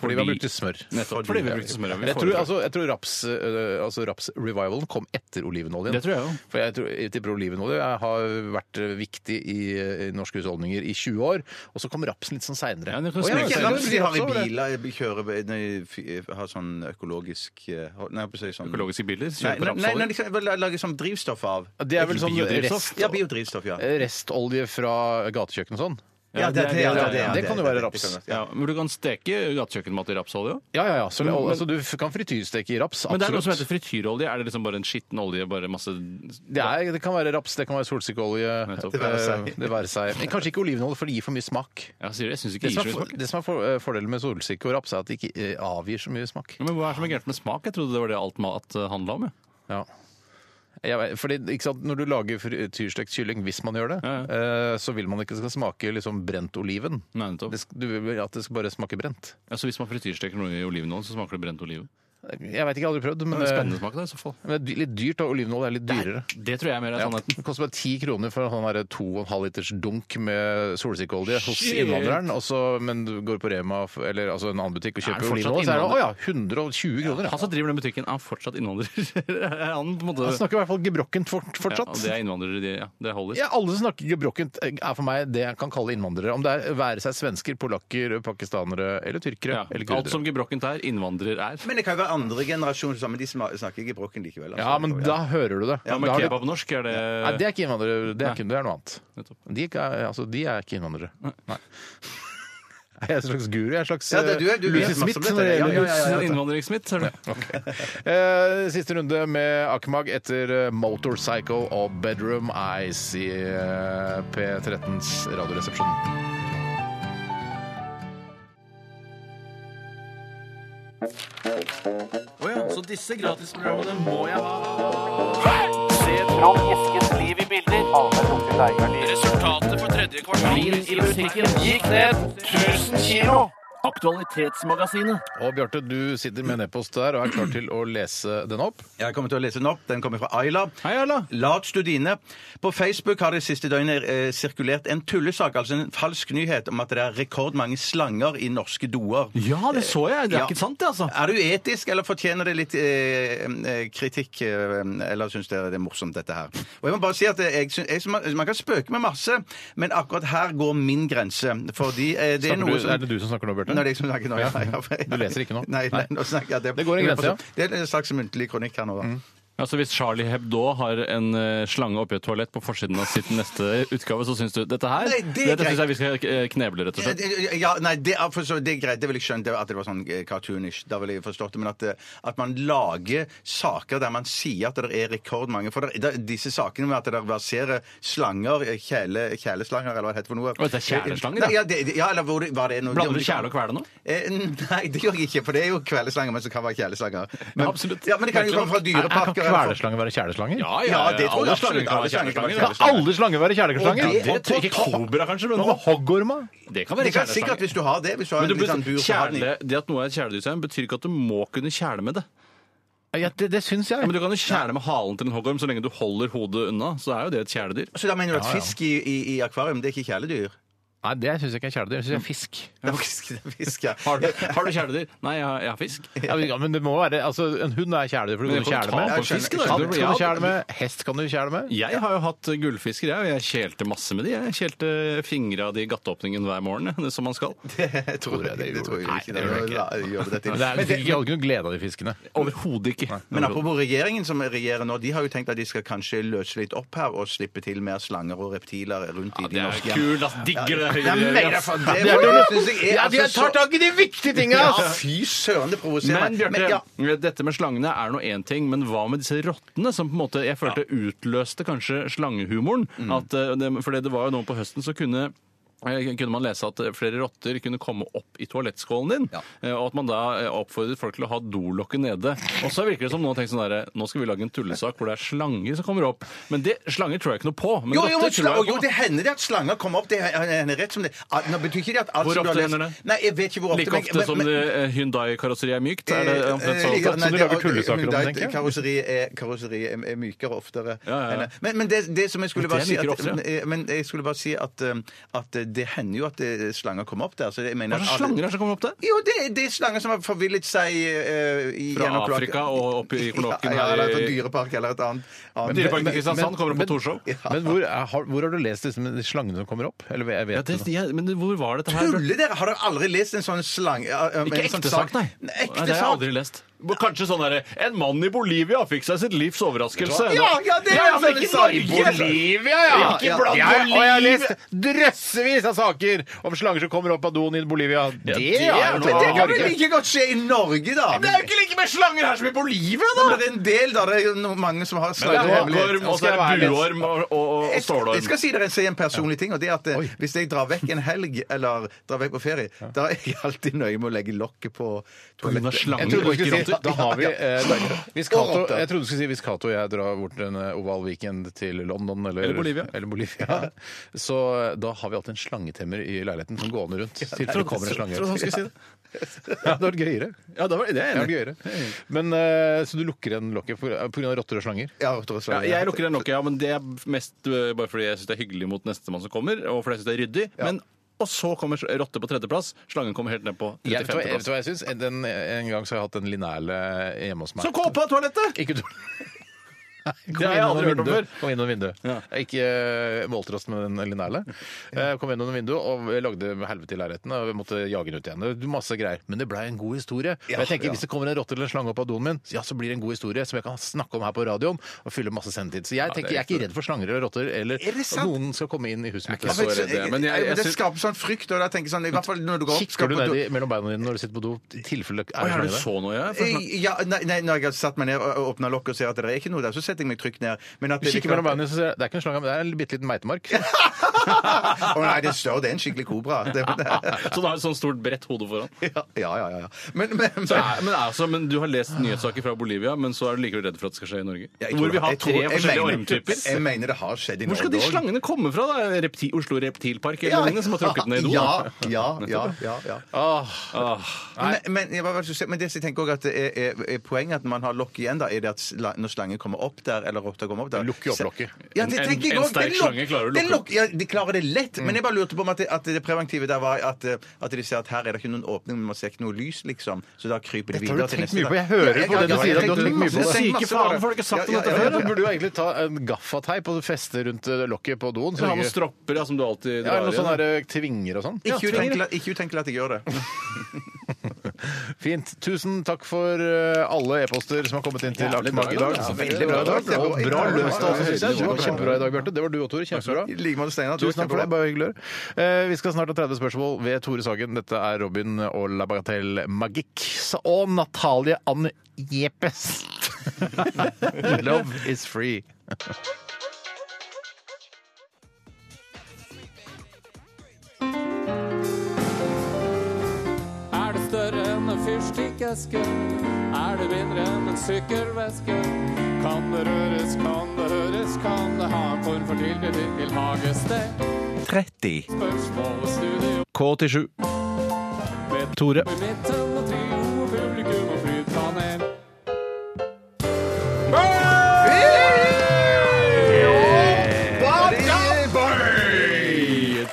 Speaker 1: Fordi man brukte smør.
Speaker 3: Nettopp, fordi vi brukte smør. Vi
Speaker 1: Jeg tror,
Speaker 3: foretrakk-
Speaker 1: altså, jeg tror raps, øh, altså raps-revivalen kom etter olivenoljen.
Speaker 3: Det tror jeg jo.
Speaker 1: For jeg, tror, jeg tipper olivenolje har vært øh, viktig i, øh, i norske husholdninger i 20 år, og så kom rapsen litt sånn seinere.
Speaker 3: Ja, det kan
Speaker 1: Å,
Speaker 3: smøre
Speaker 2: Det er
Speaker 3: seg
Speaker 2: ikke raps de har i
Speaker 1: også, det.
Speaker 2: biler. Jeg kjører nei, fy- har sånn økologisk eh, Nei, jeg holdt på å si sånn
Speaker 3: Økologiske biler
Speaker 2: Nei,
Speaker 3: kjøper
Speaker 2: nei, nei, nei,
Speaker 3: rapsolje.
Speaker 2: de kan vel lage sånn drivstoff av.
Speaker 1: Det er vel sånn
Speaker 3: Biodrivstoff?
Speaker 1: rest,
Speaker 2: Ja, biodrivstoff, ja.
Speaker 1: restolje fra gatekjøkken og sånn.
Speaker 2: Ja, det,
Speaker 3: ja, ja,
Speaker 1: ja, det kan jo være
Speaker 2: det-
Speaker 1: raps.
Speaker 2: det kan være-
Speaker 3: Ja, men du kan steke gatekjøkkenmat i rapsolje òg.
Speaker 1: Ja, ja, ja. Så, altså, du f- kan frityrsteke i raps.
Speaker 3: Men det er noe som heter
Speaker 1: Absolutt.
Speaker 3: frityrolje. Er det liksom bare en skitten olje, bare masse
Speaker 1: Det, er, det kan være raps, det kan være solsikkeolje, det
Speaker 3: Nettopp.
Speaker 2: Det
Speaker 1: være
Speaker 2: være
Speaker 1: seg.
Speaker 2: seg.
Speaker 1: Det være seg. Men kanskje ikke olivenolje, for det gir for mye smak.
Speaker 3: Ja, sier du, Jeg syns
Speaker 1: Det
Speaker 3: ikke det
Speaker 1: som
Speaker 3: gir
Speaker 1: er,
Speaker 3: så mye
Speaker 1: for,
Speaker 3: smak.
Speaker 1: det som er for, øh, fordelen med solsikke og raps, er at det ikke øh, avgir så mye smak.
Speaker 3: Ja, Men hva er det som er gærent med smak? Jeg trodde det var det alt mat eh, handla om. Ja.
Speaker 1: Ja. Jeg vet, fordi, ikke sant, når du lager frityrstekt kylling, hvis man gjør det,
Speaker 3: Ja,
Speaker 1: eh, så vil man ikke det skal smake liksom brent oliven.
Speaker 3: Nei, nettopp.
Speaker 1: Det, sk- du vil at det skal bare smake brent.
Speaker 3: Ja, så hvis man frityrsteker noe i olivenolje, så smaker det brent oliven?
Speaker 1: Jeg veit ikke, jeg har aldri prøvd, men,
Speaker 3: Det er
Speaker 1: eh,
Speaker 3: spennende smak, det, i så fall.
Speaker 1: men det er dy- litt dyrt, og olivenolje er litt dyrere.
Speaker 3: Det tror jeg er mer sånn er
Speaker 1: Ja.
Speaker 3: sannheten.
Speaker 1: Det koster bare ti kroner for en sånn her to og en halv liters dunk med solsikkeolje hos
Speaker 3: Shit!
Speaker 1: innvandreren, og så, men du går på Rema f- eller altså en annen butikk og
Speaker 3: Er det
Speaker 1: kjøper
Speaker 3: fortsatt
Speaker 1: olivenolje, så er det å ja,
Speaker 3: innvandrer?
Speaker 1: 120 kroner. Ja.
Speaker 3: [laughs] Han som driver den butikken, er fortsatt innvandrer. [laughs] Er han på en måte...
Speaker 1: Han snakker i hvert fall gebrokkent fort-
Speaker 3: Ja,
Speaker 1: fortsatt.
Speaker 3: det er innvandrere, de, ja. Det holder.
Speaker 1: Ja, alle som snakker gebrokkent, er for meg det jeg kan kalle innvandrere. Om det er være seg svensker, polakker, pakistanere eller tyrkere.
Speaker 3: Ja,
Speaker 1: Eller
Speaker 3: Alt som
Speaker 1: kurdere.
Speaker 3: gebrokkent er, innvandrer er.
Speaker 2: Men det kan jo være andre generasjoner sammen. De sma- snakker ikke brokken likevel. altså.
Speaker 1: Ja, men da hører du det.
Speaker 3: Ja,
Speaker 1: Da
Speaker 3: men
Speaker 1: har du-
Speaker 3: kebab norsk er det...
Speaker 1: Nei, det er ikke innvandrere. Det er, ikke, det er noe annet.
Speaker 3: Nettopp.
Speaker 1: De, er ikke- altså, de er ikke innvandrere. Nei. [laughs] Jeg er en slags guru. Jeg er en slags
Speaker 2: Ja, det er du,
Speaker 1: eh,
Speaker 2: du
Speaker 1: Lucy
Speaker 2: vet masse om
Speaker 1: Smith.
Speaker 2: dette.
Speaker 1: når det
Speaker 2: Ja, ja,
Speaker 1: gjelder
Speaker 2: ja, ja.
Speaker 1: hus.
Speaker 3: Innvandringssmitt, er det?
Speaker 1: Eh, Siste runde med Akmag etter eh, Motorcycle og Bedroom Eyes i eh, P13s radioresepsjon.
Speaker 6: Resultatet på tredje kvartal i butikken gikk ned 1000 kilo.
Speaker 3: Aktualitetsmagasinet.
Speaker 1: Og Bjarte, du sitter med en e-post der og er klar til å lese den opp.
Speaker 2: Jeg kommer til å lese den opp. Den kommer fra Ayla.
Speaker 3: Hei, Ayla.
Speaker 2: Lat Studine. På Facebook har det siste døgnet eh, sirkulert en tullesak, altså en falsk nyhet, om at det er rekordmange slanger i norske doer.
Speaker 3: Ja, det så jeg. Det er
Speaker 2: Ja.
Speaker 3: ikke sant, det, altså.
Speaker 2: Er det uetisk, eller fortjener det litt eh, eh, kritikk? Eh, eller syns dere det er morsomt, dette her? Og jeg må bare si at jeg, syns- jeg, man, man kan spøke med masse, men akkurat her går min grense. Fordi eh, det er
Speaker 1: Snakker
Speaker 2: noe
Speaker 1: du,
Speaker 2: som
Speaker 1: er det du som snakker nå, Bjarte?
Speaker 2: Nå er det jeg som snakker nå. Ja. Ja, for-
Speaker 1: Du leser ikke nå?
Speaker 2: Nei, nei,
Speaker 1: Nei.
Speaker 2: nå snakker jeg. Det,
Speaker 1: Det går en grense, Mm. ja.
Speaker 2: Det er en slags muntlig kronikk her nå, da.
Speaker 3: Altså Hvis Charlie Hebdo har en eh, slange oppi et toalett på forsiden av sitt neste utgave, så syns du dette her
Speaker 2: Nei, det er
Speaker 3: Dette syns
Speaker 2: greit.
Speaker 3: jeg vi skal eh, kneble, rett og slett.
Speaker 2: Eh, Ja, nei, det, er for så, det er greit. Det ville jeg skjønt det, at det var sånn eh, cartoonish. Da ville jeg forstått det. Men at, eh, at man lager saker der man sier at det er rekordmange For det, det, disse sakene med at det verserer slanger, eh, kjæle, kjæleslanger eller hva det heter for noe Eh,
Speaker 3: Å, det er kjæleslanger,
Speaker 2: Nei,
Speaker 3: ja.
Speaker 2: ja, det, det- ja, eller hvor, det- var det noe
Speaker 3: Blander du kjæle og kvele nå?
Speaker 2: Eh, nei, det gjør jeg ikke, for det er jo kvelerslanger, men som kan være kjæleslanger. Men,
Speaker 3: Ja, absolutt.
Speaker 2: Ja, men det kan jo komme fra
Speaker 1: Kan
Speaker 2: dyreparker. eller fra-
Speaker 1: kvelerslanger være kjæleslanger?
Speaker 2: Ja, det tror jeg
Speaker 3: alle
Speaker 2: absolutt.
Speaker 3: slanger kan
Speaker 2: Alle
Speaker 3: være
Speaker 2: slanger kan være
Speaker 3: kjæleslanger.
Speaker 2: kjæleslanger.
Speaker 1: Alle slanger være kjæleslanger?
Speaker 2: Og det-
Speaker 3: Ja, Ikke kobra, kanskje, men
Speaker 1: Hva med hoggorma?
Speaker 3: det
Speaker 2: Det
Speaker 3: kan være
Speaker 2: kan sikkert,
Speaker 3: kjæleslanger.
Speaker 2: hvis du har det hvis du har
Speaker 3: Men
Speaker 2: en
Speaker 3: du,
Speaker 2: litt sånn bur, så har den i-
Speaker 3: kjæle, det at noe er et kjæledyrstegn, betyr ikke at du må kunne kjæle med det.
Speaker 1: Ja, det, det syns
Speaker 3: Ja,
Speaker 1: jeg.
Speaker 3: men Du kan jo kjæle med halen til en hoggorm så lenge du holder hodet unna. Så er jo det et kjæledyr.
Speaker 2: Så da mener du at fisk i, i, i akvarium, det er ikke kjæledyr?
Speaker 1: Nei, det syns jeg ikke er kjæledyr. Jeg syns jeg er fisk.
Speaker 2: Det er fisk, det er fisk ja.
Speaker 3: Har du, har du kjæledyr? Nei, jeg har, jeg har fisk.
Speaker 1: Ja, men- ja, men det må være altså, En hund er kjæledyr, for du kan
Speaker 3: Men jeg kan
Speaker 1: kjæle
Speaker 3: ta
Speaker 1: med.
Speaker 3: på
Speaker 2: Jeg skjønner-
Speaker 3: fisk, da.
Speaker 1: Katt kan du
Speaker 3: Ja,
Speaker 1: kjæle med. Hest kan du kjæle med.
Speaker 3: Jeg har jo hatt gullfisker, jeg, og jeg kjelte masse med de. Jeg kjelte fingra di i gatteåpningen hver morgen, jeg, som man skal.
Speaker 2: Jeg tror jeg det tror jeg
Speaker 1: Nei,
Speaker 2: ikke.
Speaker 1: det gjør det ikke.
Speaker 2: Ja, jeg gjør det til.
Speaker 1: Men det er, du fikk ikke noe glede av de fiskene.
Speaker 3: Overhodet ikke.
Speaker 2: Men apropos regjeringen som regjerer nå, de har jo tenkt at de skal kanskje løse litt opp her og slippe til mer slanger og reptiler rundt i de
Speaker 3: det er
Speaker 2: norske
Speaker 3: kult, ass. Digger det.
Speaker 2: Ja, men, det,
Speaker 3: ass.
Speaker 2: det,
Speaker 1: Ja,
Speaker 2: det synes jeg er
Speaker 1: de
Speaker 2: altså så-
Speaker 1: tar tak i de viktige tinga!
Speaker 2: Ja,
Speaker 1: ass!
Speaker 2: fy søren, det provoserer
Speaker 3: Men
Speaker 2: meg. Men, ja.
Speaker 3: Bjarte, dette med slangene er nå én ting, men hva med disse rottene, som på en måte jeg følte utløste kanskje slangehumoren?
Speaker 2: Mm.
Speaker 3: At, eh, det- fordi det var jo nå på høsten så kunne eh, kunne man lese at flere rotter kunne komme opp i toalettskålen din, eh, og at man da eh, oppfordret folk til å ha dolokket nede. Og så virker det som noen tenker sånn derre Nå skal vi lage en tullesak hvor det er slanger som kommer opp. Men det, slanger tror jeg ikke noe på. Men
Speaker 2: Jo, jo,
Speaker 3: rotter
Speaker 2: sla-
Speaker 3: tror
Speaker 2: jo,
Speaker 3: jeg på.
Speaker 2: det hender det at slanger kommer opp. Det hender rett som det. Ah, Nå betyr ikke det at alt
Speaker 3: Hvor
Speaker 2: som du har
Speaker 3: ofte
Speaker 2: lest-
Speaker 3: hender det?
Speaker 2: Nei, jeg vet ikke hvor ofte.
Speaker 3: Like
Speaker 2: men-
Speaker 3: ofte som
Speaker 2: men-
Speaker 3: eh, Hyundai-karosseriet er mykt? Er det omtrent sånn. så
Speaker 2: Eh,
Speaker 3: ofte?
Speaker 2: ja, nei,
Speaker 1: du
Speaker 2: det-
Speaker 1: lager tullesaker om,
Speaker 2: det-
Speaker 1: tenker jeg.
Speaker 2: Karosseri er, karosseri er, er mykere oftere.
Speaker 3: Ja, ja, ja.
Speaker 2: enn- Men, men det, det som jeg skulle
Speaker 3: Det er
Speaker 2: bare si at,
Speaker 3: mykere oftere,
Speaker 2: eh, Men jeg skulle bare si at, eh, at det hender jo at eh, slanger kommer opp der. Så jeg mener
Speaker 3: Hva slags
Speaker 2: at alle-
Speaker 3: slanger er det som kommer opp der?
Speaker 2: Jo, det, det er slanger som har forvillet seg eh, i
Speaker 3: Fra
Speaker 2: gjennom kloakk-
Speaker 3: Afrika og opp i
Speaker 2: [laughs] Ja,
Speaker 3: kloakken
Speaker 2: ja,
Speaker 3: her
Speaker 2: eller
Speaker 3: i-
Speaker 2: fra dyrepark eller et annet. annet.
Speaker 3: Dyreparken i Kristiansand kommer opp
Speaker 1: men-
Speaker 3: på Torshov.
Speaker 1: Men hvor, er- har, hvor har du lest disse med de slangene som kommer opp? Eller jeg vet
Speaker 3: Ja, det,
Speaker 1: det.
Speaker 3: ja, men hvor var dette her? Bjarte?
Speaker 2: Tuller dere? Har dere aldri lest en sånn slange eh, eh,
Speaker 3: Ikke
Speaker 2: en sånn
Speaker 3: ekte sak, nei.
Speaker 2: Ekte
Speaker 3: Nei, det har jeg
Speaker 2: sak?
Speaker 3: aldri lest. Kanskje sånn derre En mann i Bolivia fikk seg sitt livs overraskelse.
Speaker 2: Ja, ja, det er
Speaker 3: ja,
Speaker 2: en
Speaker 3: men
Speaker 2: sånn
Speaker 3: ikke
Speaker 2: sak i
Speaker 3: Norge!
Speaker 1: Bolivia, ja!
Speaker 3: Ja,
Speaker 2: ja.
Speaker 1: Jeg, og jeg har lest drøssevis av saker om slanger som kommer opp av doen i Bolivia. Det,
Speaker 3: det
Speaker 1: er
Speaker 3: er
Speaker 2: Men
Speaker 1: jo
Speaker 3: noe
Speaker 1: noe
Speaker 2: det
Speaker 3: annet.
Speaker 2: kan
Speaker 1: annet.
Speaker 2: vel like godt skje i Norge, da?
Speaker 3: Det er jo ikke like med slanger her som i Bolivia,
Speaker 2: Ja,
Speaker 3: da!
Speaker 2: men det er en del, da. Det er jo no- mange som har
Speaker 3: Det
Speaker 2: slanger.
Speaker 3: er
Speaker 2: hemmelig.
Speaker 3: hoggorm, og så er det buorm og, og, og, og
Speaker 2: Jeg, jeg
Speaker 3: stålorm.
Speaker 2: skal si dere si en personlig ting, og det er at eh, hvis jeg drar vekk en helg eller drar vekk på ferie, da er jeg alltid nøye med å legge lokket på
Speaker 3: grunn av
Speaker 2: toalettet.
Speaker 3: slanger.
Speaker 1: Jeg trodde du skulle si
Speaker 3: Ikke rotter.
Speaker 1: da har vi, eh, da, hvis Cato,
Speaker 2: Og rotter.
Speaker 1: Jeg trodde du skulle si hvis Cato og jeg drar bort en eh, oval weekend til London eller,
Speaker 3: Eller Bolivia.
Speaker 1: Bolivia, så eh, da har vi alltid en slangetemmer i leiligheten som gående rundt. Til det kommer en
Speaker 3: Jeg
Speaker 1: slange.
Speaker 3: trodde han skulle si det.
Speaker 1: [laughs] Ja, det hadde vært gøyere.
Speaker 3: Ja, det var det er
Speaker 1: Ja,
Speaker 3: jeg enig i.
Speaker 1: gøyere. Men, eh, så du lukker igjen lokket pga. rotter og slanger?
Speaker 2: Ja, rotter og
Speaker 3: Ja,
Speaker 2: slanger.
Speaker 3: jeg lukker den lokket, ja, men det er mest øh, bare fordi jeg syns det er hyggelig mot nestemann som kommer, og fordi jeg syns det er ryddig. Men og så kommer rotte på tredjeplass. Slangen kommer helt ned på
Speaker 1: Jeg vet, hva, jeg,
Speaker 3: 35.-plass.
Speaker 1: vet hva jeg syns? Den, en gang så har jeg hatt en linerle hjemme hos meg.
Speaker 3: Som kom på toalettet!
Speaker 1: Ikke du...
Speaker 3: Det har jeg aldri hørt om før.
Speaker 1: Kom inn gjennom vinduet.
Speaker 3: Ja.
Speaker 1: Ikke uh, målte oss med den linerle. Eh, kom inn gjennom vinduet og lagde helvete i leiligheten. Og vi måtte jage den ut igjen. Det var Masse greier. Men det blei en god historie. og jeg tenker, Hvis det kommer en rotte eller en slange opp av doen min, ja, så blir det en god historie som jeg kan snakke om her på radioen og fylle masse sendetid. Så jeg tenker, jeg er ikke redd for slanger eller rotter, eller
Speaker 2: Er det
Speaker 1: at
Speaker 2: sant?
Speaker 1: noen skal komme inn i huset mitt.
Speaker 3: Jeg er ikke så redd, jeg. Men jeg- jeg
Speaker 2: det
Speaker 3: synes-
Speaker 2: skaper sånn frykt, og da tenker jeg sånn I hvert fall når du går opp
Speaker 1: Kikker
Speaker 2: skal
Speaker 1: du
Speaker 2: på
Speaker 1: ned
Speaker 2: do-
Speaker 1: i, mellom beina dine når du sitter på do? I tilfelle er det slanger
Speaker 3: Oi, er det [laughs]
Speaker 1: der?
Speaker 3: så noe, jeg?
Speaker 2: Eh, ja, nei, nei, når jeg har satt meg ned og åpna lokket og ser at det er ikke noe der, så setter setter jeg meg trygt ned. Men at
Speaker 1: Du
Speaker 2: det liksom- er
Speaker 1: kikker mellom beina og ser det er ikke en slange, men det er en bitte liten meitemark.
Speaker 2: [laughs] Å nei, det er større. Det er en skikkelig kobra. [laughs] Det,
Speaker 3: Så det har et sånt stort bredt hode foran.
Speaker 2: [laughs] ja, ja, ja, ja. Men, men, men
Speaker 3: Så er, men, altså, men Du har lest nyhetssaker fra Bolivia, men så er du likevel redd for at det skal skje i Norge?
Speaker 2: Jeg tror-
Speaker 3: Hvor vi har
Speaker 2: jeg
Speaker 3: tre
Speaker 2: tror- jeg
Speaker 3: forskjellige
Speaker 2: mener-
Speaker 3: ormtyper.
Speaker 2: Jeg mener det har skjedd i
Speaker 3: Hvor skal de
Speaker 2: Norge også.
Speaker 3: slangene komme fra? da? Repti, Oslo Reptilpark eller lignende, som har tråkket ned i do?
Speaker 2: Ja, ja, ja, ja, ja.
Speaker 3: Ah,
Speaker 2: Men, men, jeg var vel så se- men det som jeg tenker også at det er, er, er poenget at man har lokk igjen, da, er det at sla- når slangen kommer opp der, eller rotta kommer opp der
Speaker 1: Lukker jo opp
Speaker 2: se-
Speaker 1: lokket.
Speaker 2: Ja, det
Speaker 3: En-
Speaker 2: tenker jeg
Speaker 3: en
Speaker 2: også.
Speaker 3: sterk
Speaker 2: Det er lokk-
Speaker 3: slange klarer å
Speaker 2: det er
Speaker 3: lukke opp. Mm.
Speaker 2: lokk- Ja, de klarer det lett, men jeg bare lurte på om at det, at det preventive der var at, eh, at de ser at her er det ikke noen åpning, men man ser ikke noe lys, liksom, så da kryper de
Speaker 1: Dette har du
Speaker 2: videre til
Speaker 1: tenkt
Speaker 2: neste
Speaker 1: mye på.
Speaker 2: dag.
Speaker 1: Jeg hører
Speaker 2: Ja,
Speaker 1: på det du
Speaker 2: ja,
Speaker 1: sier,
Speaker 2: jeg
Speaker 1: at du har
Speaker 2: tenkte
Speaker 1: tenkt mye på det.
Speaker 2: masse-
Speaker 3: Syke
Speaker 2: masse
Speaker 3: faen,
Speaker 2: over det.
Speaker 3: folk har sagt
Speaker 2: Ja,
Speaker 3: om
Speaker 2: ja,
Speaker 3: dette
Speaker 2: ja,
Speaker 3: før,
Speaker 2: ja,
Speaker 1: Du
Speaker 2: ja.
Speaker 1: burde jo egentlig ta en gaffateip og feste rundt eh, lokket på doen.
Speaker 3: så har man
Speaker 1: ikke-
Speaker 3: stropper ja, som du alltid
Speaker 1: ja,
Speaker 3: drar
Speaker 1: eller
Speaker 2: sånn
Speaker 1: noen sånne
Speaker 3: igjen.
Speaker 1: der, eh, tvinger og sånn.
Speaker 2: Ikke utenkelig, ikke utenkelig at jeg gjør det.
Speaker 1: Fint. Tusen takk for eh, alle e-poster som har kommet inn til
Speaker 3: Jævlig
Speaker 1: Arkemark i
Speaker 3: bra
Speaker 1: dag.
Speaker 3: i dag, altså.
Speaker 2: Veldig bra i dag.
Speaker 1: Bra, Og bra løst, altså, synes jeg. Du var kjempebra i dag, Bjarte. Det var du og Tor. Kjempebra.
Speaker 2: I like måte, Steinar. Du er
Speaker 1: Tusen takk for det.
Speaker 2: kjempebra.
Speaker 1: Bare hyggelig. Eh, Vi skal snart ha 30 spørsmål ved Tore Sagen. Dette er Robin og La Bagatelle Magic og Natalie Ann Jepes. [laughs] Love is free.
Speaker 6: Er det større enn en fyrstikkeske? Er det mindre enn en sykkelveske? Kan det røres, kan det høres, kan det ha en form for tilknytning til hagested?
Speaker 2: 30.
Speaker 6: Spørsmål og studio
Speaker 3: K87. Tore.
Speaker 6: i midten og trio og publikum og flytpanel.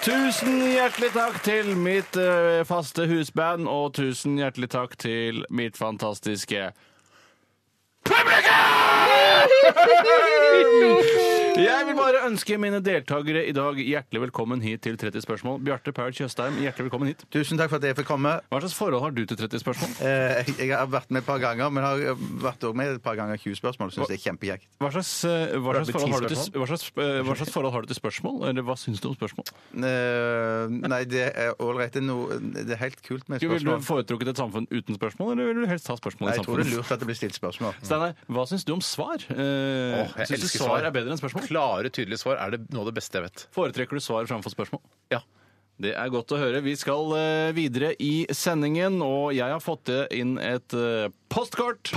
Speaker 3: Tusen hjertelig takk til mitt eh, faste husband, og tusen hjertelig takk til mitt fantastiske publikum! Jeg vil bare ønske mine deltakere i dag hjertelig velkommen hit til 30 spørsmål. Bjarte Paul Tjøstheim, hjertelig velkommen hit.
Speaker 2: Tusen takk for at jeg fikk komme.
Speaker 3: Hva slags forhold har du til 30 spørsmål?
Speaker 2: Eh, Jeg har vært med et par ganger, men har vært også med et par ganger 20 spørsmål. Syns det er kjempekjekt.
Speaker 3: Hva slags, eh, hva
Speaker 1: Har du
Speaker 3: slags, forhold, har du
Speaker 1: ti
Speaker 3: til, hva slags, eh, hva slags forhold har du til spørsmål? Eller hva syns du om spørsmål?
Speaker 2: Eh, Nei, det er ålreit. Det er noe- det er helt kult med
Speaker 3: Du, sånn Ville du
Speaker 2: spørsmål.
Speaker 3: foretrukket et samfunn uten spørsmål, eller ville du helst ha spørsmål
Speaker 2: Nei,
Speaker 3: i
Speaker 2: jeg tror det
Speaker 3: samfunnet?
Speaker 2: er lurt at det blir stilt spørsmål.
Speaker 3: Steinar, hva syns du om svar? Eh,
Speaker 1: Åh, jeg
Speaker 3: syns du
Speaker 1: elsker
Speaker 3: svar
Speaker 1: svar.
Speaker 3: er bedre enn spørsmål?
Speaker 1: Klare, tydelige svar er det noe av det beste jeg vet.
Speaker 3: Foretrekker du svar framfor spørsmål?
Speaker 1: Ja.
Speaker 3: Det er godt å høre. Vi skal eh, videre i sendingen, og jeg har fått inn et eh, postkort.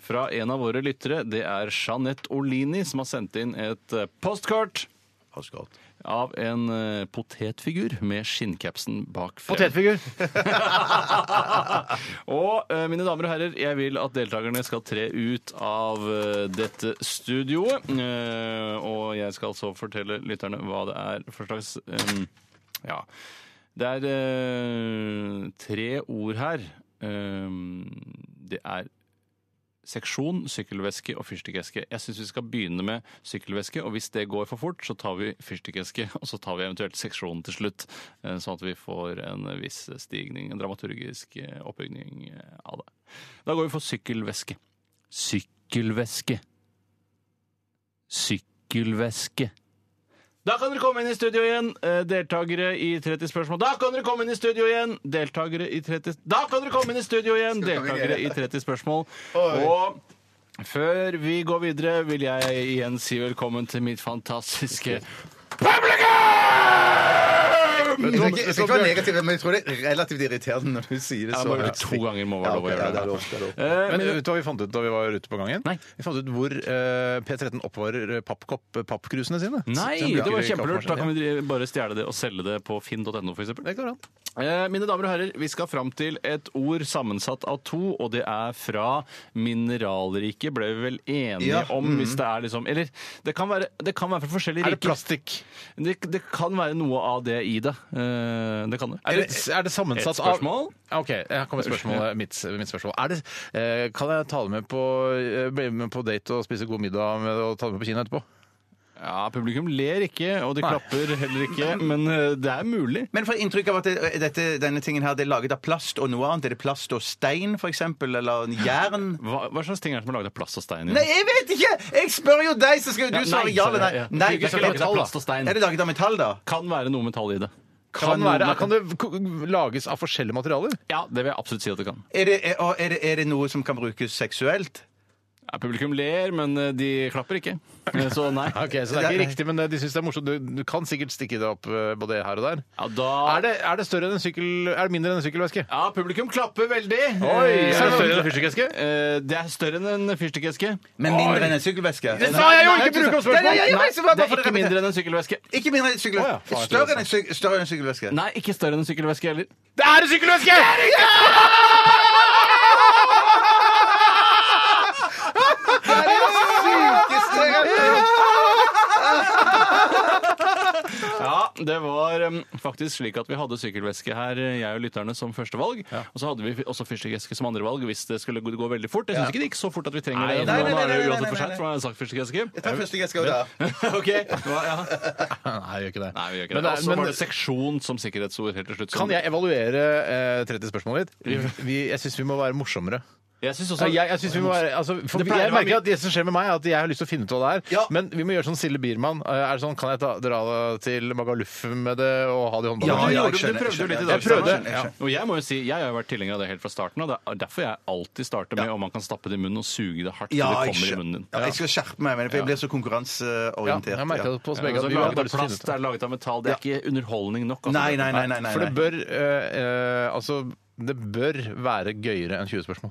Speaker 3: Fra en av våre lyttere. Det er Jeanette Olini som har sendt inn et eh, postkort. Av en eh, potetfigur med skinncapsen bak frem.
Speaker 1: Potetfigur.
Speaker 3: [laughs] og eh, mine damer og herrer, jeg vil at deltakerne skal tre ut av eh, dette studioet. Eh, og jeg skal så fortelle lytterne hva det er for slags eh, Ja. Det er eh, tre ord her. Eh, det er seksjon, sykkelveske og fyrstikkeske. Jeg syns vi skal begynne med sykkelveske, og hvis det går for fort, så tar vi fyrstikkeske, [laughs] og så tar vi eventuelt seksjonen til slutt. eh, Sånn at vi får en viss stigning, en dramaturgisk eh, oppbygning eh, av det. Da går vi for sykkelveske. Sykkelveske. Sykkelveske. Da kan dere komme inn i studio igjen, eh, deltakere i 30 spørsmål. Da kan dere komme inn i studio igjen, deltakere i 30 Da kan dere komme inn i studio igjen, deltakere i 30 spørsmål. Og før vi går videre, vil jeg igjen si velkommen til mitt fantastiske
Speaker 2: Men Jeg skal ikke være negativ, men jeg tror det er relativt irriterende når du sier det
Speaker 3: Ja,
Speaker 2: så.
Speaker 3: men To ganger må være
Speaker 2: Ja, ok,
Speaker 3: lov å
Speaker 2: ja,
Speaker 3: gjøre
Speaker 2: det er lov,
Speaker 3: det.
Speaker 2: det er lov.
Speaker 3: Eh,
Speaker 1: Men vet du hva vi fant ut da vi var ute på gangen?
Speaker 3: Nei.
Speaker 1: Vi fant ut hvor eh, P13 oppvarer pappkopp, pappkrusene sine.
Speaker 3: Nei,
Speaker 1: Så de
Speaker 3: det var
Speaker 1: bruker
Speaker 3: kjempelurt. Da kan
Speaker 1: kaffemaskinen.
Speaker 3: vi drive- bare stjele det og selge det på finn.no, f.eks.
Speaker 1: Det går an.
Speaker 3: Eh, Mine damer og herrer, vi skal fram til et ord sammensatt av to, og det er fra mineralriket, ble vi vel enige
Speaker 2: Ja,
Speaker 3: om, hvis det er liksom Eller det kan være, det kan være fra forskjellige
Speaker 1: Mm. Er det
Speaker 3: riker.
Speaker 1: plastikk?
Speaker 3: Det, det kan være noe av det i det. Eh, Det kan det.
Speaker 1: Er det, er det sammensatt
Speaker 3: Et spørsmål?
Speaker 1: av OK, her kommer spørsmålet mitt. mitt spørsmål. Er det, eh, kan jeg ta det med på, eh, bli med på date og spise god middag med, og ta det med på kino etterpå?
Speaker 3: Ja, publikum ler ikke, og de
Speaker 1: Nei.
Speaker 3: klapper heller ikke,
Speaker 1: [laughs]
Speaker 3: men eh, det er mulig.
Speaker 2: Men for inntrykk av at det, dette, denne tingen her det er laget av plast og noe annet. Er det plast og stein, for eksempel? Eller jern?
Speaker 3: Hva, hva slags ting er det som er laget av plast og stein?
Speaker 2: Nei, jeg vet ikke! Jeg spør jo deg, så skal jo
Speaker 3: Ja,
Speaker 2: du svare
Speaker 3: nei,
Speaker 2: ja
Speaker 3: sa
Speaker 2: eller
Speaker 3: jeg, ja.
Speaker 2: nei.
Speaker 3: Det
Speaker 2: Nei,
Speaker 3: er ikke
Speaker 2: så-
Speaker 3: laget av plast og stein.
Speaker 2: Er det laget av metall, da?
Speaker 3: Kan være noe metall i det.
Speaker 1: Kan, være, kan det k- lages av forskjellige materialer?
Speaker 3: Ja, det vil jeg absolutt si at det kan.
Speaker 2: Er det, er, og er det, er det noe som kan brukes seksuelt?
Speaker 3: Ja, publikum ler, men eh, de klapper ikke. Eh, Så nei.
Speaker 1: [laughs] Ok, Så det er ikke riktig, men eh, de syns det er morsomt. Du, du kan sikkert stikke det opp eh, både her og der. [laughs]
Speaker 3: Ja, da
Speaker 1: Er det, er det større enn en sykkel, er det mindre enn en sykkelveske?
Speaker 3: Ja, publikum klapper veldig.
Speaker 1: Oi,
Speaker 3: Eh,
Speaker 1: er det større enn en fyrstikkeske?
Speaker 3: Eh, Det er større enn en fyrstikkeske.
Speaker 2: Men mindre enn en sykkelveske.
Speaker 1: Det sa jeg jo! Ikke
Speaker 3: nei,
Speaker 1: bruk opp spørsmål!
Speaker 2: Nei, nei, nei,
Speaker 3: Nei,
Speaker 2: nei, så bare-
Speaker 3: det
Speaker 2: bare
Speaker 3: er
Speaker 2: for å
Speaker 3: ikke
Speaker 2: repetere.
Speaker 3: mindre enn en sykkelveske.
Speaker 2: Ikke mindre enn en
Speaker 1: Å, ja,
Speaker 2: sykkelveske.
Speaker 1: faen, jeg tror
Speaker 2: Større enn en syk- større enn en sykkelveske.
Speaker 3: Nei, ikke større enn en sykkelveske heller.
Speaker 1: Det er en sykkelveske!
Speaker 3: Ja, det var em, faktisk slik at vi hadde sykkelveske her, eh, jeg og lytterne, som førstevalg. Og så hadde vi også fyrstikkeske som andrevalg hvis det skulle gå gå veldig fort. Jeg syns ikke det gikk så fort at vi trenger det.
Speaker 2: nei,
Speaker 3: for
Speaker 2: nei,
Speaker 3: Nå er det
Speaker 2: nei, nei,
Speaker 3: jo uansett for
Speaker 2: nei,
Speaker 3: seint, for nå har jeg
Speaker 2: [laughs]
Speaker 3: sagt fyrstikkeske.
Speaker 2: Jeg tar første jeg skal gjøre.
Speaker 3: OK. Nå- ja.
Speaker 1: Nei, gjør ikke det.
Speaker 3: Nei, vi gjør ikke
Speaker 1: Men-
Speaker 3: det. Og så
Speaker 1: men-
Speaker 3: var det seksjon som sikkerhetsord helt til slutt. som-
Speaker 1: Kan jeg evaluere eh, 30 spørsmål litt? Vi, jeg syns vi må være morsommere.
Speaker 3: Jeg syns også
Speaker 1: Mm. Jeg, jeg synes vi må være, altså, for
Speaker 3: Det pleier
Speaker 1: jeg
Speaker 3: å være
Speaker 1: merker at det som skjer med meg, er at jeg har lyst til å finne ut hva det er.
Speaker 2: Ja.
Speaker 1: Men vi må gjøre sånn Sille Biermann. Eh, Er det sånn, kan jeg ta, dra til Magaluf med det og ha det i
Speaker 2: Ja,
Speaker 1: håndballen?
Speaker 2: ja,
Speaker 3: du,
Speaker 2: jeg skjønner,
Speaker 3: du
Speaker 2: jeg
Speaker 3: prøvde jo litt i
Speaker 2: skjønner.
Speaker 3: dag.
Speaker 1: Jeg prøvde,
Speaker 3: Steinar.
Speaker 2: ja.
Speaker 3: Og jeg må jo si, jeg har jo vært tilhenger av det helt fra starten av. Det er derfor jeg alltid starter med om man kan stappe det i munnen og suge det hardt
Speaker 2: Ja,
Speaker 3: til det
Speaker 2: jeg,
Speaker 3: kommer i
Speaker 2: skjø-
Speaker 3: munnen din.
Speaker 2: ja, jeg skal skjerpe meg, men for jeg blir så konkurranseorientert.
Speaker 1: jeg merker det på oss
Speaker 3: Ja,
Speaker 1: begge.
Speaker 3: altså,
Speaker 1: at vi har
Speaker 3: laget
Speaker 1: bare
Speaker 3: av
Speaker 1: lyst til å finne
Speaker 3: plast,
Speaker 1: ut det.
Speaker 3: det er laget av metall. Det er ikke underholdning nok. altså.
Speaker 2: Nei, nei, nei. nei, nei,
Speaker 1: For det
Speaker 2: nei.
Speaker 1: bør eh, eh, Altså, det bør være gøyere enn 20 spørsmål.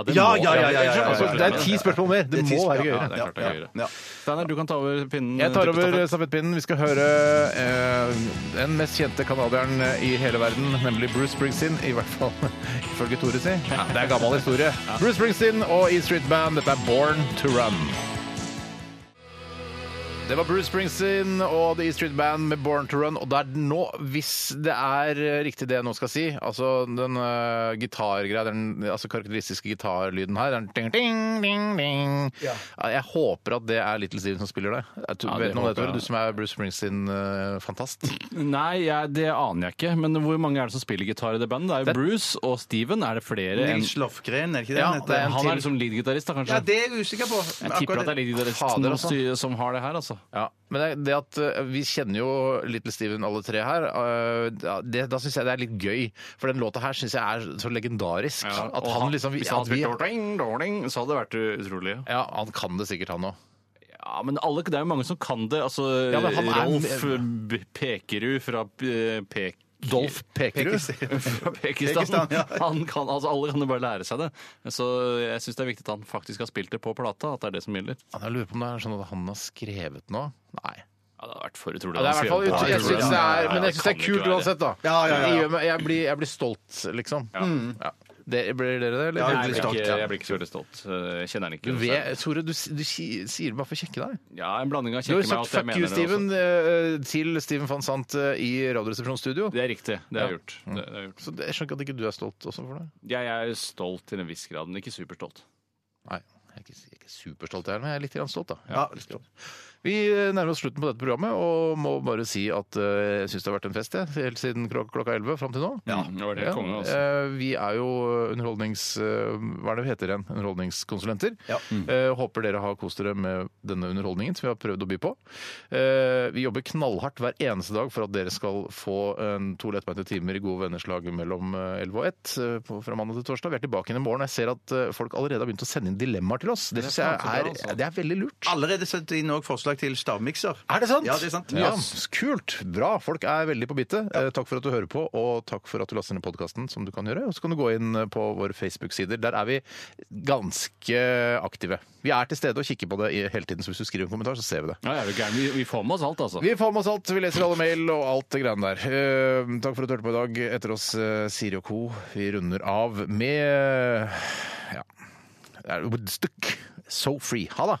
Speaker 3: Ja, det
Speaker 2: Ja,
Speaker 3: må-
Speaker 2: ja, ja, ja, ja, ja, ja,
Speaker 1: Altså, det er ti spørsmål mer! Det
Speaker 2: er ti
Speaker 1: må være
Speaker 2: spørsmål, ja,
Speaker 1: gøyere.
Speaker 3: det er klart det er gøyere.
Speaker 2: Ja.
Speaker 3: Steinar, du kan ta over eh, pinnen.
Speaker 1: Jeg tar over
Speaker 3: tippestafett.
Speaker 1: stafettpinnen. Vi skal høre eh, den mest kjente canadieren i hele verden, nemlig Bruce Springsteen. I hvert fall [laughs] ifølge Tore si. Det er gammel historie. Bruce Springsteen og E Street Band, dette er Born to Run. Det var Bruce Springsteen og The E Street Band med Born to Run. Og det er nå, hvis det er eh, riktig det jeg nå skal si, altså den uh, gitargreia, den altså karakteristiske gitarlyden her den ding, ding, ding, ding. Jeg håper at det er Little Steven som spiller det. Jeg tror,
Speaker 3: Ja, det
Speaker 1: vet noe om det,
Speaker 3: håper jeg.
Speaker 1: Tore? Du som er Bruce eh, Springsteen-fantast.
Speaker 3: [laughs] Nei, jeg, det aner jeg ikke. Men hvor mange er det som spiller gitar i det bandet? Det er jo
Speaker 1: Det-
Speaker 3: Bruce og Steven. Er det flere enn
Speaker 2: Nils Lofgren, er det ikke det?
Speaker 1: Ja,
Speaker 2: han heter?
Speaker 1: det er en
Speaker 3: Han
Speaker 1: til.
Speaker 3: er liksom lead-gitarist, da, kanskje?
Speaker 2: ja, det er jeg usikker på.
Speaker 3: Jeg tipper at det er
Speaker 1: Fader,
Speaker 3: lead-gitaristen
Speaker 1: altså.
Speaker 3: som- som har det her, altså.
Speaker 1: Ja, men det, det at eh, vi kjenner jo Little Steven alle tre her, eh, da- det, da syns jeg det er litt gøy. For den låta her syns jeg er så legendarisk. at
Speaker 3: og
Speaker 1: han, liksom
Speaker 3: Hvis han
Speaker 1: at vi-
Speaker 3: spilte ding, ding, så hadde det vært utrolig.
Speaker 1: ja, han kan det sikkert, han òg.
Speaker 3: Ja, men alle, det er jo mange som kan det. Altså,
Speaker 1: Ja, men han er-
Speaker 3: Rolf B- Pekerud fra eh, Pek...
Speaker 1: Dolf Pekerud.
Speaker 3: Fra Pekistan.
Speaker 2: Pekistan, ja.
Speaker 3: han kan, altså, alle kan jo bare lære seg det. Så jeg syns det er viktig at han faktisk har spilt det på plata. At det er det som gjelder.
Speaker 1: Ja, Jeg lurer på om det er sånn at han har skrevet noe. Nei.
Speaker 3: Ja, det hadde vært for utrolig.
Speaker 1: Ja, det er i hvert fall ut, jeg synes det er, Men jeg syns det er kult uansett, da.
Speaker 2: Ja, ja, ja, ja.
Speaker 1: Det gjør meg- Jeg, blir, jeg blir stolt, liksom. Ja. Det, blir dere det, eller?
Speaker 2: Ja,
Speaker 3: Jeg
Speaker 2: jeg blir
Speaker 3: blir,
Speaker 2: stolt,
Speaker 3: ikke,
Speaker 2: ja.
Speaker 3: jeg blir ikke så veldig stolt. Eh, Jeg kjenner han ikke.
Speaker 1: Du
Speaker 3: noe
Speaker 1: vet,
Speaker 3: særlig.
Speaker 1: Tore, du, si- du si- sier det bare for å kjekke deg.
Speaker 3: Ja, en blanding av
Speaker 1: Du har
Speaker 3: kjekke
Speaker 1: jo
Speaker 3: meg og
Speaker 1: sagt
Speaker 3: at
Speaker 1: 'fuck
Speaker 3: jeg mener altså.
Speaker 1: you,
Speaker 3: det. også.
Speaker 1: Steven' eh, til Steven van Sant eh, i Radioresepsjonens studio.
Speaker 3: Det er riktig. Det har jeg gjort. Det, det har jeg gjort.
Speaker 1: Så det, jeg skjønner ikke at ikke du er stolt også for det.
Speaker 3: Jeg er stolt til en viss grad, men ikke superstolt.
Speaker 1: Nei, jeg er ikke, jeg er ikke superstolt jeg, men jeg er litt grann stolt, da.
Speaker 2: Ja, litt stolt.
Speaker 1: Vi eh, nærmer oss slutten på dette programmet og må bare si at eh, jeg syns det har vært en fest, jeg. Helt siden klok klokka 11 fram til nå.
Speaker 3: Ja, det var det
Speaker 1: Ja,
Speaker 3: konge, altså.
Speaker 1: eh, vi er jo underholdnings... eh, Hva er det vi heter igjen? Underholdningskonsulenter.
Speaker 2: Ja.
Speaker 1: Eh, håper dere har kost dere med denne underholdningen som vi har prøvd å by på. Eh, vi jobber knallhardt hver eneste dag for at dere skal få en to lettbeinte timer i gode venners lag mellom eh, 11 og 1 eh, på- fra mandag til torsdag. Vi er tilbake inn i morgen. og Jeg ser at eh, folk allerede har begynt å sende inn dilemmaer til oss. Det, synes
Speaker 3: faen så bra,
Speaker 1: jeg
Speaker 3: altså.
Speaker 1: er, det er veldig lurt.
Speaker 2: Allerede sendt inn også forslag til stavmikser.
Speaker 1: Er det sant?
Speaker 2: Ja, det er sant.
Speaker 1: Ja,
Speaker 2: Yes.
Speaker 1: kult! Bra! Folk er veldig på bittet. Eh, Takk for at du hører på, og takk for at du laster ned podkasten, som du kan gjøre. Og så kan du gå inn eh, på våre Facebook-sider. Der er vi ganske aktive. Vi er til stede og kikker på det i- hele tiden, så hvis du skriver en kommentar, så ser vi det.
Speaker 3: Ja, er du gæren? Vi, vi får med oss alt, altså.
Speaker 1: Vi får med oss alt. Vi leser alle mail og alt det greiene der. Eh, Takk for at du hørte på i dag. Etter oss eh, Siri og co. Vi runder av med ja, det er Woodstock. So free. Ha det!